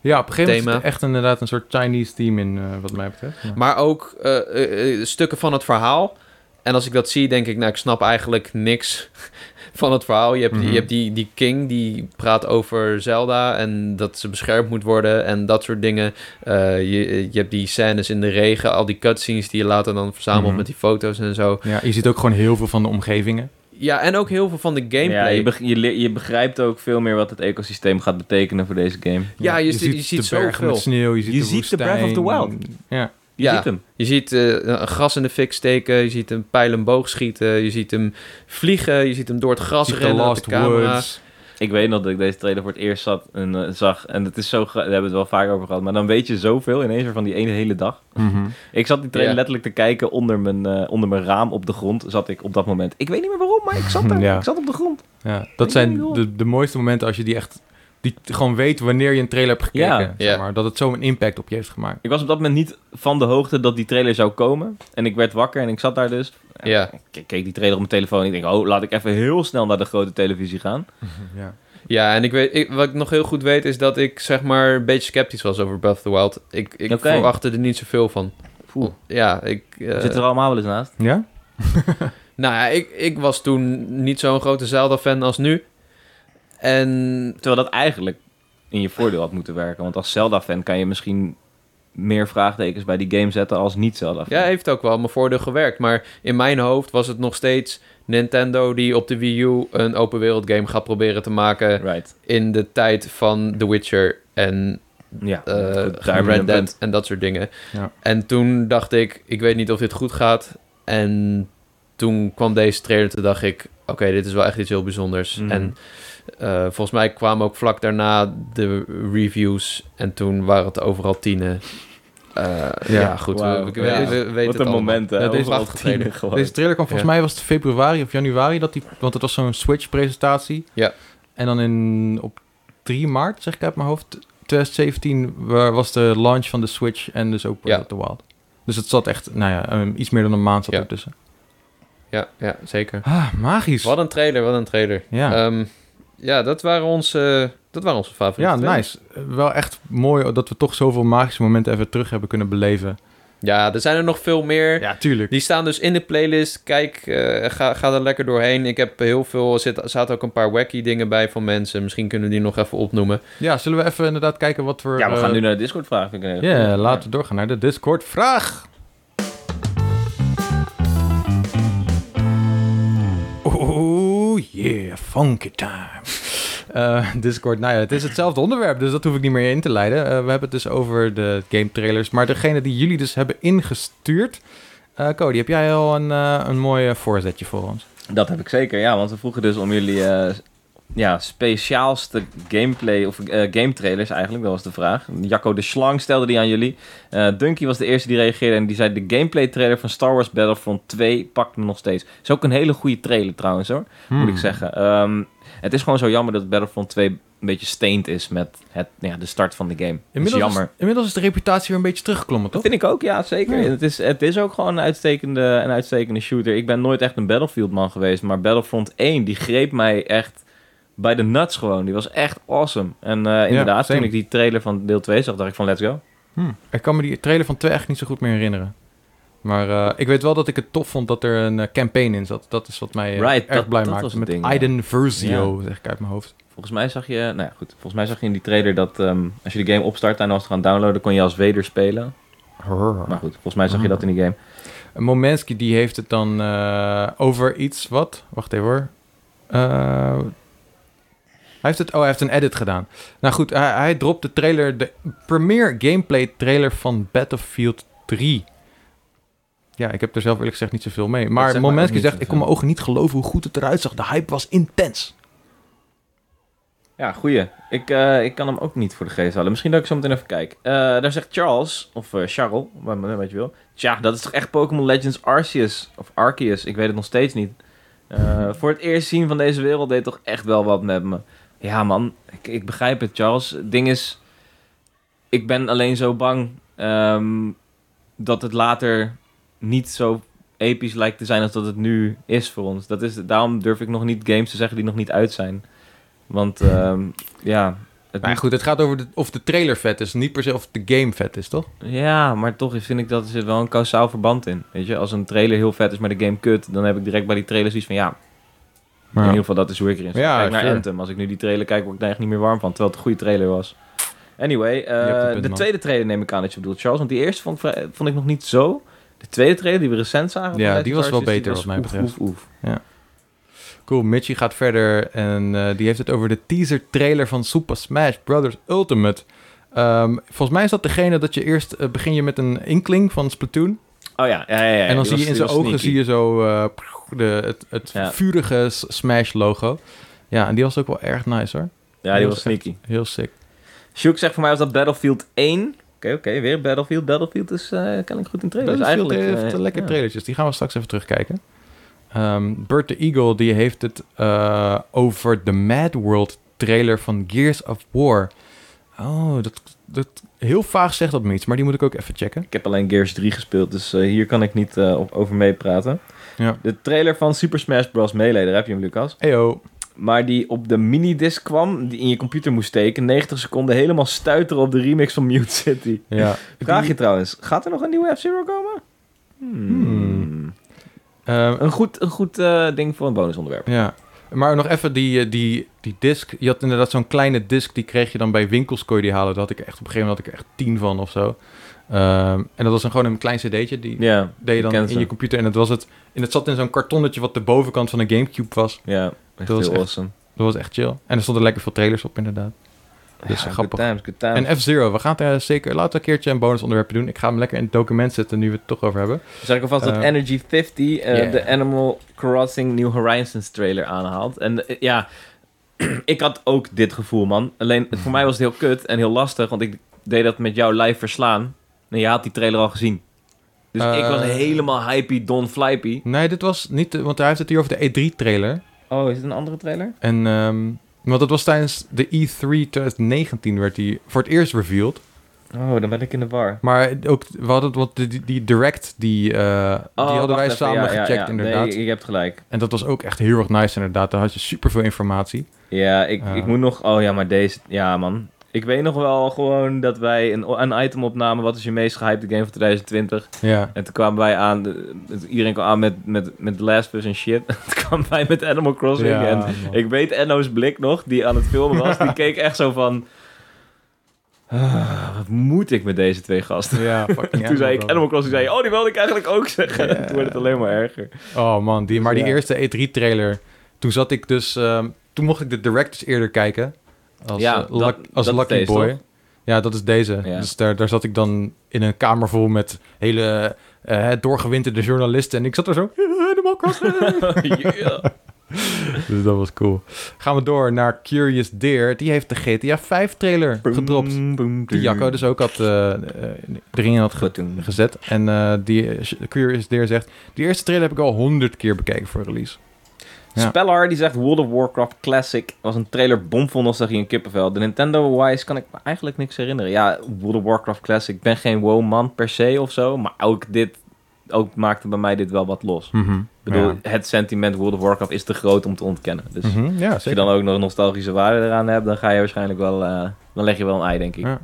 A: ja, op een gegeven moment is
C: thema.
A: het echt inderdaad een soort Chinese theme in, eh, wat mij betreft. Ja.
C: Maar ook eh, eh, eh, stukken van het verhaal. En als ik dat zie, denk ik, nou, ik snap eigenlijk niks van het verhaal. Je hebt,
A: Mhm.
C: je hebt die, die King die praat over Zelda en dat ze beschermd moet worden en dat soort dingen. Eh, je, je hebt die scènes in de regen, al die cutscenes die je later dan verzamelt
A: Mhm.
C: met die foto's en zo.
A: Ja, je ziet ook gewoon heel veel van de omgevingen.
C: Ja, en ook heel veel van de
B: Ja,
C: gameplay.
B: je, beg- je, le- je begrijpt ook veel meer wat het ecosysteem gaat betekenen voor deze game.
C: Ja, je zi- je ziet
A: de bergen
C: zoveel.
A: met sneeuw, je ziet,
B: Je
A: de,
B: ziet de Breath of the
A: woestijn. Ja.
B: Je
C: Ja.
B: ziet hem.
C: Je ziet eh, een gras in de fik steken, je ziet hem pijl en boog schieten, je ziet hem vliegen, je ziet hem door het gras
A: Je ziet de
C: rennen op
A: Last
C: de camera.
A: Woods.
B: Ik weet nog dat ik deze trailer voor het eerst zat en eh, zag. En het is zo... gra- Daar hebben we het wel vaak over gehad. Maar dan weet je zoveel ineens weer van die ene hele dag.
A: Mhm.
B: Ik zat die trailer
C: Ja.
B: letterlijk te kijken onder mijn, eh, onder mijn raam op de grond. Zat ik op dat moment. Ik weet niet meer waarom, maar ik zat daar.
A: Ja.
B: Ik zat op de grond.
A: ja.
B: weet
A: Dat
B: niet
A: zijn
B: hoe.
A: de, de mooiste momenten als je die echt... Die t- gewoon weet wanneer je een trailer hebt gekeken.
B: Ja.
A: zeg
C: Ja.
A: maar, dat het zo'n impact op je heeft gemaakt.
B: Ik was op dat moment niet van de hoogte dat die trailer zou komen. En ik werd wakker en ik zat daar dus.
C: Ja.
B: Ik keek die trailer op mijn telefoon en ik denk, oh, laat ik even heel snel naar de grote televisie gaan.
A: Ja.
C: Ja, en ik weet, ik- wat ik nog heel goed weet is dat ik zeg maar een beetje sceptisch was over Breath of the Wild. Ik, ik
B: Oké.
C: verwachtte er niet zoveel van.
B: Poeh.
C: Ja, ik, eh,
B: We zitten er allemaal wel eens naast.
A: Ja?
C: nou ja, ik, ik was toen niet zo'n grote Zelda-fan als nu. En
B: Terwijl dat eigenlijk in je voordeel had moeten werken. Want als Zelda-fan kan je misschien meer vraagtekens bij die game zetten als niet-Zelda-fan.
C: ja, heeft ook wel mijn voordeel gewerkt. Maar in mijn hoofd was het nog steeds Nintendo die op de Wii U een open wereld game gaat proberen te maken
B: Right.
C: in de tijd van The Witcher en
B: Ja,
C: eh,
B: goed, daar ben je
C: Red
B: een punt.
C: Dead en dat soort dingen.
A: Ja.
C: En toen dacht ik, ik weet niet of dit goed gaat. En toen kwam deze trailer, toen dacht ik, oké, dit is wel echt iets heel bijzonders.
B: Mhm.
C: En eh, volgens mij kwamen ook vlak daarna de reviews en toen waren het overal tienen. Eh, ja. goed,
B: Wauw.
C: we, we,
A: Ja.
C: we- we weten
B: Wat
C: het
B: een
C: allemaal.
B: moment, hè?
A: Ja, deze
B: Overal
A: wacht
B: tienen
C: getreden.
B: gewoon.
A: Deze trailer kwam volgens mij was het februari of januari dat die, want het was zo'n Switch presentatie.
C: Ja.
A: En dan in op 3 maart zeg ik uit mijn hoofd 2017 wa- was de launch van de Switch en dus ook Breath
C: Ja.
A: of the Wild. Dus het zat echt, nou ja, ehm, iets meer dan een maand zat
C: Ja.
A: ertussen.
C: Ja, ja, zeker.
A: Ah, magisch.
C: Eh, Wat een trailer, wat een trailer.
A: Ja.
C: Ehm, ja, dat waren onze, Dat waren onze favoriete
A: Ja,
C: trailers.
A: nice. Eh, Wel echt mooi dat we toch zoveel magische momenten even terug hebben kunnen beleven.
C: Ja, er zijn er nog veel meer.
A: Ja, tuurlijk.
C: Die staan dus in de playlist. Kijk, eh, ga, ga er lekker doorheen. Ik heb heel veel... Er zit- zaten ook een paar wacky dingen bij van mensen. Misschien kunnen we die nog even opnoemen.
A: Ja, zullen we even inderdaad kijken wat we...
B: Ja, we gaan
A: eh,
B: nu naar de Discord vragen. vind ik een hele
A: Ja,
B: goeie.
A: laten we doorgaan naar de Discord-vraag. Oh yeah, funky time. Eh, Discord, nou ja, het is hetzelfde onderwerp, dus dat hoef ik niet meer in te leiden. Eh, we hebben het dus over de game trailers, maar degene die jullie dus hebben ingestuurd... eh, Cody, heb jij al een, eh, een mooi eh, voorzetje voor ons?
B: Dat heb ik zeker, ja. Want we vroegen dus om jullie eh, ja, speciaalste gameplay of eh, game trailers eigenlijk. Dat was de vraag. Jacco de Slang stelde die aan jullie. Eh Dunky was de eerste die reageerde en die zei... de gameplay trailer van Star Wars Battlefront 2 pakt me nog steeds. Is ook een hele goede trailer trouwens hoor,
A: Hmm.
B: moet ik zeggen. Ehm, het is gewoon zo jammer dat Battlefront 2 een beetje steend is met het, ja, de start van de game. Dat is
A: Inmiddels
B: jammer.
A: is, inmiddels is de reputatie weer een beetje teruggeklommen, toch?
B: Dat vind ik ook, ja, zeker.
A: Ja.
B: Het, is, het is ook gewoon een uitstekende, een uitstekende shooter. Ik ben nooit echt een Battlefield-man geweest, maar Battlefront 1, die greep mij echt bij de nuts gewoon. Die was echt awesome. En eh, inderdaad,
A: same.
B: toen ik die trailer van deel 2 zag, dacht ik van let's go.
A: Hmm. Ik kan me die trailer van 2 echt niet zo goed meer herinneren. Maar eh, ik weet wel dat ik het tof vond dat er een eh, campaign in zat. Dat is wat mij eh,
B: Right,
A: erg
B: dat-
A: blij
B: dat
A: maakt.
B: was het
A: Met
B: ding, ja.
A: Aiden Versio, zeg ik uit mijn hoofd.
B: Volgens mij zag je, nou ja, goed. Volgens mij zag je in die trailer dat ehm, als je de game opstart en was het gaan downloaden, kon je als Vader spelen. Maar goed, volgens mij zag je dat in die game.
A: En Momenski die heeft het dan eh, over iets wat... Wacht even hoor. Eh, hij heeft het... Oh, hij heeft een edit gedaan. Nou goed, hij, hij dropt de trailer... De premiere gameplay trailer van Battlefield 3. Ja, ik heb er zelf eerlijk gezegd niet zoveel mee.
B: zegt
A: Maar
B: mij ook
A: Momenski
B: niet
A: zegt... Ik kon
B: zoveel.
A: mijn ogen niet geloven hoe goed het eruit zag. De hype was intens.
B: Ja, goeie. Ik, eh, ik kan hem ook niet voor de geest halen. Misschien dat ik zo meteen even kijk. Eh, daar zegt Charles, of eh Charles, wat, wat je wil. Tja, Dus dat is toch echt Pokémon Legends Arceus, of Arceus, ik weet het nog steeds niet. Eh, voor het eerst zien van deze wereld deed toch echt wel wat met me. Ja man, ik, ik begrijp het Charles. Het ding is, ik ben alleen zo bang ehm, dat het later niet zo episch lijkt te zijn als dat het nu is voor ons. Dat is, daarom durf ik nog niet games te zeggen die nog niet uit zijn. Want ehm, ja,
A: Maar
B: het
A: ja,
B: moet-
A: goed, het gaat over de, of de trailer vet is, niet per se of de game vet is, toch?
B: Ja, maar toch vind ik dat er zit wel een kausaal verband in. Weet je, als een trailer heel vet is, maar de game kut, dan heb ik direct bij die trailers iets van ja. In ieder geval, dat is hoe ik erin zit.
A: Ja,
B: kijk naar
A: sure.
B: Anthem. Als ik nu die trailer kijk, word ik daar echt niet meer warm van. Terwijl het een goede trailer was. Anyway, eh,
A: hebt een punt,
B: de
A: man.
B: tweede trailer neem ik aan dat je bedoelt, Charles. Want die eerste vond, ik vrij- vond ik nog niet zo. De tweede trailer die we recent zagen. van
A: Ja,
B: Legends
A: die was wel
B: Arceus, die
A: beter
B: was
A: wat mij
B: oef,
A: betreft.
B: oef, oef.
A: Cool, Mitchie gaat verder en eh, die heeft het over de teaser trailer van Super Smash Bros. Ultimate. Ehm, volgens mij is dat degene dat je eerst eh, begin je met een inkling van Splatoon.
B: Oh ja, ja, ja, ja,
A: en dan
B: die
A: zie
B: was-
A: je in
B: die
A: zijn
B: was
A: ogen
B: sneaky.
A: zie je zo eh, de, het, het
B: Ja.
A: vurige S- Smash logo. Ja, en die was ook wel erg nice hoor.
B: Ja, die was sneaky.
A: Heel sick.
B: Sjoek zegt voor mij was dat Battlefield 1. Oké, oké, weer Battlefield. Battlefield is eh, kennelijk goed in trailers.
A: Battlefield
B: eigenlijk,
A: heeft
B: eh,
A: eh, lekker
B: ja.
A: trailertjes. Die gaan we straks even terugkijken. Ehm Bert the Eagle die heeft het eh, over de Mad World trailer van Gears of War. Oh, dat, dat, heel vaag zegt dat me iets, maar die moet ik ook even checken.
B: Ik heb alleen Gears 3 gespeeld, dus eh, hier kan ik niet eh, op, over meepraten.
A: Ja.
B: De trailer van Super Smash Bros. Melee, daar heb je hem, Lucas.
A: Eyo,
B: Maar die op de minidisc kwam, die in je computer moest steken. 90 seconden helemaal stuiteren op de remix van Mute City.
A: ja.
B: Vraag je trouwens, gaat er nog een nieuwe F-Zero komen? Hmm.
A: Hmm. Ehm,
B: Een goed, een goed eh, ding voor een bonusonderwerp.
A: ja. Maar nog even die, eh, die, die disc. Je had inderdaad zo'n kleine disc, die kreeg je dan bij winkels, kon je die halen. Daar had ik echt op een gegeven moment had ik er echt tien van of zo. Ehm, en dat was dan gewoon een klein cd'tje. Die,
B: Ja,
A: deed je dan
B: ken
A: in
B: ze.
A: je computer. En het, was het, en het zat in zo'n kartonnetje wat de bovenkant van een Gamecube was.
B: ja. Echt
A: Dat was
B: heel
A: echt-
B: awesome.
A: Dat was echt chill. En er stonden lekker veel trailers op, inderdaad. Dus
B: Ja,
A: grappig.
B: Good times, good times.
A: En F-Zero, we gaan het er zeker later een keertje een bonusonderwerpje doen. Ik ga hem lekker in het document zetten, nu we het toch over hebben.
B: Dus zeg ik alvast dat
A: Eh,
B: Energy 50 eh,
A: yeah.
B: de Animal Crossing New Horizons trailer aanhaalt. En eh, ja, ik had ook dit gevoel, man. Alleen het- voor mij was het heel kut en heel lastig, want ik deed dat met jou live verslaan. En je had die trailer al gezien. Dus ik was
A: Eh.
B: helemaal hypey, Don Flypy.
A: Nee, dit was niet... de- want hij heeft het hier over de E3-trailer.
B: Oh, is het een andere trailer?
A: En... E ehm, want dat was tijdens de E3 2019 werd die voor het eerst revealed.
B: Oh, dan ben ik in de war.
A: Maar ook, we hadden, want die, die direct, die, eh,
B: Oh,
A: die hadden wij
B: wacht even.
A: samen
B: Ja, ja,
A: gecheckt
B: ja.
A: inderdaad.
B: Nee, je hebt gelijk.
A: En dat was ook echt heel erg nice inderdaad. Daar had je superveel informatie.
B: Ja, ik,
A: Ja.
B: ik moet nog... Oh ja, maar deze... Ja, man. Ik weet nog wel gewoon dat wij een, een item opnamen. Wat is je meest gehypte game van 2020?
A: Ja.
B: En toen kwamen wij aan... eh, Iedereen kwam aan met, met, met The Last of Us en shit. toen kwamen wij met Animal Crossing.
A: Ja,
B: en
A: man.
B: ik weet Enno's blik nog, die aan het filmen was. die keek echt zo van... "Ah, wat moet ik met deze twee gasten?
A: Ja, fucking
B: toen zei ik
A: Crossing.
B: Animal Crossing. Zei, je, oh, die wilde ik eigenlijk ook zeggen.
A: Ja.
B: toen werd het alleen maar erger.
A: Oh man, die, maar die
B: Ja.
A: eerste E3-trailer, toen zad ik dus, ehm, toen mocht ik de directors eerder kijken als,
B: Ja,
A: eh,
B: dat-
A: luck- als
B: dat is
A: Lucky
B: deze,
A: Boy.
B: toch?
A: Ja, dat is deze.
B: Ja.
A: Dus daar, daar zat ik dan in een kamer vol met hele eh, doorgewinterde journalisten en ik zat daar zo helemaal kast.
B: Ja.
A: dus dat was cool. Gaan we door naar Curious Deer. Die heeft de GTA 5-trailer gedropt.
B: Boom, boom,
A: Die Jacco dus ook had, eh, eh, erin had ge-
B: Platoon.
A: gezet. En eh, die eh, Curious Deer zegt... Die eerste trailer heb ik al honderd keer bekeken voor release. Ja.
B: Speller die zegt World of Warcraft Classic was een trailer bomvol nostalgie in Kippenvel. De Nintendo Wise kan ik me eigenlijk niks herinneren. Ja, World of Warcraft Classic, ik ben geen WoW-man per se of zo, maar ook dit, ook maakte bij mij dit wel wat los. Ik bedoel, het sentiment World of Warcraft is te groot om te ontkennen. Dus
A: Mhm, ja,
B: als je
A: zeker.
B: dan ook nog een nostalgische waarde eraan hebt, dan ga je waarschijnlijk wel, eh, dan leg je wel een ei, denk ik.
A: Ja.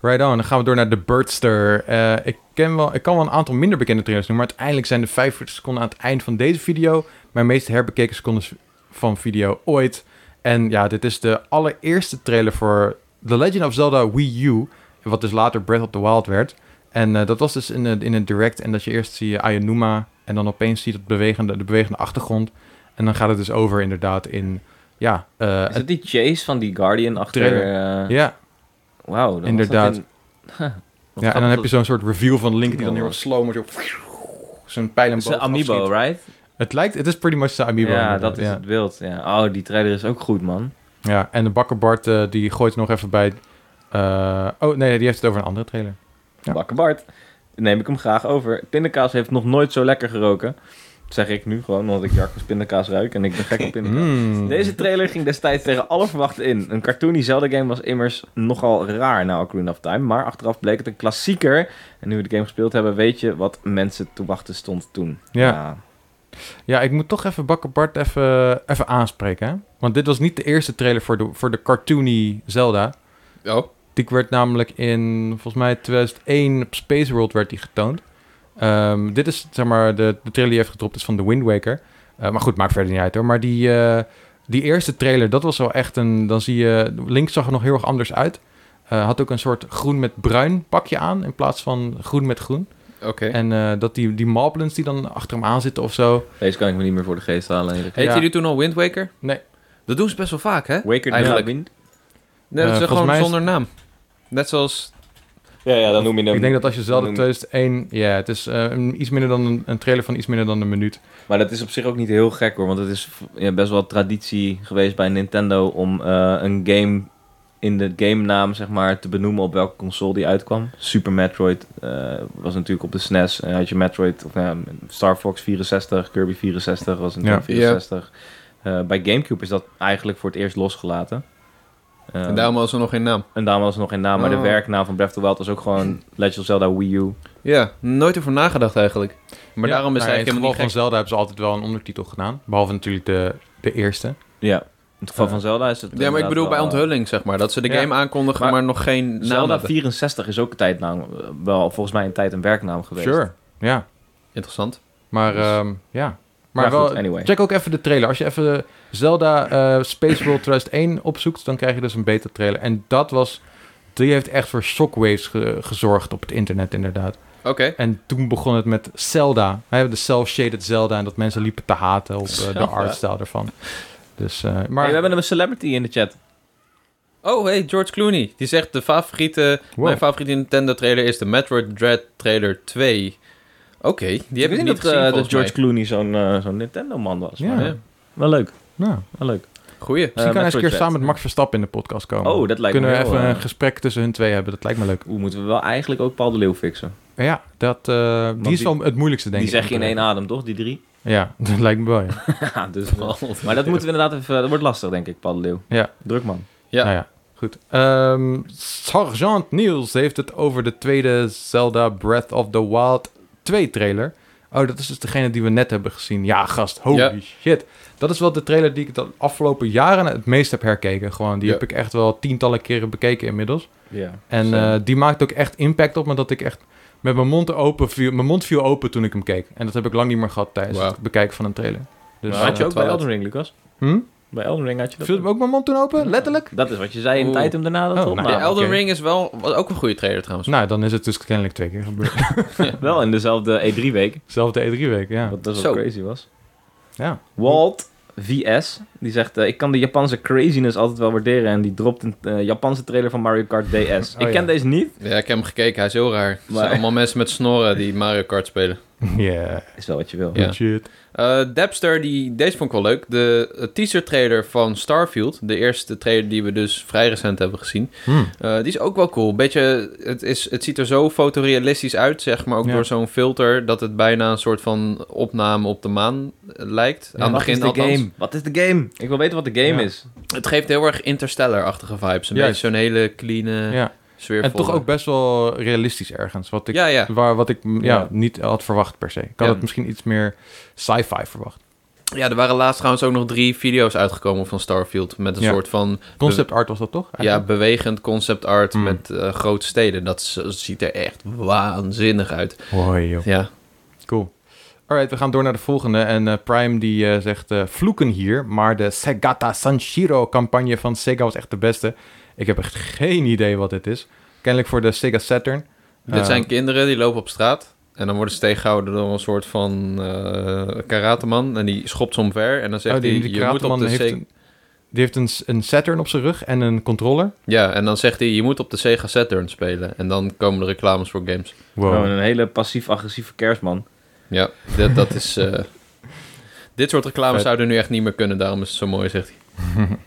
A: Right on. Dan gaan we door naar de Birdster. Eh, ik, ken wel, ik kan wel een aantal minder bekende trailers noemen, maar uiteindelijk zijn de 45 seconden aan het eind van deze video mijn meest herbekeken seconden van video ooit. En ja, dit is de allereerste trailer voor The Legend of Zelda Wii U, wat dus later Breath of the Wild werd. En eh, dat was dus in een, in een direct en dat je eerst zie je Ayanuma en dan opeens ziet het bewegende, de bewegende achtergrond. En dan gaat het dus over inderdaad in, ja, eh,
B: Is dat die chase van die Guardian achter... eh,
A: ja
B: Wauw, dan was dat
A: Inderdaad.
B: in- Huh. Wat
A: Ja, en
B: grappig
A: dan heb
B: dat-
A: je zo'n soort reveal van Link die dan
B: Oh.
A: heel erg slow maar zo... Zo'n pijl en
B: Dat is een
A: boog
B: Amiibo,
A: afschiet.
B: right?
A: Het lijkt, het is pretty much de Amiibo.
B: ja,
A: inderdaad,
B: dat is
A: ja.
B: het beeld. Ja. Oh, die trailer is ook goed, man.
A: Ja, en de bakkerbart eh, die gooit er nog even bij... eh, oh, nee, die heeft het over een andere trailer. Ja.
B: Bakken Bart. Neem ik hem graag over. Pindakaas heeft nog nooit zo lekker geroken. Dat zeg ik nu gewoon, omdat ik Jacobs pindakaas ruik en ik ben gek op pindakaas.
A: Mm.
B: Hmm. Deze trailer ging destijds tegen alle verwachten in. Een cartoony Zelda-game was immers nogal raar na Ocarina of Time, maar achteraf bleek het een klassieker. En nu we de game gespeeld hebben, weet je wat mensen te wachten stond toen.
A: Ja. Ja, ik moet toch even bakkerbart even, even aanspreken, hè? Want dit was niet de eerste trailer voor de, voor de cartoony Zelda.
C: Oh,
A: Die werd namelijk in, volgens mij, 2001 op Space World werd die getoond. Ehm, dit is, zeg maar, de, de trailer die heeft gedropt is van The Wind Waker. Eh, maar goed, maakt verder niet uit hoor. Maar die, eh, die eerste trailer, dat was wel echt een... Dan zie je... Link zag er nog heel erg anders uit. Eh, had ook een soort groen met bruin pakje aan... in plaats van groen met groen.
C: oké.
A: En eh, dat die, die Moblins die dan achter hem aan zitten of zo...
B: Deze kan ik me niet meer voor de geest halen.
A: Hey,
B: eerlijk.
C: Heette
A: Ja.
C: jullie toen al Wind Waker?
A: Nee.
C: Dat doen ze best wel vaak, hè?
B: Waker
C: Eigenlijk.
B: Now.
C: Nee,
A: Eh,
C: dat is
A: volgens
C: gewoon
A: mij is-
C: zonder naam. Net zoals...
B: Ja, ja, dan noem je hem.
A: Ik denk dat als je Zelda
B: dan-
A: 2001... Ja, het is eh, een, iets minder dan een, een trailer van iets minder dan een minuut.
B: Maar dat is op zich ook niet heel gek hoor, want het is ja, best wel traditie geweest bij Nintendo om eh, een game in de game naam zeg maar te benoemen op welke console die uitkwam. Super Metroid eh, was natuurlijk op de SNES en had je Metroid of nou ja, Star Fox 64, Kirby 64 was in
A: Ja.
B: 64. Eh, bij GameCube is dat eigenlijk voor het eerst losgelaten. Eh,
C: En daarom was er nog geen naam.
B: en daarom was er nog geen naam, maar de
C: Oh.
B: werknaam van Breath of the Wild was ook gewoon Legend of Zelda Wii U.
C: Ja, nooit over nagedacht eigenlijk. Maar
A: Ja,
C: daarom is het
A: nou ja, in
C: eigenlijk helemaal
A: geval van
C: niet gek.
A: Zelda hebben ze altijd wel een ondertitel gedaan. Behalve natuurlijk de, de eerste.
B: Ja. In het geval
A: Eh.
B: van Zelda is het
C: Ja, maar ik
B: inderdaad
C: bedoel bij
B: wel- eh,
C: onthulling, zeg maar. Dat ze de
A: Ja.
C: game aankondigen, maar,
B: Maar
C: nog geen naam
B: Zelda
C: hebben.
B: 64 is ook een tijdnaam, eh, wel volgens mij een tijd een werknaam geweest.
A: Sure, ja.
C: Interessant.
A: Maar
B: Dus-
A: ehm, ja. Maar,
B: Maar
A: wel,
C: eh,
B: goed, anyway.
A: check ook even de trailer. Als je even Zelda eh, Space World 2001 opzoekt, dan krijg je dus een beta trailer. En dat was, die heeft echt voor shockwaves ge- gezorgd op het internet inderdaad.
C: Oké.
A: En toen begon het met Zelda. We hebben de cel-shaded Zelda en dat mensen liepen te haten op eh, de
C: Zelda.
A: artstyle ervan. Dus, eh,
B: Maar
A: maar
B: we hebben een celebrity in de chat.
C: Oh, hey, George Clooney. Die zegt, de favoriete,
A: Wow.
C: mijn favoriete Nintendo-trailer is de Metroid Dread trailer 2. Oké, die heb ik
B: wist
C: niet
B: dat,
C: gezien,
B: eh, dat
C: volgens
B: George
C: mij.
B: Clooney zo'n eh, zo'n Nintendo-man was.
A: Ja.
B: Maar,
A: Clooney-
C: Ja.
B: Wel leuk,
A: nou,
B: wel leuk.
C: Goeie.
A: misschien kan hij
B: Eh,
A: eens een
B: Metroid
A: keer
B: Dread.
A: samen met Max Verstappen in de podcast komen.
B: Oh, dat lijkt
A: Kunnen we
B: me heel,
A: even
B: eh,
A: een gesprek tussen hun twee hebben? Dat lijkt me leuk.
B: Hoe moeten we wel eigenlijk ook Paul de Leeuw fixen?
A: Maar Ja, dat, eh, die
B: die-
A: is wel het moeilijkste, denk
B: die
A: ik.
B: zeg je in één adem, toch? Die drie?
A: Ja, dat lijkt me wel, ja.
B: Ja, dus wel. Maar dat moeten we inderdaad even... Dat wordt lastig, denk ik, Paul de Leeuw.
A: Ja.
B: Druk, man.
C: Ja.
A: Nou ja. Goed. Ehm, Sergeant Niels heeft het over de tweede Zelda Breath of the Wild 2 trailer. Oh, dat is dus degene die we net hebben gezien. Ja, gast, holy
C: Ja.
A: shit. Dat is wel de trailer die ik de afgelopen jaren het meest heb herkeken. Gewoon, die
C: Ja.
A: heb ik echt wel tientallen keren bekeken inmiddels.
B: Ja.
A: En
B: Zo.
A: eh, die maakt ook echt impact op me dat ik echt met mijn mond open viel. Mijn mond viel open toen ik hem keek. En dat heb ik lang niet meer gehad tijdens
C: Wauw.
A: het bekijken van een trailer. Dus,
D: Maar had je
A: eh,
D: ook bij
C: toilet.
D: Elden Ring, Lucas?
A: hm?
D: Bij Elden Ring had je dat
A: Viel ook mijn mond toen open? Letterlijk?
B: dat is wat je zei in
C: Oeh.
B: het item daarna dat
A: Oh,
B: we
A: nou,
C: De
B: opnamen.
C: Elden
A: oké.
C: Ring is wel was ook een goede trailer trouwens.
A: Nou, dan is het dus kennelijk twee keer gebeurd.
B: Wel in dezelfde E E3-week,
A: Zelfde E3-week, ja.
B: wat best
C: Zo.
B: wel crazy was.
A: ja.
B: Walt VS, die zegt... eh, ik kan de Japanse craziness altijd wel waarderen... en die dropt een eh, Japanse trailer van Mario Kart DS. ik
A: Oh, ja.
B: ken deze niet.
C: Ja, ik heb hem gekeken. Hij is heel raar. Het zijn
B: Maar-
C: allemaal mensen met snorren die Mario Kart spelen.
A: Yeah,
B: Is wel wat je wil.
C: Ja.
A: shit.
C: Eh Depster, die, deze vond ik wel leuk. De eh, teaser trailer van Starfield. De eerste trailer die we dus vrij recent hebben gezien.
A: Hm.
C: eh, die is ook wel cool. Beetje, het, is, het ziet er zo fotorealistisch uit, zeg maar. Ook
A: Ja.
C: door zo'n filter. Dat het bijna een soort van opname op de maan eh, lijkt.
A: Ja,
C: Aan
B: Wat
C: het begin
B: is de
C: althans.
B: game? Wat is de game? Ik wil weten wat de game
A: Ja.
B: is.
C: Het geeft heel erg Interstellar-achtige vibes. Een
A: Juist.
C: beetje zo'n hele clean, eh, ja.
A: Ja. En toch ook best wel realistisch ergens. Wat ik,
C: Ja, ja.
A: Waar, wat ik mm, ja,
B: Ja.
A: niet had verwacht per se. Ik had
C: Ja.
A: het misschien iets meer sci-fi verwacht.
C: Ja, er waren laatst trouwens ook nog drie video's uitgekomen van Starfield. Met een
A: Ja. Ah,
C: soort van
A: Concept art was dat toch?
C: Ja, bewegend concept art
A: Hmm.
C: met eh, grote steden. Dat z- ziet er echt waanzinnig uit.
A: Hoi, joh.
C: Ja.
A: Cool. Alright, we gaan door naar de volgende. En eh, Prime die eh, zegt, eh, vloeken hier, maar de Segata Sanshiro campagne van Sega was echt de beste. Ik heb echt geen idee wat dit is. Kennelijk voor de Sega Saturn. Eh,
C: Dit zijn kinderen die lopen op straat. En dan worden ze tegengehouden door een soort van eh karateman. En die schopt ze omver. En dan zegt
A: oh, die,
C: hij,
A: die
C: je moet op
A: kratenman
C: de
A: heeft,
C: Sega...
A: een, die heeft een, een Saturn op zijn rug en een controller.
C: Ja, en dan zegt hij, je moet op de Sega Saturn spelen. En dan komen de reclames voor games.
A: Wow.
B: Nou, een hele passief-agressieve kerstman.
C: Ja, dat, dat is... eh, dit soort reclames
A: Vet.
C: zouden nu echt niet meer kunnen. Daarom is het zo mooi, zegt hij.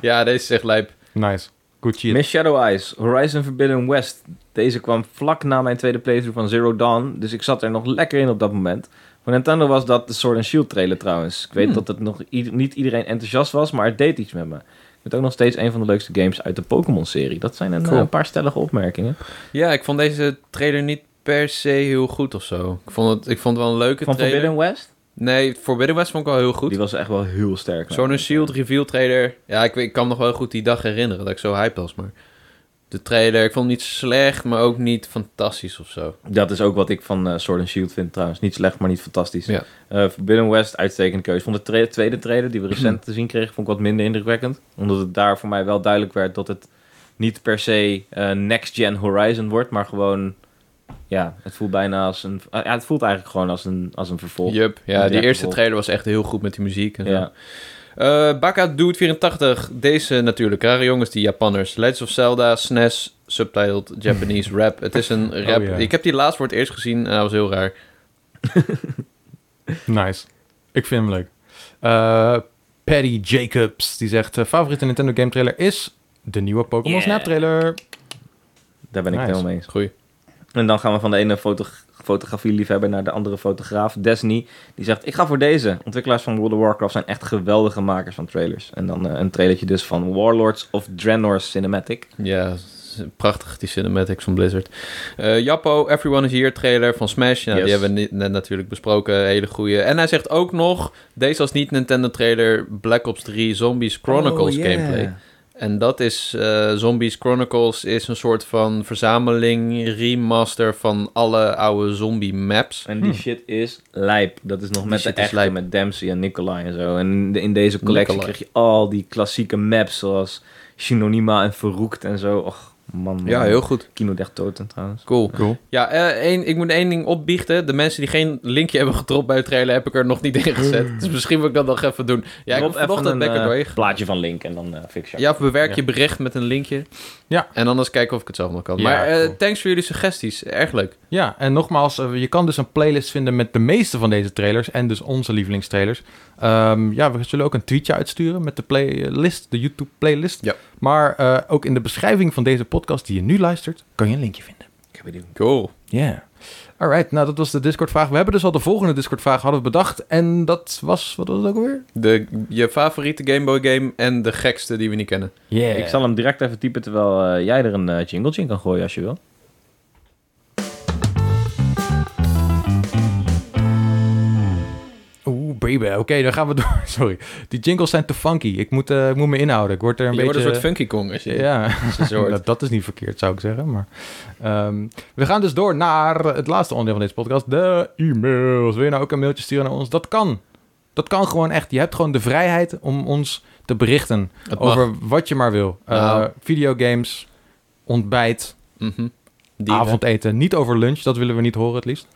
C: ja, deze zegt lijp.
A: Nice. Good shit.
B: Miss Shadow Eyes, Horizon Forbidden West. Deze kwam vlak na mijn tweede playthrough van Zero Dawn, dus ik zat er nog lekker in op dat moment. Voor Nintendo was dat de Sword and Shield trailer trouwens. Ik weet dat het nog i- niet iedereen enthousiast was, maar het deed iets met me. Ik vind het ook nog steeds een van de leukste games uit de Pokémon-serie. Dat zijn een,
A: Cool.
B: eh, een paar stellige opmerkingen.
C: Ja, ik vond deze trailer niet per se heel goed of zo. Ik vond het, ik vond het wel een leuke
B: Van
C: trailer.
B: Forbidden West?
C: Nee, Forbidden West vond ik wel heel
B: Die
C: goed.
B: was echt wel heel sterk.
C: Zo'n Shield reveal trailer. Ja, ik, weet- ik kan me nog wel goed die dag herinneren dat ik zo hyped was, maar... De trailer, ik vond hem niet slecht, maar ook niet fantastisch of zo.
B: Dat is ook wat ik van eh, Sword and Shield vind trouwens. Niet slecht, maar niet fantastisch.
C: Ja.
B: Eh, Forbidden West, uitstekende keuze. Vond de tra- tweede trailer die we recent te zien kregen, vond ik wat minder indrukwekkend. Omdat het daar voor mij wel duidelijk werd dat het niet per se eh, Next Gen Horizon wordt, maar gewoon... Ja, het voelt bijna als een... ah, ja, het voelt eigenlijk gewoon als een, als een vervolg.
C: Jup, ja,
B: Ja,
C: die eerste
B: klopt.
C: trailer was echt heel goed met die muziek en zo.
B: Ja.
C: Eh, Baka Dude 84, deze natuurlijk, rare jongens, die Japanners. Legends of Zelda, SNES, subtitled Japanese rap. Het is een rap.
A: ja.
C: Ik heb die laatst voor het eerst gezien en dat was heel raar.
A: Nice. Ik vind hem leuk. Eh, Patty Jacobs, die zegt... eh, favoriete Nintendo game trailer is de nieuwe Pokémon
B: Yeah.
A: Snap trailer.
B: Daar ben ik
A: Nice.
B: helemaal mee eens.
C: Goeie.
B: En dan gaan we van de ene foto fotografie-liefhebber naar de andere fotograaf, Desney. Die zegt, ik ga voor deze. Ontwikkelaars van World of Warcraft zijn echt geweldige makers van trailers. En dan eh, een trailertje dus van Warlords of Draenor Cinematic.
C: Ja, s- prachtig die cinematics van Blizzard. Eh, Jappo, Everyone is Here trailer van Smash. Nou,
B: Yes.
C: Die hebben we ni- net natuurlijk besproken. Hele goede. En hij zegt ook nog, deze als niet Nintendo trailer, Black Ops 3 Zombies Chronicles
B: Oh,
C: gameplay. En dat is, eh, Zombies Chronicles is een soort van verzameling, remaster van alle oude zombie maps.
B: En die
A: Hmm.
B: shit is lijp. Dat is nog met de
C: Hm. shit is
B: echte,
C: lijp.
B: met Dempsey en Nicolai en zo. En in de- in deze collectie
C: Nicolai.
B: krijg je al die klassieke maps zoals Synonima en Verroekt en zo. Och, man, man.
C: goed.
B: Kino Decht Toten trouwens.
C: Cool.
A: Cool.
C: Ja, eh, één, ik moet één ding opbiechten. De mensen die geen linkje hebben gedropt bij de trailer, heb ik er nog niet in gezet. Dus misschien moet ik dat nog even doen. Ja, ik
B: Rob,
C: heb
B: even
C: vanochtend
B: een,
C: ben ik er
B: eh,
C: doorheen
B: plaatje van Link en dan eh fix je.
C: Ja, of bewerk
A: Ja.
C: je bericht met een linkje.
A: Ja.
C: En anders kijken of ik het zelf nog kan.
A: Ja,
C: maar eh,
A: cool.
C: thanks voor jullie suggesties. Erg leuk.
A: Ja, en nogmaals, eh, je kan dus een playlist vinden met de meeste van deze trailers. En dus onze lievelingstrailers. Ehm, ja, we zullen ook een tweetje uitsturen met de playlist, de YouTube playlist.
C: Ja.
A: Maar eh, ook in de beschrijving van deze podcast die je nu luistert, kan je een linkje vinden.
C: Ik heb idee. Cool.
A: Ja. Alright, nou dat was de Discord-vraag. We hebben dus al de volgende Discord-vraag hadden we bedacht. En dat was, wat was het ook alweer?
C: De, je favoriete Game Boy game en de gekste die we niet kennen.
A: Yeah.
B: Ik zal hem direct even typen terwijl eh, jij er een eh, jingletje in kan gooien als je wil.
A: Oeh, baby. Oké, dan gaan we door. Sorry. Die jingles zijn te funky. Ik moet, eh, ik moet me inhouden. Ik word er een
C: je
A: beetje...
C: wordt een soort Funky Kong als je...
A: Ja,
C: als je zo hoort.
A: dat, dat is niet verkeerd, zou ik zeggen. Maar, ehm, we gaan dus door naar het laatste onderdeel van deze podcast, de e-mails. Wil je nou ook een mailtje sturen naar ons? Dat kan. Dat kan gewoon echt. Je hebt gewoon de vrijheid om ons te berichten
C: Het mag.
A: over wat je maar wil. Eh,
C: Nou.
A: videogames, ontbijt,
C: Mhm. Die-
A: avondeten. Niet over lunch, dat willen we niet horen het liefst.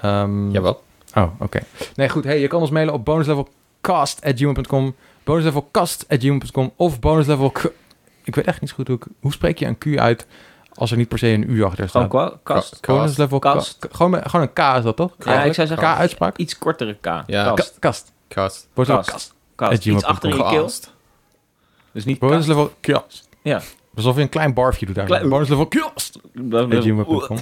A: Ehm,
C: Jawel.
A: Oh, oké. Nee, goed. Hey, je kan ons mailen op bonuslevelcast.gmail.com, bonuslevelcast.gmail.com of bonuslevel... Ik weet echt niet zo goed hoe, ik- hoe spreek je een Q uit als er niet per se een U achter
B: Gewoon
A: staat.
B: qua kast.
A: Bonuslevel
B: Kast.
A: ka- Gewoon, met- gewoon een K is dat toch?
B: Ja, ik zou zeggen-
A: K-uitspraak?
B: Iets kortere K.
C: Ja.
B: Kast.
A: Kast. Kast.
C: Kast.
A: Bonuslevel
B: Kast.
A: kast.
B: Kast.
A: At
B: Iets
A: gmail.com.
B: achter in je keel.
C: Kast.
B: Dus niet kast.
A: Bonuslevel kast.
B: Ja.
A: Alsof je een klein barfje doet eigenlijk.
B: Klein-
A: Bonuslevel kast. At gmail.com.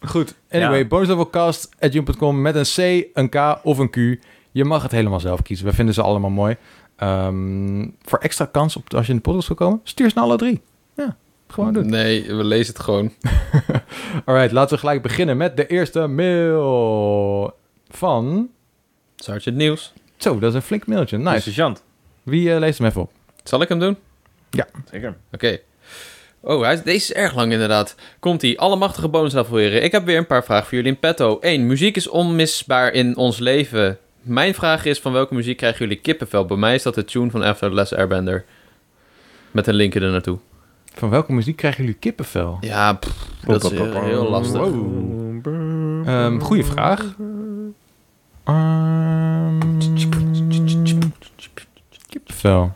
A: Goed. Anyway,
B: eh, Ja.
A: bonuslevelcast.gmail.com met een C, een K of een Q. Je mag het helemaal zelf kiezen. We vinden ze allemaal mooi. Ehm, voor extra kans op, als je in de podcast wil komen, stuur ze naar alle drie. Ja, gewoon doen.
C: Nee, we lezen het gewoon.
A: Alright, laten we gelijk beginnen met de eerste mail van...
C: Sergeant Nieuws.
A: Zo, dat is een flink mailtje. Nice.
B: Sergeant.
A: Wie eh, leest hem even op?
C: Zal ik hem doen?
B: Zeker.
C: Oké. Oh, hij is- deze is erg lang inderdaad. Komt-ie. Allemachtige bonusaflevering. Ik heb weer een paar vragen voor jullie in petto. 1. Muziek is onmisbaar in ons leven. Mijn vraag is, van welke muziek krijgen jullie kippenvel? Bij mij is dat de tune van After the Last Airbender. Met een linkje er naartoe.
A: Van welke muziek krijgen jullie kippenvel?
C: Ja, pff, dat is heel, heel lastig. Mm,
A: Wow. Ehm, goeie vraag. Ehm, kippenvel.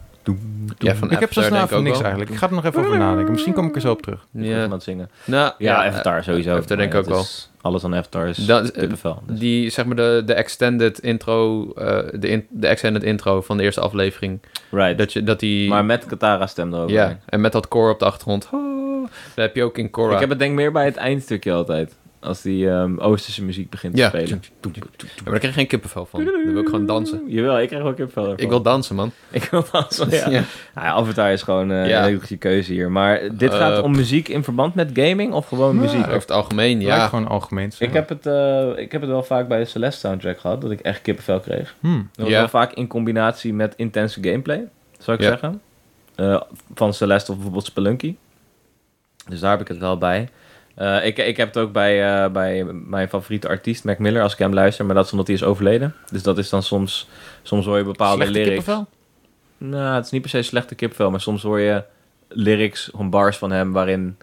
C: Ja, van
A: ik heb zo snel
C: Avatar denk ik
A: even
C: ook
A: niks
C: wel.
A: eigenlijk. Ik ga er nog even over nadenken. Misschien kom ik er zo op terug.
B: Ja.
C: Ja,
B: Iemand zingen.
C: nou,
B: Ja,
C: ja,
B: Avatar sowieso.
C: Avatar denk ik
B: Maar
C: ook
B: ja, het is- Alles aan Avatar is
C: Dat is-
B: kippenvel. Dus.
C: Die, zeg maar, de, de extended intro, eh, de, in- de extended intro van de eerste aflevering.
B: Right.
C: Dat, je, dat die...
B: Maar met Katara stem erover.
C: ja, en met dat koor op de achtergrond. Dat heb je ook in Korra.
B: Oh. Ik heb het denk meer bij het eindstukje altijd. Als die ehm, Oosterse muziek begint
C: Ja.
B: te spelen.
C: Ja, maar daar krijg ik geen kippenvel van. Dan wil ik gewoon dansen.
B: Jawel, ik krijg ook kippenvel ervan.
C: Ik wil dansen, man.
B: ik wil dansen, ja.
C: Ja.
B: Nou ja, Avatar is gewoon eh,
C: Ja.
B: een hele goede keuze hier. Maar dit gaat
C: Eh, Nou,
B: om muziek in verband met gaming of gewoon
A: Ja.
B: muziek?
C: Over het algemeen,
A: Ja.
C: ja.
A: gewoon algemeen.
B: Ik heb, het, eh, ik heb het wel vaak bij de Celeste soundtrack gehad, dat ik echt kippenvel kreeg.
A: Hmm.
B: Dat was
C: Ja.
B: wel vaak in combinatie met intense gameplay, zou ik
C: Ja.
B: zeggen. Eh, van Celeste of bijvoorbeeld Spelunky. Dus daar heb ik het wel bij. Eh, ik, ik heb het ook bij, eh, bij mijn favoriete artiest, Mac Miller, als ik hem luister. Maar dat is omdat hij is overleden. Dus dat is dan soms... Soms hoor je bepaalde
A: Slechte
B: lyrics.
A: kippenvel?
B: Nou, het is niet per se slechte kipvel, maar soms hoor je lyrics, gewoon bars van hem, waarin,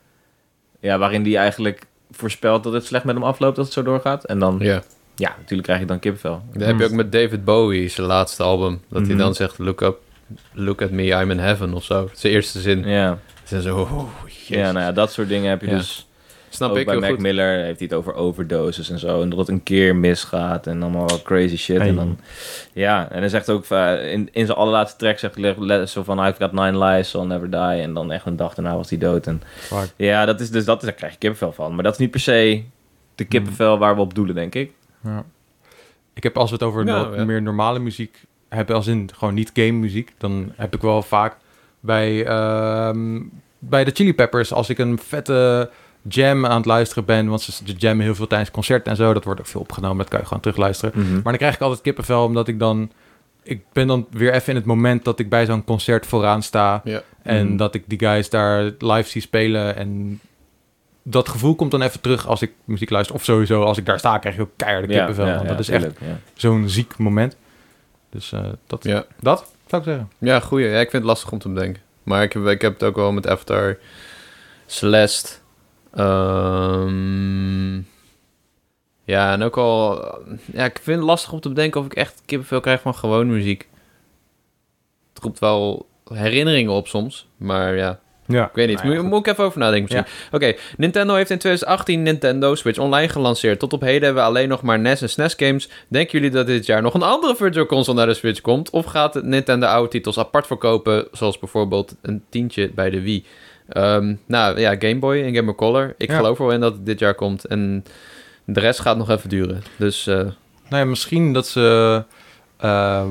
B: ja, waarin die eigenlijk voorspelt dat het slecht met hem afloopt als het zo doorgaat. En dan, ja,
C: Ja.
B: natuurlijk krijg je dan kipvel.
C: Dat heb je ook
B: Hmm.
C: met David Bowie, zijn laatste album. Dat hij
B: Mhm.
C: dan zegt, look up, look at me, I'm in heaven of zo. Zijn eerste zin.
B: Ja.
C: Zijn zo, oh, jezus.
B: ja, nou ja, dat soort dingen heb je
C: Ja.
B: dus.
C: Snap
B: ook
C: ik
B: bij
C: heel
B: Mac
C: goed.
B: Miller heeft hij het over overdoses en zo. En dat het een keer misgaat en allemaal wel crazy shit.
A: Hey.
B: En dan, ja, en hij zegt ook eh, in, in zijn allerlaatste track zegt hij le- zo van I've got nine lives, I'll never die. En dan echt een dag daarna was hij dood. En
A: Fuck.
B: Ja, dat is dus dat, daar krijg je kippenvel van. Maar dat is niet per se de kippenvel waar we op doelen, denk ik.
A: Ja. Ik heb als we het over
C: Nou,
A: no-
C: ja.
A: meer normale muziek hebben, als in gewoon niet game muziek, dan heb ik wel vaak bij, ehm, bij de Chili Peppers, als ik een vette jam aan het luisteren ben, want ze jammen heel veel tijdens concerten en zo, dat wordt ook veel opgenomen, dat kan je gewoon terugluisteren. Maar dan krijg ik altijd kippenvel, omdat ik dan... Ik ben dan weer even in het moment dat ik bij zo'n concert vooraan sta.
C: Ja.
A: En
B: Mm.
A: dat ik die guys daar live zie spelen. En dat gevoel komt dan even terug als ik muziek luister. Of sowieso, als ik daar sta, krijg je ook keiharde kippenvel. want dat is echt
B: echt... Ja.
A: zo'n ziek moment. Dus eh, dat,
C: Ja.
A: dat zou ik zeggen.
C: ja, goeie. Ja, ik vind het lastig om te bedenken. Maar ik heb, ik heb het ook wel met Avatar, Celeste. ehm, ja, en ook al... Ja, ik vind het lastig om te bedenken of ik echt kippenvel krijg van gewoon muziek. Het roept wel herinneringen op soms, maar ja...
A: Nou Ja.
C: Ik weet niet. Moet- Moet ik even over nadenken misschien. Oké, Nintendo heeft in 2018 Nintendo Switch Online gelanceerd. Tot op heden hebben we alleen nog maar NES en SNES games. Denken jullie dat dit jaar nog een andere Virtual Console naar de Switch komt? Of gaat het Nintendo oude titels apart verkopen, zoals bijvoorbeeld een tientje bij de Wii? Ehm, nou ja, Game Boy en Game Boy Color. Ik
A: Ja.
C: geloof er wel in dat het dit jaar komt. En de rest gaat nog even duren. Dus eh,
A: Nou ja, misschien dat ze eh,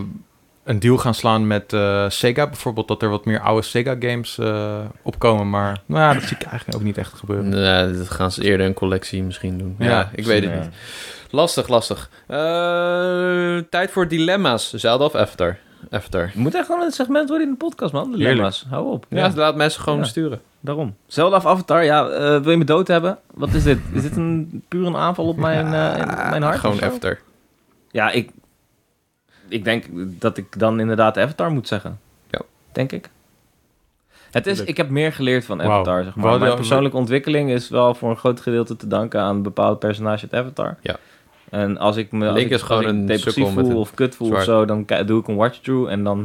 A: een deal gaan slaan met eh, Sega bijvoorbeeld. Dat er wat meer oude Sega-games eh, opkomen. Maar nou ja, dat zie ik eigenlijk ook niet echt gebeuren.
C: nou, dat gaan ze eerder een collectie misschien doen. Ja,
A: Ja,
C: ik weet het
B: Ja.
C: niet. Lastig, lastig. Eh, tijd voor dilemma's. Zelden of Avatar? Avatar.
B: Het moet echt wel een segment worden in de podcast, man. De dilemma's. Hou op.
C: Ja, laat mensen gewoon
B: Ja.
C: sturen.
B: Daarom. Zelda of Avatar, ja, eh, wil je me dood hebben? Wat is dit? Is dit een, puur een aanval op mijn, eh, in- mijn hart?
C: Gewoon
B: of zo?
C: Avatar.
B: Ja, ik, ik denk dat ik dan inderdaad Avatar moet zeggen.
C: Ja.
B: Denk ik. Het is, ik heb meer geleerd van
A: Wauw.
B: Avatar, zeg
A: We
B: maar.
A: hadden
B: Mijn
A: al-
B: persoonlijke ontwikkeling is wel voor een groot gedeelte te danken aan een bepaald personage uit Avatar.
C: Ja.
B: En als ik me als
C: Link
B: ik,
C: is gewoon
B: als ik
C: een
B: depressief
C: sukkel met
B: voel
C: een
B: of kut voel of
C: zwaard.
B: zo, dan ki- doe ik een watch-through en dan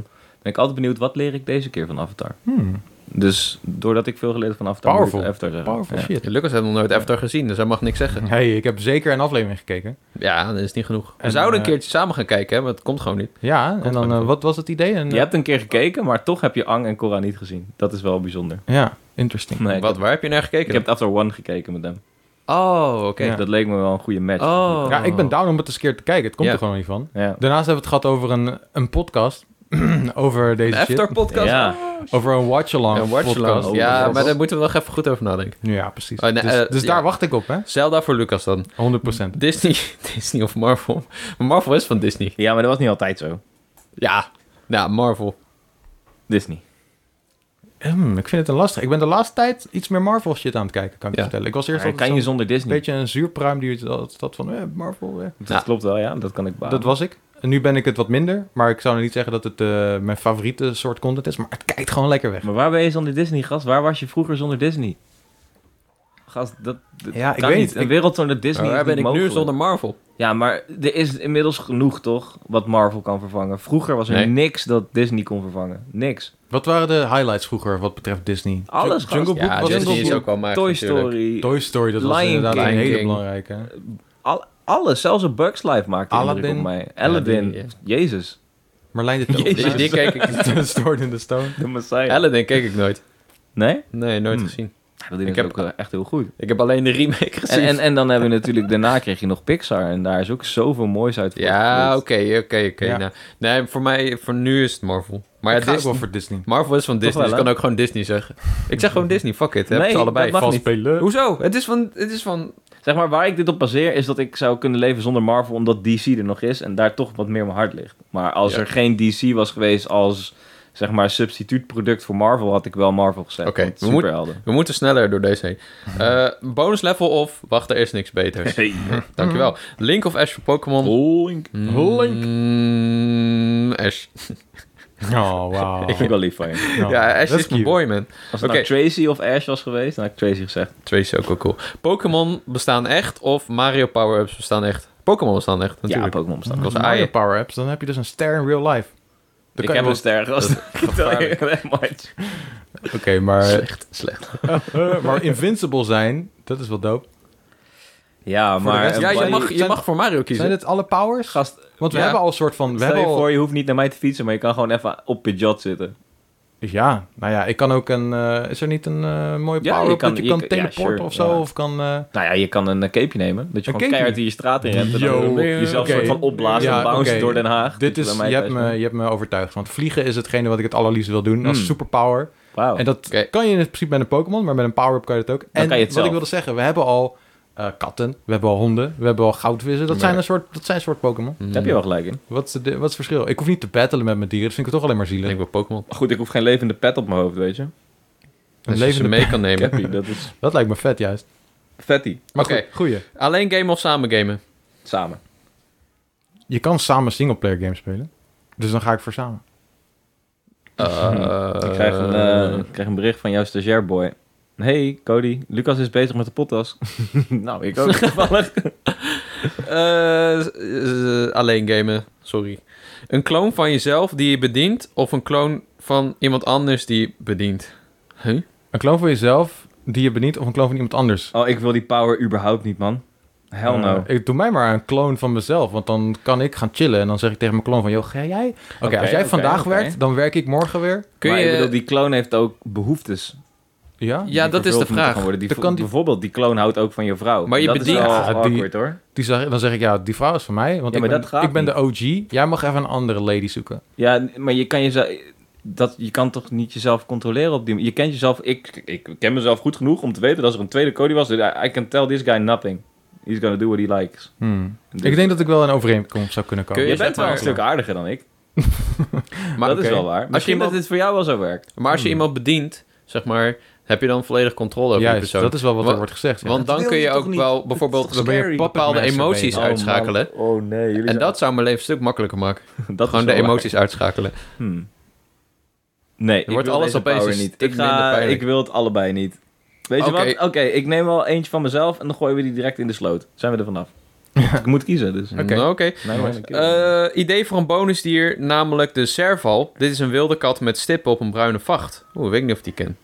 B: ben ik altijd benieuwd, wat leer ik deze keer van Avatar?
A: Hmm,
B: Dus doordat ik veel geleerd heb van Avatar, moet ik
A: Powerful.
B: Avatar zeggen.
A: powerful
B: Ja.
A: shit.
C: Lucas heeft nog nooit Avatar gezien, dus hij mag niks zeggen.
A: Hey, ik heb zeker een aflevering gekeken.
C: Ja, dat is niet genoeg. We
A: En,
C: zouden een
A: eh,
C: keertje samen gaan kijken, hè, maar het komt gewoon niet.
A: Ja, en
C: maar
A: dan eh,
C: goed.
A: wat was het idee? Een,
B: Je hebt een keer gekeken, maar toch heb je Ang en Korra niet gezien. Dat is wel bijzonder.
A: eh, Ja, interesting.
B: Nee, ik
C: Wat,
B: heb-
C: waar heb je naar gekeken?
B: Ik heb After One gekeken met hem.
C: Oh, oké.
A: Ja.
B: Dat leek me wel een goede match.
C: Oh.
A: Ja, ik ben down om het eens een keer te kijken. Het komt
C: Ja.
A: er gewoon niet van.
B: Ja.
A: Daarnaast hebben we het gehad over een, een podcast. over deze
C: Een
A: shit.
C: After-podcast?
B: Ja.
A: Over een watch-along
C: Een watch
A: podcast.
B: Oh,
C: ja,
B: dat
C: maar
B: was-
C: daar moeten we nog even goed over nadenken.
A: Ja, precies.
C: Oh, nee,
A: dus
C: eh,
A: dus
C: ja.
A: daar wacht ik op, hè?
C: Zelda voor Lucas dan.
A: 100%.
C: Disney, Disney of Marvel? Maar Marvel is van Disney.
B: ja, maar dat was niet altijd zo.
C: Ja, ja Marvel.
B: Disney.
A: Hmm, ik vind het een lastig. Ik ben de laatste tijd iets meer Marvel shit aan het kijken, kan ik je
C: Ja.
A: vertellen. Ik was eerst
B: Maar
A: altijd
B: kan je
A: zo'n
B: zonder Disney?
A: beetje een zuurpruim die dat, dat van eh, Marvel. eh.
B: Dat
C: Ja.
B: klopt wel, ja. Dat kan ik baan.
A: Dat was ik. En nu ben ik het wat minder, maar ik zou niet zeggen dat het eh, mijn favoriete soort content is, maar het kijkt gewoon lekker weg.
B: Maar waar ben je zonder Disney, gast? Waar was je vroeger zonder Disney? Gast, dat, dat
A: Ja, ik
B: kan
A: weet
B: niet.
A: niet.
B: Een
A: Ik-
B: wereld zonder Disney
C: Maar
B: is
C: waar ben
B: niet
C: ik nu
B: mogelijk.
C: zonder Marvel?
B: Ja, maar er is inmiddels genoeg, toch? Wat Marvel kan vervangen. Vroeger was er
C: Nee.
B: niks dat Disney kon vervangen. Niks.
A: Wat waren de highlights vroeger wat betreft Disney?
B: Alles,
A: Ju- Jungle
B: gast.
A: Book
C: Ja,
A: was
C: Disney
A: Jungle
C: is
A: Book.
C: ook wel maar
B: Toy Story.
A: Toy Story, dat was
B: Lion
A: inderdaad een
B: King.
A: hele
C: King.
A: belangrijke. hè?
B: Al- alles. Zelfs een Bugs Life maakte indruk
A: Aladdin.
B: op mij. Aladdin.
C: die, ja.
B: Jezus.
A: Marlijn dit ook.
C: Die, die keek ik niet.
A: De Sword in the Stone.
B: De Messiah.
C: Aladdin keek ik nooit.
B: Nee?
C: Nee, nooit
B: Hmm.
C: gezien.
B: Dat ik heb
C: Ik heb-
B: ook wel echt heel goed.
C: Ik heb alleen de remake gezien.
B: En, en, en dan hebben we natuurlijk, daarna kreeg je nog Pixar. En daar is ook zoveel moois uit
C: ja,
B: voortgevloeid.
C: oké, oké, oké.
A: Ja.
C: nou. Nee, voor mij, voor nu is het Marvel. Maar ja,
A: ik ga ook
C: Disney-
A: wel voor Disney.
C: Marvel is van Disney,
B: wel,
C: dus ik
B: hè?
C: kan ook gewoon Disney zeggen. Ik zeg gewoon Disney, fuck it. Heb
B: Nee,
C: ze allebei.
B: dat mag
A: Vals
B: niet.
A: spelen.
C: Hoezo? Het is van, het is van
B: Zeg maar, waar ik dit op baseer is dat ik zou kunnen leven zonder Marvel, omdat DC er nog is en daar toch wat meer mijn hart ligt. Maar als
C: Ja.
B: er geen DC was geweest als, zeg maar, substituutproduct voor Marvel, had ik wel Marvel gezegd.
C: Oké,
B: want
C: we moeten-
B: superhelden.
C: We moeten sneller door deze heen. Eh, bonus level of wacht, er is niks beters.
B: Hey.
C: Dankjewel. Link of Ash voor Pokémon?
A: Link.
C: Mm, Ash.
A: Oh, wauw.
B: Ik vind het wel lief van je.
A: Nou,
C: ja, Ash
A: dat
C: is mijn
A: cute.
C: boy, man.
B: Als het
C: Oké.
B: nou Tracy of Ash was geweest, dan had ik Tracy gezegd.
C: Twee is ook wel cool. Pokémon bestaan echt of Mario power-ups bestaan echt? Pokémon bestaan echt, natuurlijk.
B: Ja, Pokémon bestaan.
A: Als
C: was
A: Mario
C: aaien.
A: power-ups, dan heb je dus een ster in real life. Dan
B: Ik
A: kan je dus-
B: heb
A: wel-
B: een ster gast.
C: gevaarlijk.
B: Oké,
A: Oké, maar,
C: Slecht, slecht.
A: Eh, maar invincible zijn, dat is wel dope.
B: Ja,
A: Voor de
B: maar...
A: rest-
C: Ja, je
A: Mario-
C: mag, je
A: zijn-
C: mag voor Mario kiezen.
A: Zijn dit alle powers?
B: Gast,
A: Want we
C: Ja.
A: hebben al een soort van... We
B: stel
A: hebben
B: je
A: al-
B: voor, je hoeft niet naar mij te fietsen, maar je kan gewoon even op Pidgeot zitten.
A: Ja, nou ja, ik kan ook een... eh, is er niet een eh, mooie
B: Ja,
A: power-up
B: je kan-
A: dat je,
B: je
A: kan
B: kan- ja,
A: teleporten
B: sure,
A: of zo?
B: ja.
A: Of kan... eh,
B: Nou ja, je kan een eh, capeje nemen. Dat je
A: Een
B: gewoon keihard
A: capeje?
B: in je straat in rent. En
A: Yo.
B: dan jezelf
A: Oké.
B: soort van opblazen
A: Ja,
B: en bouncen
A: oké.
B: door Den Haag.
A: dit
B: Dat
A: is...
B: bij
A: Je
B: mij
A: hebt,
B: thuis
A: me, je hebt me overtuigd. Want vliegen is hetgene wat ik het allerliefst wil doen.
B: Hmm.
A: Als superpower.
B: komt. Wauw.
A: En dat
C: Oké.
A: kan je in principe met een Pokémon, maar met een power-up kan je dat ook. en
B: kan je het
A: wat
B: zelf.
A: ik wilde zeggen, we hebben al eh, katten, we hebben al honden, we hebben al goudvissen. Dat
C: Ja.
A: zijn een soort, dat zijn een soort Pokémon.
C: Mm.
B: Daar heb je wel gelijk in.
A: Wat is, de, wat is het verschil? Ik hoef niet te battelen met mijn dieren, dat vind ik toch alleen maar
C: Ik
A: zielig.
C: denk wel Pokémon.
B: Goed, ik hoef geen levende pet op mijn hoofd, weet je.
A: Een
C: Als je ze
A: levende
C: mee kan nemen.
B: Cappy, dat is
A: Dat lijkt me vet juist.
B: fatty.
A: Maar
C: Oké.
A: goed, goeie.
C: Alleen game of samen gamen?
B: Samen.
A: Je kan samen singleplayer games spelen, dus dan ga ik voor samen.
C: Eh,
B: ik, krijg een, eh, ik krijg een bericht van jouw stagiair boy. Hey Cody, Lucas is bezig met de podcast. nou, ik ook. Toevallig.
C: Eh, eh, eh, alleen gamen, sorry. Een kloon van jezelf die je bedient of een kloon van iemand anders die je bedient? Huh?
A: Een kloon van jezelf die je beniet of een kloon van iemand anders.
B: oh, ik wil die power überhaupt niet, man. Hell no.
A: Eh, ik doe mij maar een kloon van mezelf, want dan kan ik gaan chillen en dan zeg ik tegen mijn kloon van, joh, ga jij? Oké,
B: Oké,
A: als jij
B: oké,
A: vandaag
B: oké.
A: werkt, dan werk ik morgen weer.
C: Kun
B: maar
C: je...
B: ik bedoel, die clone heeft ook behoeftes.
A: Ja?
C: Ja,
B: die
C: dat
B: vervuld
C: is de
B: moeten
C: vraag.
B: gaan worden. Die
A: Dan
B: vo-
A: kan die-
B: Bijvoorbeeld, die kloon houdt ook van je vrouw.
C: Maar je
B: dat
C: bedient-
B: is wel
A: Ja, die-
B: awkward, hoor.
A: Die zeg, dan zeg ik, ja, die vrouw is van mij, want
B: Ja,
A: ik
B: maar
A: ben,
B: dat gaat
A: ik ben de OG. Jij mag even een andere lady zoeken.
B: Ja, n- maar je kan jezelf... Dat, je kan toch niet jezelf controleren op die manier? Je kent jezelf... Ik, ik ken mezelf goed genoeg om te weten dat als er een tweede Cody was... I, I can tell this guy nothing. He's gonna do what he likes.
C: Hm.
B: Dus-
A: Ik denk dat ik wel een overeenkomst zou kunnen komen.
C: Kun
B: Je
C: zeg
B: bent wel
C: maar-
B: een stuk aardiger dan ik.
C: Maar
B: dat is
C: oké.
B: wel waar.
C: Als je
B: Misschien
C: iemand,
B: dat dit voor jou wel zo werkt.
C: maar
A: Hmm.
C: als je iemand bedient, zeg maar, heb je dan volledig controle over die
A: Juist,
C: persoon.
A: dat is wel wat
C: Wa-
A: er wordt gezegd. ja.
C: Want
B: dat
C: dan
B: wil
C: kun
B: je
C: je
B: toch
C: ook
B: niet?
C: wel bijvoorbeeld
A: Dan ben je
C: be-
A: puppet
C: bepaalde
A: master
C: emoties
A: bezig.
C: uitschakelen.
B: Oh nee.
C: En dat zou mijn leven een stuk makkelijker maken.
B: dat
C: Gewoon de emoties uitschakelen.
B: Hmm. Nee, ik
C: wordt
B: wil
C: alles
B: deze
C: opeens dus
B: power
C: een
B: niet.
C: stuk
B: Ik,
C: minder
B: ga,
C: pijnlijk.
B: ik wil het allebei niet. Weet
C: Oké.
B: je wat? Oké, ik neem wel eentje van mezelf en dan gooien we die direct in de sloot. Zijn we er vanaf. ik moet kiezen, dus.
C: Nou, Oké.
A: Oké.
B: Nee, maar-
C: Eh, idee voor een bonusdier, namelijk de serval. Dit is een wilde kat met stippen op een bruine vacht. Oeh, weet ik niet of die ken.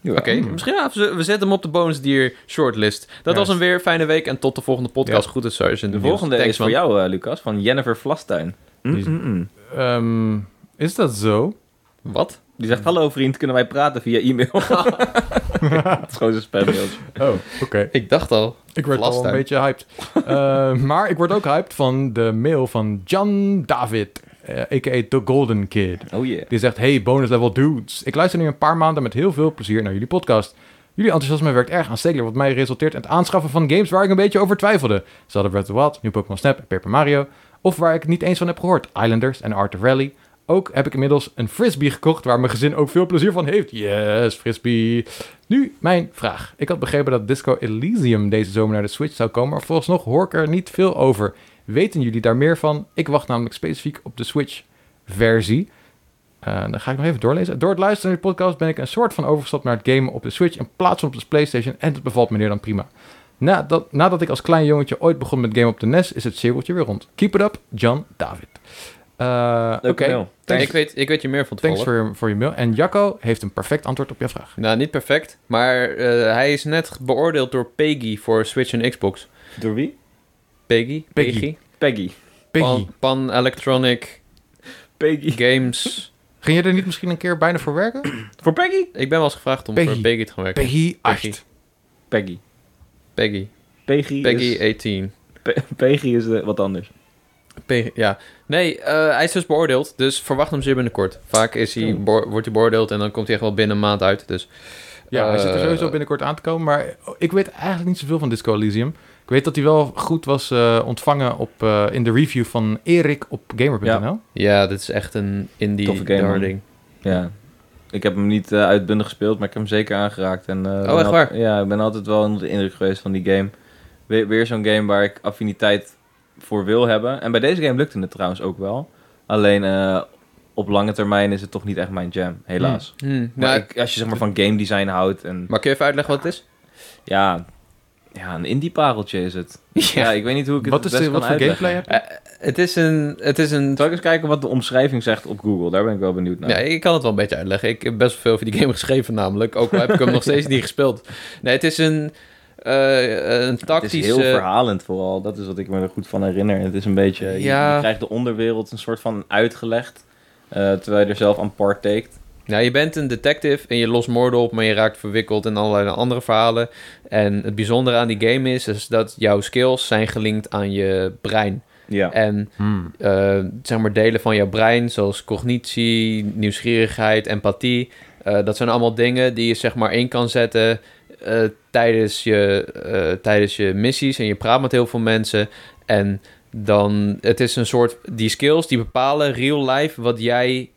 B: Ja.
C: Oké, misschien ja, Hmm. we we zetten hem op de bonusdier shortlist. Dat was
A: Juist.
C: een weer fijne week en tot de volgende podcast.
A: Ja.
C: Goed is zo is in de
B: De
C: nieuws.
B: volgende
C: Thanks,
B: is voor
C: man.
B: jou, eh, Lucas, van Jennifer Vlastuin. Mm,
A: Die-
B: mm, mm.
A: Ehm, is dat zo?
C: Wat?
B: Die zegt, hallo vriend, kunnen wij praten via e-mail? Het is gewoon zijn spammails.
A: Oh, oké.
C: Ik dacht al.
A: Ik werd al
C: Last
A: een
C: time.
A: beetje hyped. Eh, maar ik word ook hyped van de mail van Jan David, eh, a.k.a. The Golden Kid.
B: Oh yeah.
A: Die zegt, hey bonus level dudes. Ik luister nu een paar maanden met heel veel plezier naar jullie podcast. Jullie enthousiasme werkt erg aanstekelijk, wat mij resulteert in het aanschaffen van games waar ik een beetje over twijfelde. Ze hadden Breath of the Wild, New Pokémon Snap, Paper Mario. Of waar ik het niet eens van heb gehoord, Islanders en Art of Rally. Ook heb ik inmiddels een frisbee gekocht waar mijn gezin ook veel plezier van heeft. Yes, frisbee. Nu mijn vraag. Ik had begrepen dat Disco Elysium deze zomer naar de Switch zou komen, maar vooralsnog hoor ik er niet veel over. Weten jullie daar meer van? Ik wacht namelijk specifiek op de Switch-versie. Eh, dan ga ik nog even doorlezen. Door het luisteren naar de podcast ben ik een soort van overgestapt naar het gamen op de Switch in plaats van op de PlayStation. En dat bevalt me meer dan prima. Nadat, nadat ik als klein jongetje ooit begon met game op de NES, is het cirkeltje weer rond. Keep it up, John David. Eh, Oké,
B: Leuk mail.
A: thanks,
C: Ik weet, ik weet je meer van
A: thanks
C: tevoren.
A: voor, je- voor je mail. En Jacco heeft een perfect antwoord op je vraag.
C: Nou, niet perfect. Maar eh, hij is net beoordeeld door Peggy voor Switch en Xbox.
B: Door wie?
C: Peggy?
A: Peggy.
B: Peggy.
A: Piggy,
C: Pan, Pan Electronic
B: Peggy.
C: Games.
A: ging je er niet misschien een keer bijna voor werken?
B: Voor Peggy?
C: Ik ben wel eens gevraagd om
A: Peggy.
C: voor Peggy te gaan werken.
A: Piggy 8.
B: Peggy.
C: Peggy.
B: Peggy,
C: Peggy eh-
B: is...
C: 18.
B: Pe- Peggy is eh, wat anders.
C: Peggy, ja. Nee, eh, hij is dus beoordeeld, dus verwacht hem zeer binnenkort. Vaak is hij,
B: Oeh.
C: beo- wordt hij beoordeeld en dan komt hij echt wel binnen een maand uit. Dus
A: Ja, hij zit er
C: Eh,
A: sowieso binnenkort aan te komen. Maar ik weet eigenlijk niet zoveel van Disco Elysium. Ik weet dat hij wel goed was eh, ontvangen op, eh, in de review van Erik op gamer.nl.
C: ja, dit is echt een indie
B: Toffe game, man.
C: darling.
B: Ja. Ik heb hem niet eh, uitbundig gespeeld, maar ik heb hem zeker aangeraakt. En,
A: Oh,
B: eh, ben
C: echt
B: al-
C: waar?
B: Ja, ik ben altijd wel onder de indruk geweest van die game. Weer, weer zo'n game waar ik affiniteit voor wil hebben. En bij deze game lukte het trouwens ook wel. Alleen eh, op lange termijn is het toch niet echt mijn jam, helaas.
A: Hmm.
B: Maar
C: Hmm, maar,
B: ik- als je zeg maar van game design houdt en
C: maar kun je even uitleggen wat het is?
B: ja, ja, een indie pareltje is het. Ja, ik weet niet hoe ik het
A: Wat,
B: het
A: is
B: best
A: de, wat
B: kan
A: voor
B: uitleggen.
A: gameplay heb je?
C: Het is een... Het is een
B: Zal ik eens kijken wat de omschrijving zegt op Google? Daar ben ik wel benieuwd naar.
C: Nee, ik kan het wel een beetje uitleggen. Ik heb best wel veel over die game geschreven namelijk. Ook al heb ik hem nog steeds niet gespeeld. Nee, het is een... eh een
B: Het is
C: tactische...
B: heel verhalend vooral. Dat is wat ik me er goed van herinner. Het is een beetje... je-
C: Ja.
B: Je krijgt de onderwereld een soort van uitgelegd. eh, terwijl je er zelf aan partaked.
C: Nou, je bent een detective en je lost moorden op, maar je raakt verwikkeld in allerlei andere verhalen. En het bijzondere aan die game is, is dat jouw skills zijn gelinkt aan je brein.
B: Ja.
C: En
A: Hmm.
C: eh, zeg maar delen van jouw brein, zoals cognitie, nieuwsgierigheid, empathie. eh, dat zijn allemaal dingen die je zeg maar in kan zetten eh, tijdens, je, eh, tijdens je missies. En je praat met heel veel mensen. En dan, het is een soort, die skills die bepalen real life wat jij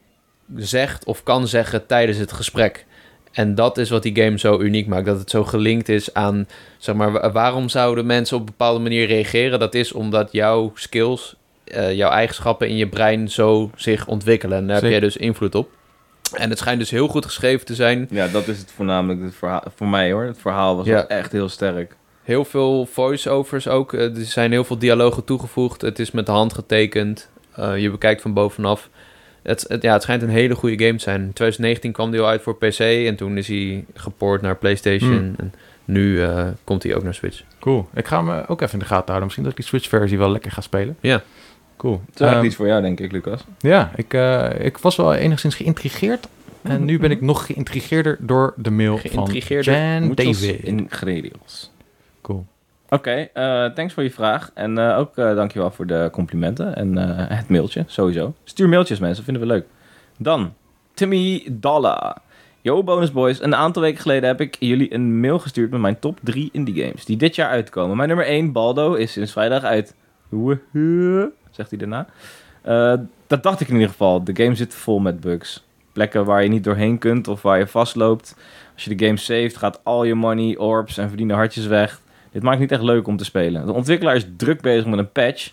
C: zegt of kan zeggen tijdens het gesprek. En dat is wat die game zo uniek maakt. Dat het zo gelinkt is aan, zeg maar, wa- waarom zouden mensen op een bepaalde manier reageren? Dat is omdat jouw skills, eh, jouw eigenschappen in je brein zo zich ontwikkelen. En daar heb
A: Zeker.
C: jij dus invloed op. En het schijnt dus heel goed geschreven te zijn.
B: ja, dat is het voornamelijk. Het verhaal, voor mij hoor. Het verhaal was
C: Ja.
B: wel echt heel sterk.
C: Heel veel voice-overs ook. Eh, er zijn heel veel dialogen toegevoegd. Het is met de hand getekend. Eh, je bekijkt van bovenaf. Het, het- ja, het schijnt een hele goede game te zijn. In 2019 kwam die al uit voor PC. En toen is hij gepoord naar PlayStation.
A: Hmm.
C: En nu eh, komt hij ook naar Switch.
A: Cool. Ik ga hem eh, ook even in de gaten houden. Misschien dat ik die Switch-versie wel lekker ga spelen.
C: Ja.
A: Cool.
B: Het is eigenlijk
A: Ehm,
B: iets voor jou, denk ik, Lucas.
A: ja, ik, eh, ik was wel enigszins geïntrigeerd En nu ben ik nog geïntrigeerder door de mail van
C: Geïntrigeerder.
A: Jan
B: Muchos
A: David.
B: ingredients.
A: Cool.
B: Oké, eh, thanks voor je vraag. En eh, ook eh, dankjewel voor de complimenten en eh, het mailtje, sowieso. Stuur mailtjes, mensen, vinden we leuk. Dan, Timmy Dalla. Yo, Bonus Boys. Een aantal weken geleden heb ik jullie een mail gestuurd met mijn top 3 indie games die dit jaar uitkomen. Mijn nummer 1, Baldo, is sinds vrijdag uit. Woehoe, Zegt hij daarna. Eh, dat dacht ik in ieder geval. De game zit vol met bugs. Plekken waar je niet doorheen kunt of waar je vastloopt. Als je de game saved, gaat al je money, orbs en verdiende hartjes weg. Dit maakt niet echt leuk om te spelen. De ontwikkelaar is druk bezig met een patch.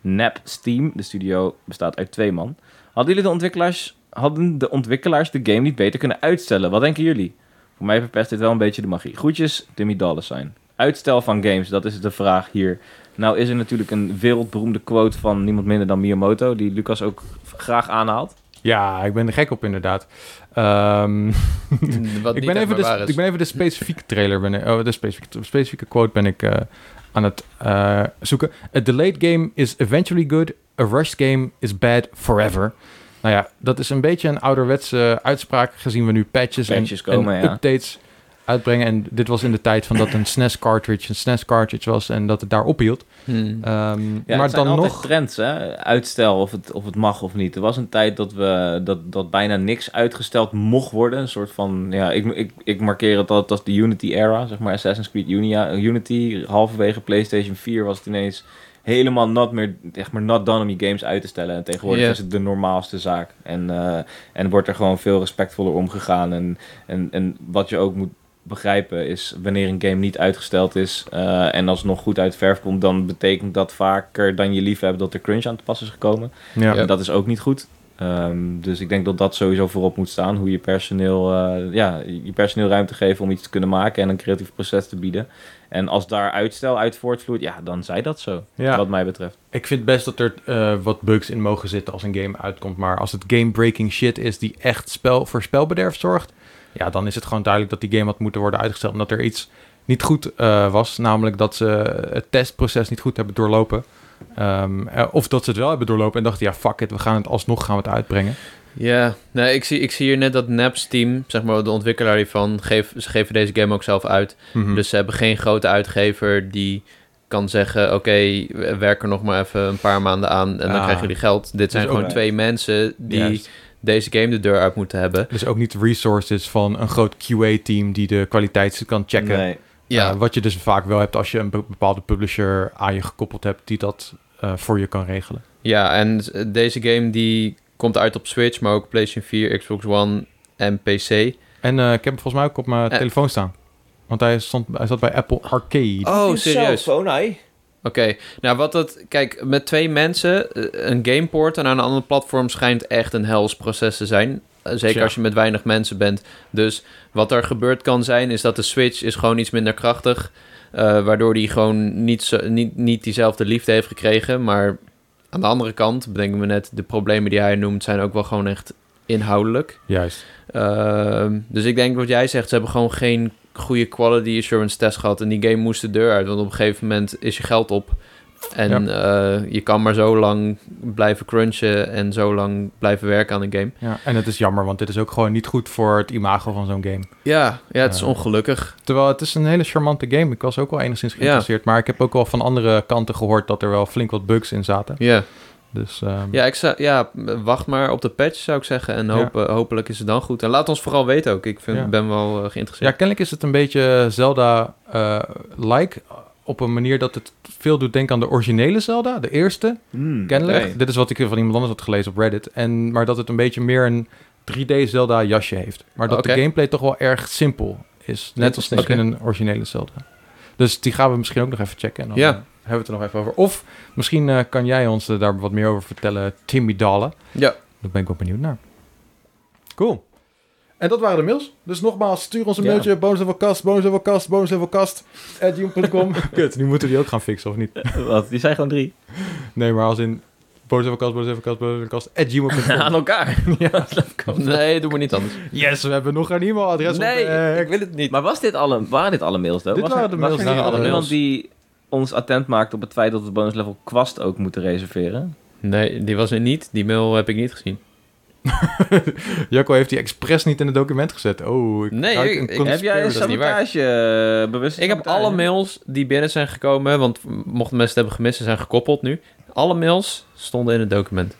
B: Nap Steam, de studio bestaat uit twee man. Hadden jullie de ontwikkelaars, hadden de ontwikkelaars de game niet beter kunnen uitstellen? Wat denken jullie? Voor mij verpest dit wel een beetje de magie. Groetjes, Timmy zijn. Uitstel van games, dat is de vraag hier. Nou is er natuurlijk een wereldberoemde quote van niemand minder dan Miyamoto, die Lucas ook graag aanhaalt.
A: Ja, ik ben er gek op inderdaad. Ehm,
C: Wat
A: ik, ben even de, ik ben even de specifieke trailer, ben ik, oh, de specifieke, de specifieke quote ben ik eh, aan het eh, zoeken. A delayed game is eventually good, a rushed game is bad forever. Nou ja, dat is een beetje een ouderwetse uitspraak, gezien we nu patches, en-
B: Patches
A: en,
B: komen, ja.
A: updates uitbrengen. En dit was in de tijd van dat een SNES cartridge een SNES cartridge was en dat het daar ophield.
C: Hmm.
A: Ehm,
B: Ja,
A: maar
B: het zijn
A: dan
B: altijd
A: nog...
B: trends, hè? Uitstel of het, of het mag of niet. Er was een tijd dat, we, dat, dat bijna niks uitgesteld mocht worden. Een soort van, ja, ik, ik, ik markeer het altijd als de Unity-era, zeg maar. Assassin's Creed Unia, Unity, halverwege PlayStation 4 was het ineens helemaal not meer, echt maar not done om je games uit te stellen. En tegenwoordig
C: Ja.
B: is het de normaalste zaak. En, eh, en wordt er gewoon veel respectvoller omgegaan. En, en, en wat je ook moet begrijpen is wanneer een game niet uitgesteld is eh, en alsnog goed uit de verf komt, dan betekent dat vaker dan je lief hebt dat er crunch aan te pas is gekomen.
A: Ja.
B: En dat is ook niet goed. Ehm, dus ik denk dat dat sowieso voorop moet staan. Hoe je personeel, eh, ja, je personeel ruimte geven om iets te kunnen maken en een creatief proces te bieden. En als daar uitstel uit voortvloeit, ja, dan zij dat zo.
A: Ja.
B: Wat mij betreft.
A: Ik vind best dat er eh, wat bugs in mogen zitten als een game uitkomt. Maar als het game-breaking shit is die echt spel, voor spelbederf zorgt... ja, dan is het gewoon duidelijk dat die game had moeten worden uitgesteld... omdat er iets niet goed eh, was. Namelijk dat ze het testproces niet goed hebben doorlopen. Ehm, eh, of dat ze het wel hebben doorlopen en dachten... ja, fuck it, we gaan het alsnog gaan we het uitbrengen.
C: Ja, nee, ik zie, ik zie hier net dat Naps team, zeg maar de ontwikkelaar hiervan, geef, ze geven deze game ook zelf uit.
A: Mhm.
C: Dus ze hebben geen grote uitgever die kan zeggen, oké, we werk er nog maar even een paar maanden aan en dan
A: Ah.
C: krijgen jullie geld. Dit zijn
A: ook
C: gewoon
B: waar.
C: twee mensen die
B: Juist.
C: deze game de deur uit moeten hebben.
A: Dus ook niet resources van een groot QA-team... die de kwaliteit kan checken.
B: Nee.
C: Ja,
A: Eh, wat je dus vaak wel hebt als je een be- bepaalde publisher aan je gekoppeld hebt... die dat eh, voor je kan regelen.
C: ja en eh, deze game die komt uit op Switch, maar ook PlayStation 4, Xbox One en PC.
A: En eh, ik heb hem volgens mij ook op mijn
C: Eh.
A: telefoon staan. Want hij, stond, hij zat bij Apple Arcade.
C: Oh, serieus?
B: Oh, nee.
C: Oké, nou wat dat... Kijk, met twee mensen, eh, een gameport en aan een ander platform schijnt echt een hels proces te zijn. Eh, Zeker
A: Tja.
C: als je met weinig mensen bent. Dus wat er gebeurd kan zijn, is dat de Switch is gewoon iets minder krachtig. eh waardoor die gewoon niet, zo, niet, niet diezelfde liefde heeft gekregen. Maar aan de andere kant, bedenken we net, de problemen die hij noemt zijn ook wel gewoon echt inhoudelijk.
A: Juist.
C: Ehm, dus ik denk wat jij zegt, ze hebben gewoon geen goede quality assurance test gehad. En die game moest de deur uit, want op een gegeven moment is je geld op. En eh, je kan maar zo lang blijven crunchen en zo lang blijven werken aan een game.
A: Ja, en het is jammer, want dit is ook gewoon niet goed voor het imago van zo'n game.
C: Ja, ja het is
A: Ja.
C: ongelukkig.
A: Terwijl het is een hele charmante game. Ik was ook wel enigszins geïnteresseerd. Maar ik heb ook wel van andere kanten gehoord dat er wel flink wat bugs in zaten.
C: Ja,
A: Dus ehm,
C: ja, ik zou, ja wacht maar op de patch zou ik zeggen. En hoop, eh, hopelijk is het dan goed. En laat ons vooral weten ook. Ik vind,
A: Ja.
C: ben wel eh,
A: ja,
C: geïnteresseerd.
A: kennelijk is het een beetje Zelda-like. op een manier dat het veel doet denken aan de originele Zelda, de eerste.
B: Hmm,
A: Kennelijk.
B: oké.
A: Dit is wat ik van iemand anders had gelezen op Reddit. En, maar dat het een beetje meer een 3D Zelda jasje heeft. Maar dat
C: Oké.
A: de gameplay toch wel erg simpel Oh, is. Net als misschien
C: Interesting.
A: een originele Zelda. Dus die gaan we misschien ook nog even checken. En dan
C: Ja.
A: eh, hebben we het er nog even over. Of misschien eh, kan jij ons eh, daar wat meer over vertellen, Timmy Dalen.
C: Ja.
A: Daar ben ik wel benieuwd naar. Cool. En dat waren de mails. Dus nogmaals, stuur ons een
B: Ja.
A: mailtje. Bonuslevelcast, bonuslevelcast, bonuslevelcast. At joom.com. Kut, nu moeten we die ook gaan fixen, of niet?
B: Wat? Die zijn gewoon drie.
A: Nee, maar als in bonusadvocast, bonusadvocast, bonusadvocast, at gmail.com.
B: Aan elkaar.
C: Nee, doe maar niet anders.
A: Yes, we hebben nog een e-mailadres op. eh,
C: wil het niet.
B: Maar was dit alle, waren dit alle mails, though?
A: Dit
B: was
A: waren de mails,
B: Was er
A: dit
B: niet
A: waren alle
B: iemand die ons attent maakt op het feit dat we bonus level kwast ook moeten reserveren?
C: Nee, die was er niet. Die mail heb ik niet gezien.
A: Jacco heeft die expres niet in het document gezet. Oh, ik
C: Nee,
A: ruik
C: ik-
A: een
C: ik-
B: Heb jij een
A: conspiracy.
C: dat is niet waar.
B: sabotage eh, bewust?
C: Ik heb alle mails die binnen zijn gekomen, want mochten mensen het hebben gemist, ze zijn gekoppeld nu. Alle mails stonden in het document.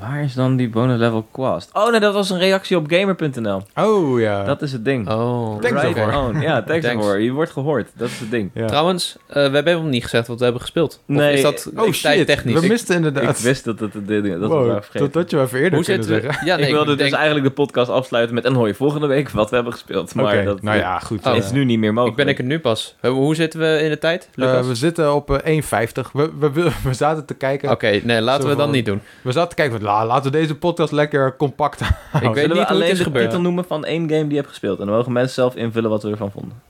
B: Waar is dan die bonus level quest? Oh nee, dat was een reactie op gamer.nl.
A: Oh ja.
B: Dat is het ding.
C: Oh,
A: Thanks
B: Right
A: daarvoor.
B: on. Ja, thanks
C: Thanks.
B: daarvoor. Je wordt gehoord. Dat is het ding.
A: Ja.
C: Trouwens, eh, we hebben hem niet gezegd wat we hebben gespeeld. Of
B: Nee.
C: is dat
A: Oh
C: ik- tijd
A: shit,
C: technisch?
A: we misten inderdaad.
B: Ik wist dat het het ding dat
A: Wow,
B: we waren vergeten.
A: dat had je wel even eerder
C: Hoe
A: kunnen
C: zitten
A: zeggen.
C: we? Ja, nee,
B: ik wilde dus
C: denk-
B: eigenlijk de podcast afsluiten met en hoor je volgende week wat we hebben gespeeld. Maar
A: Oké,
B: dat
A: nou ja, goed.
C: Oh.
A: eh,
B: is nu niet meer
C: ik
B: mogelijk.
C: ben ik er nu pas. Hoe- Hoe zitten we in de tijd, Lucas?
A: eh, we zitten op eh, 1,50. We, we, we, we zaten te kijken.
C: Oké, nee, laten we
A: Zo
C: dat
A: van-
C: niet doen.
B: Oh,
A: We zaten te kijken. la- Laten we deze podcast lekker compact
C: Ik weet
B: Zullen
C: niet
B: we
C: hoe het
B: alleen
C: is
B: de
C: gebeurd.
B: titel noemen van één game die je hebt gespeeld. En dan mogen mensen zelf invullen wat we ervan vonden.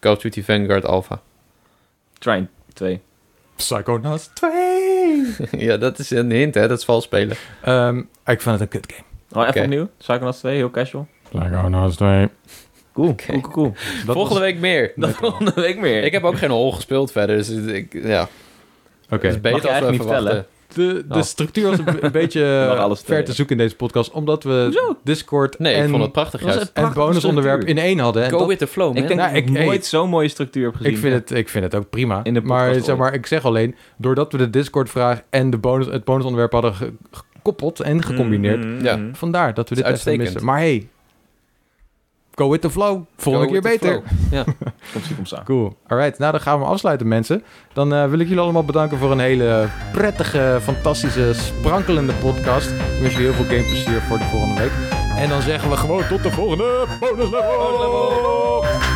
C: Call of Duty Vanguard Alpha.
B: Trine 2.
A: Psychonauts 2.
C: ja, dat is een hint, hè? Dat is vals spelen.
A: Ehm, ik vind het een kut game.
B: Oh, even
C: Oké.
B: opnieuw. Psychonauts 2, heel casual.
A: Psychonauts 2.
B: Cool,
C: Oké.
B: cool, cool, cool.
C: Volgende week meer.
B: Dat volgende week meer.
C: Ik heb ook geen hol gespeeld verder, dus ik, ja.
A: Oké.
C: Het is
B: Mag
C: beter
B: je
C: als we
B: eigenlijk
C: even
B: niet
C: wachten.
A: De, de
C: Nou.
B: Oh.
A: structuur was een, een beetje eh,
B: mag alles
A: ver te
B: twee.
A: zoeken in deze podcast. Omdat we Discord
C: eh, Nee, ik
A: en,
C: vond het prachtig
B: Dat was
C: juist.
B: een
A: en
B: prachtige
A: bonusonderwerp in
B: structuur.
A: één hadden. En
C: Go
A: dat-
C: with the flow, man.
B: Ik denk
A: Nou,
B: dat ik
A: ik- hey.
B: nooit zo'n mooie structuur heb gezien.
A: ik, vind het, ik vind het ook prima.
B: In de
A: maar,
B: podcast
A: zeg maar ik zeg alleen, doordat we de Discord-vraag en de bonus, het bonusonderwerp hadden ge- gekoppeld en gecombineerd.
B: Mm-hmm.
C: Ja.
A: Vandaar dat we dit
C: Mm. Dat is
A: even
C: uitstekend.
A: missen. Maar hey, go with the flow. Volgende
C: Go
A: keer
C: with the
A: beter.
C: flow. Ja.
B: Komt zie, komt zo.
A: Cool. Alright, nou dan gaan we afsluiten mensen. Dan eh, wil ik jullie allemaal bedanken voor een hele prettige, fantastische, sprankelende podcast. Ik wens jullie heel veel gameplezier voor de volgende week. En dan zeggen we gewoon tot de volgende bonus level!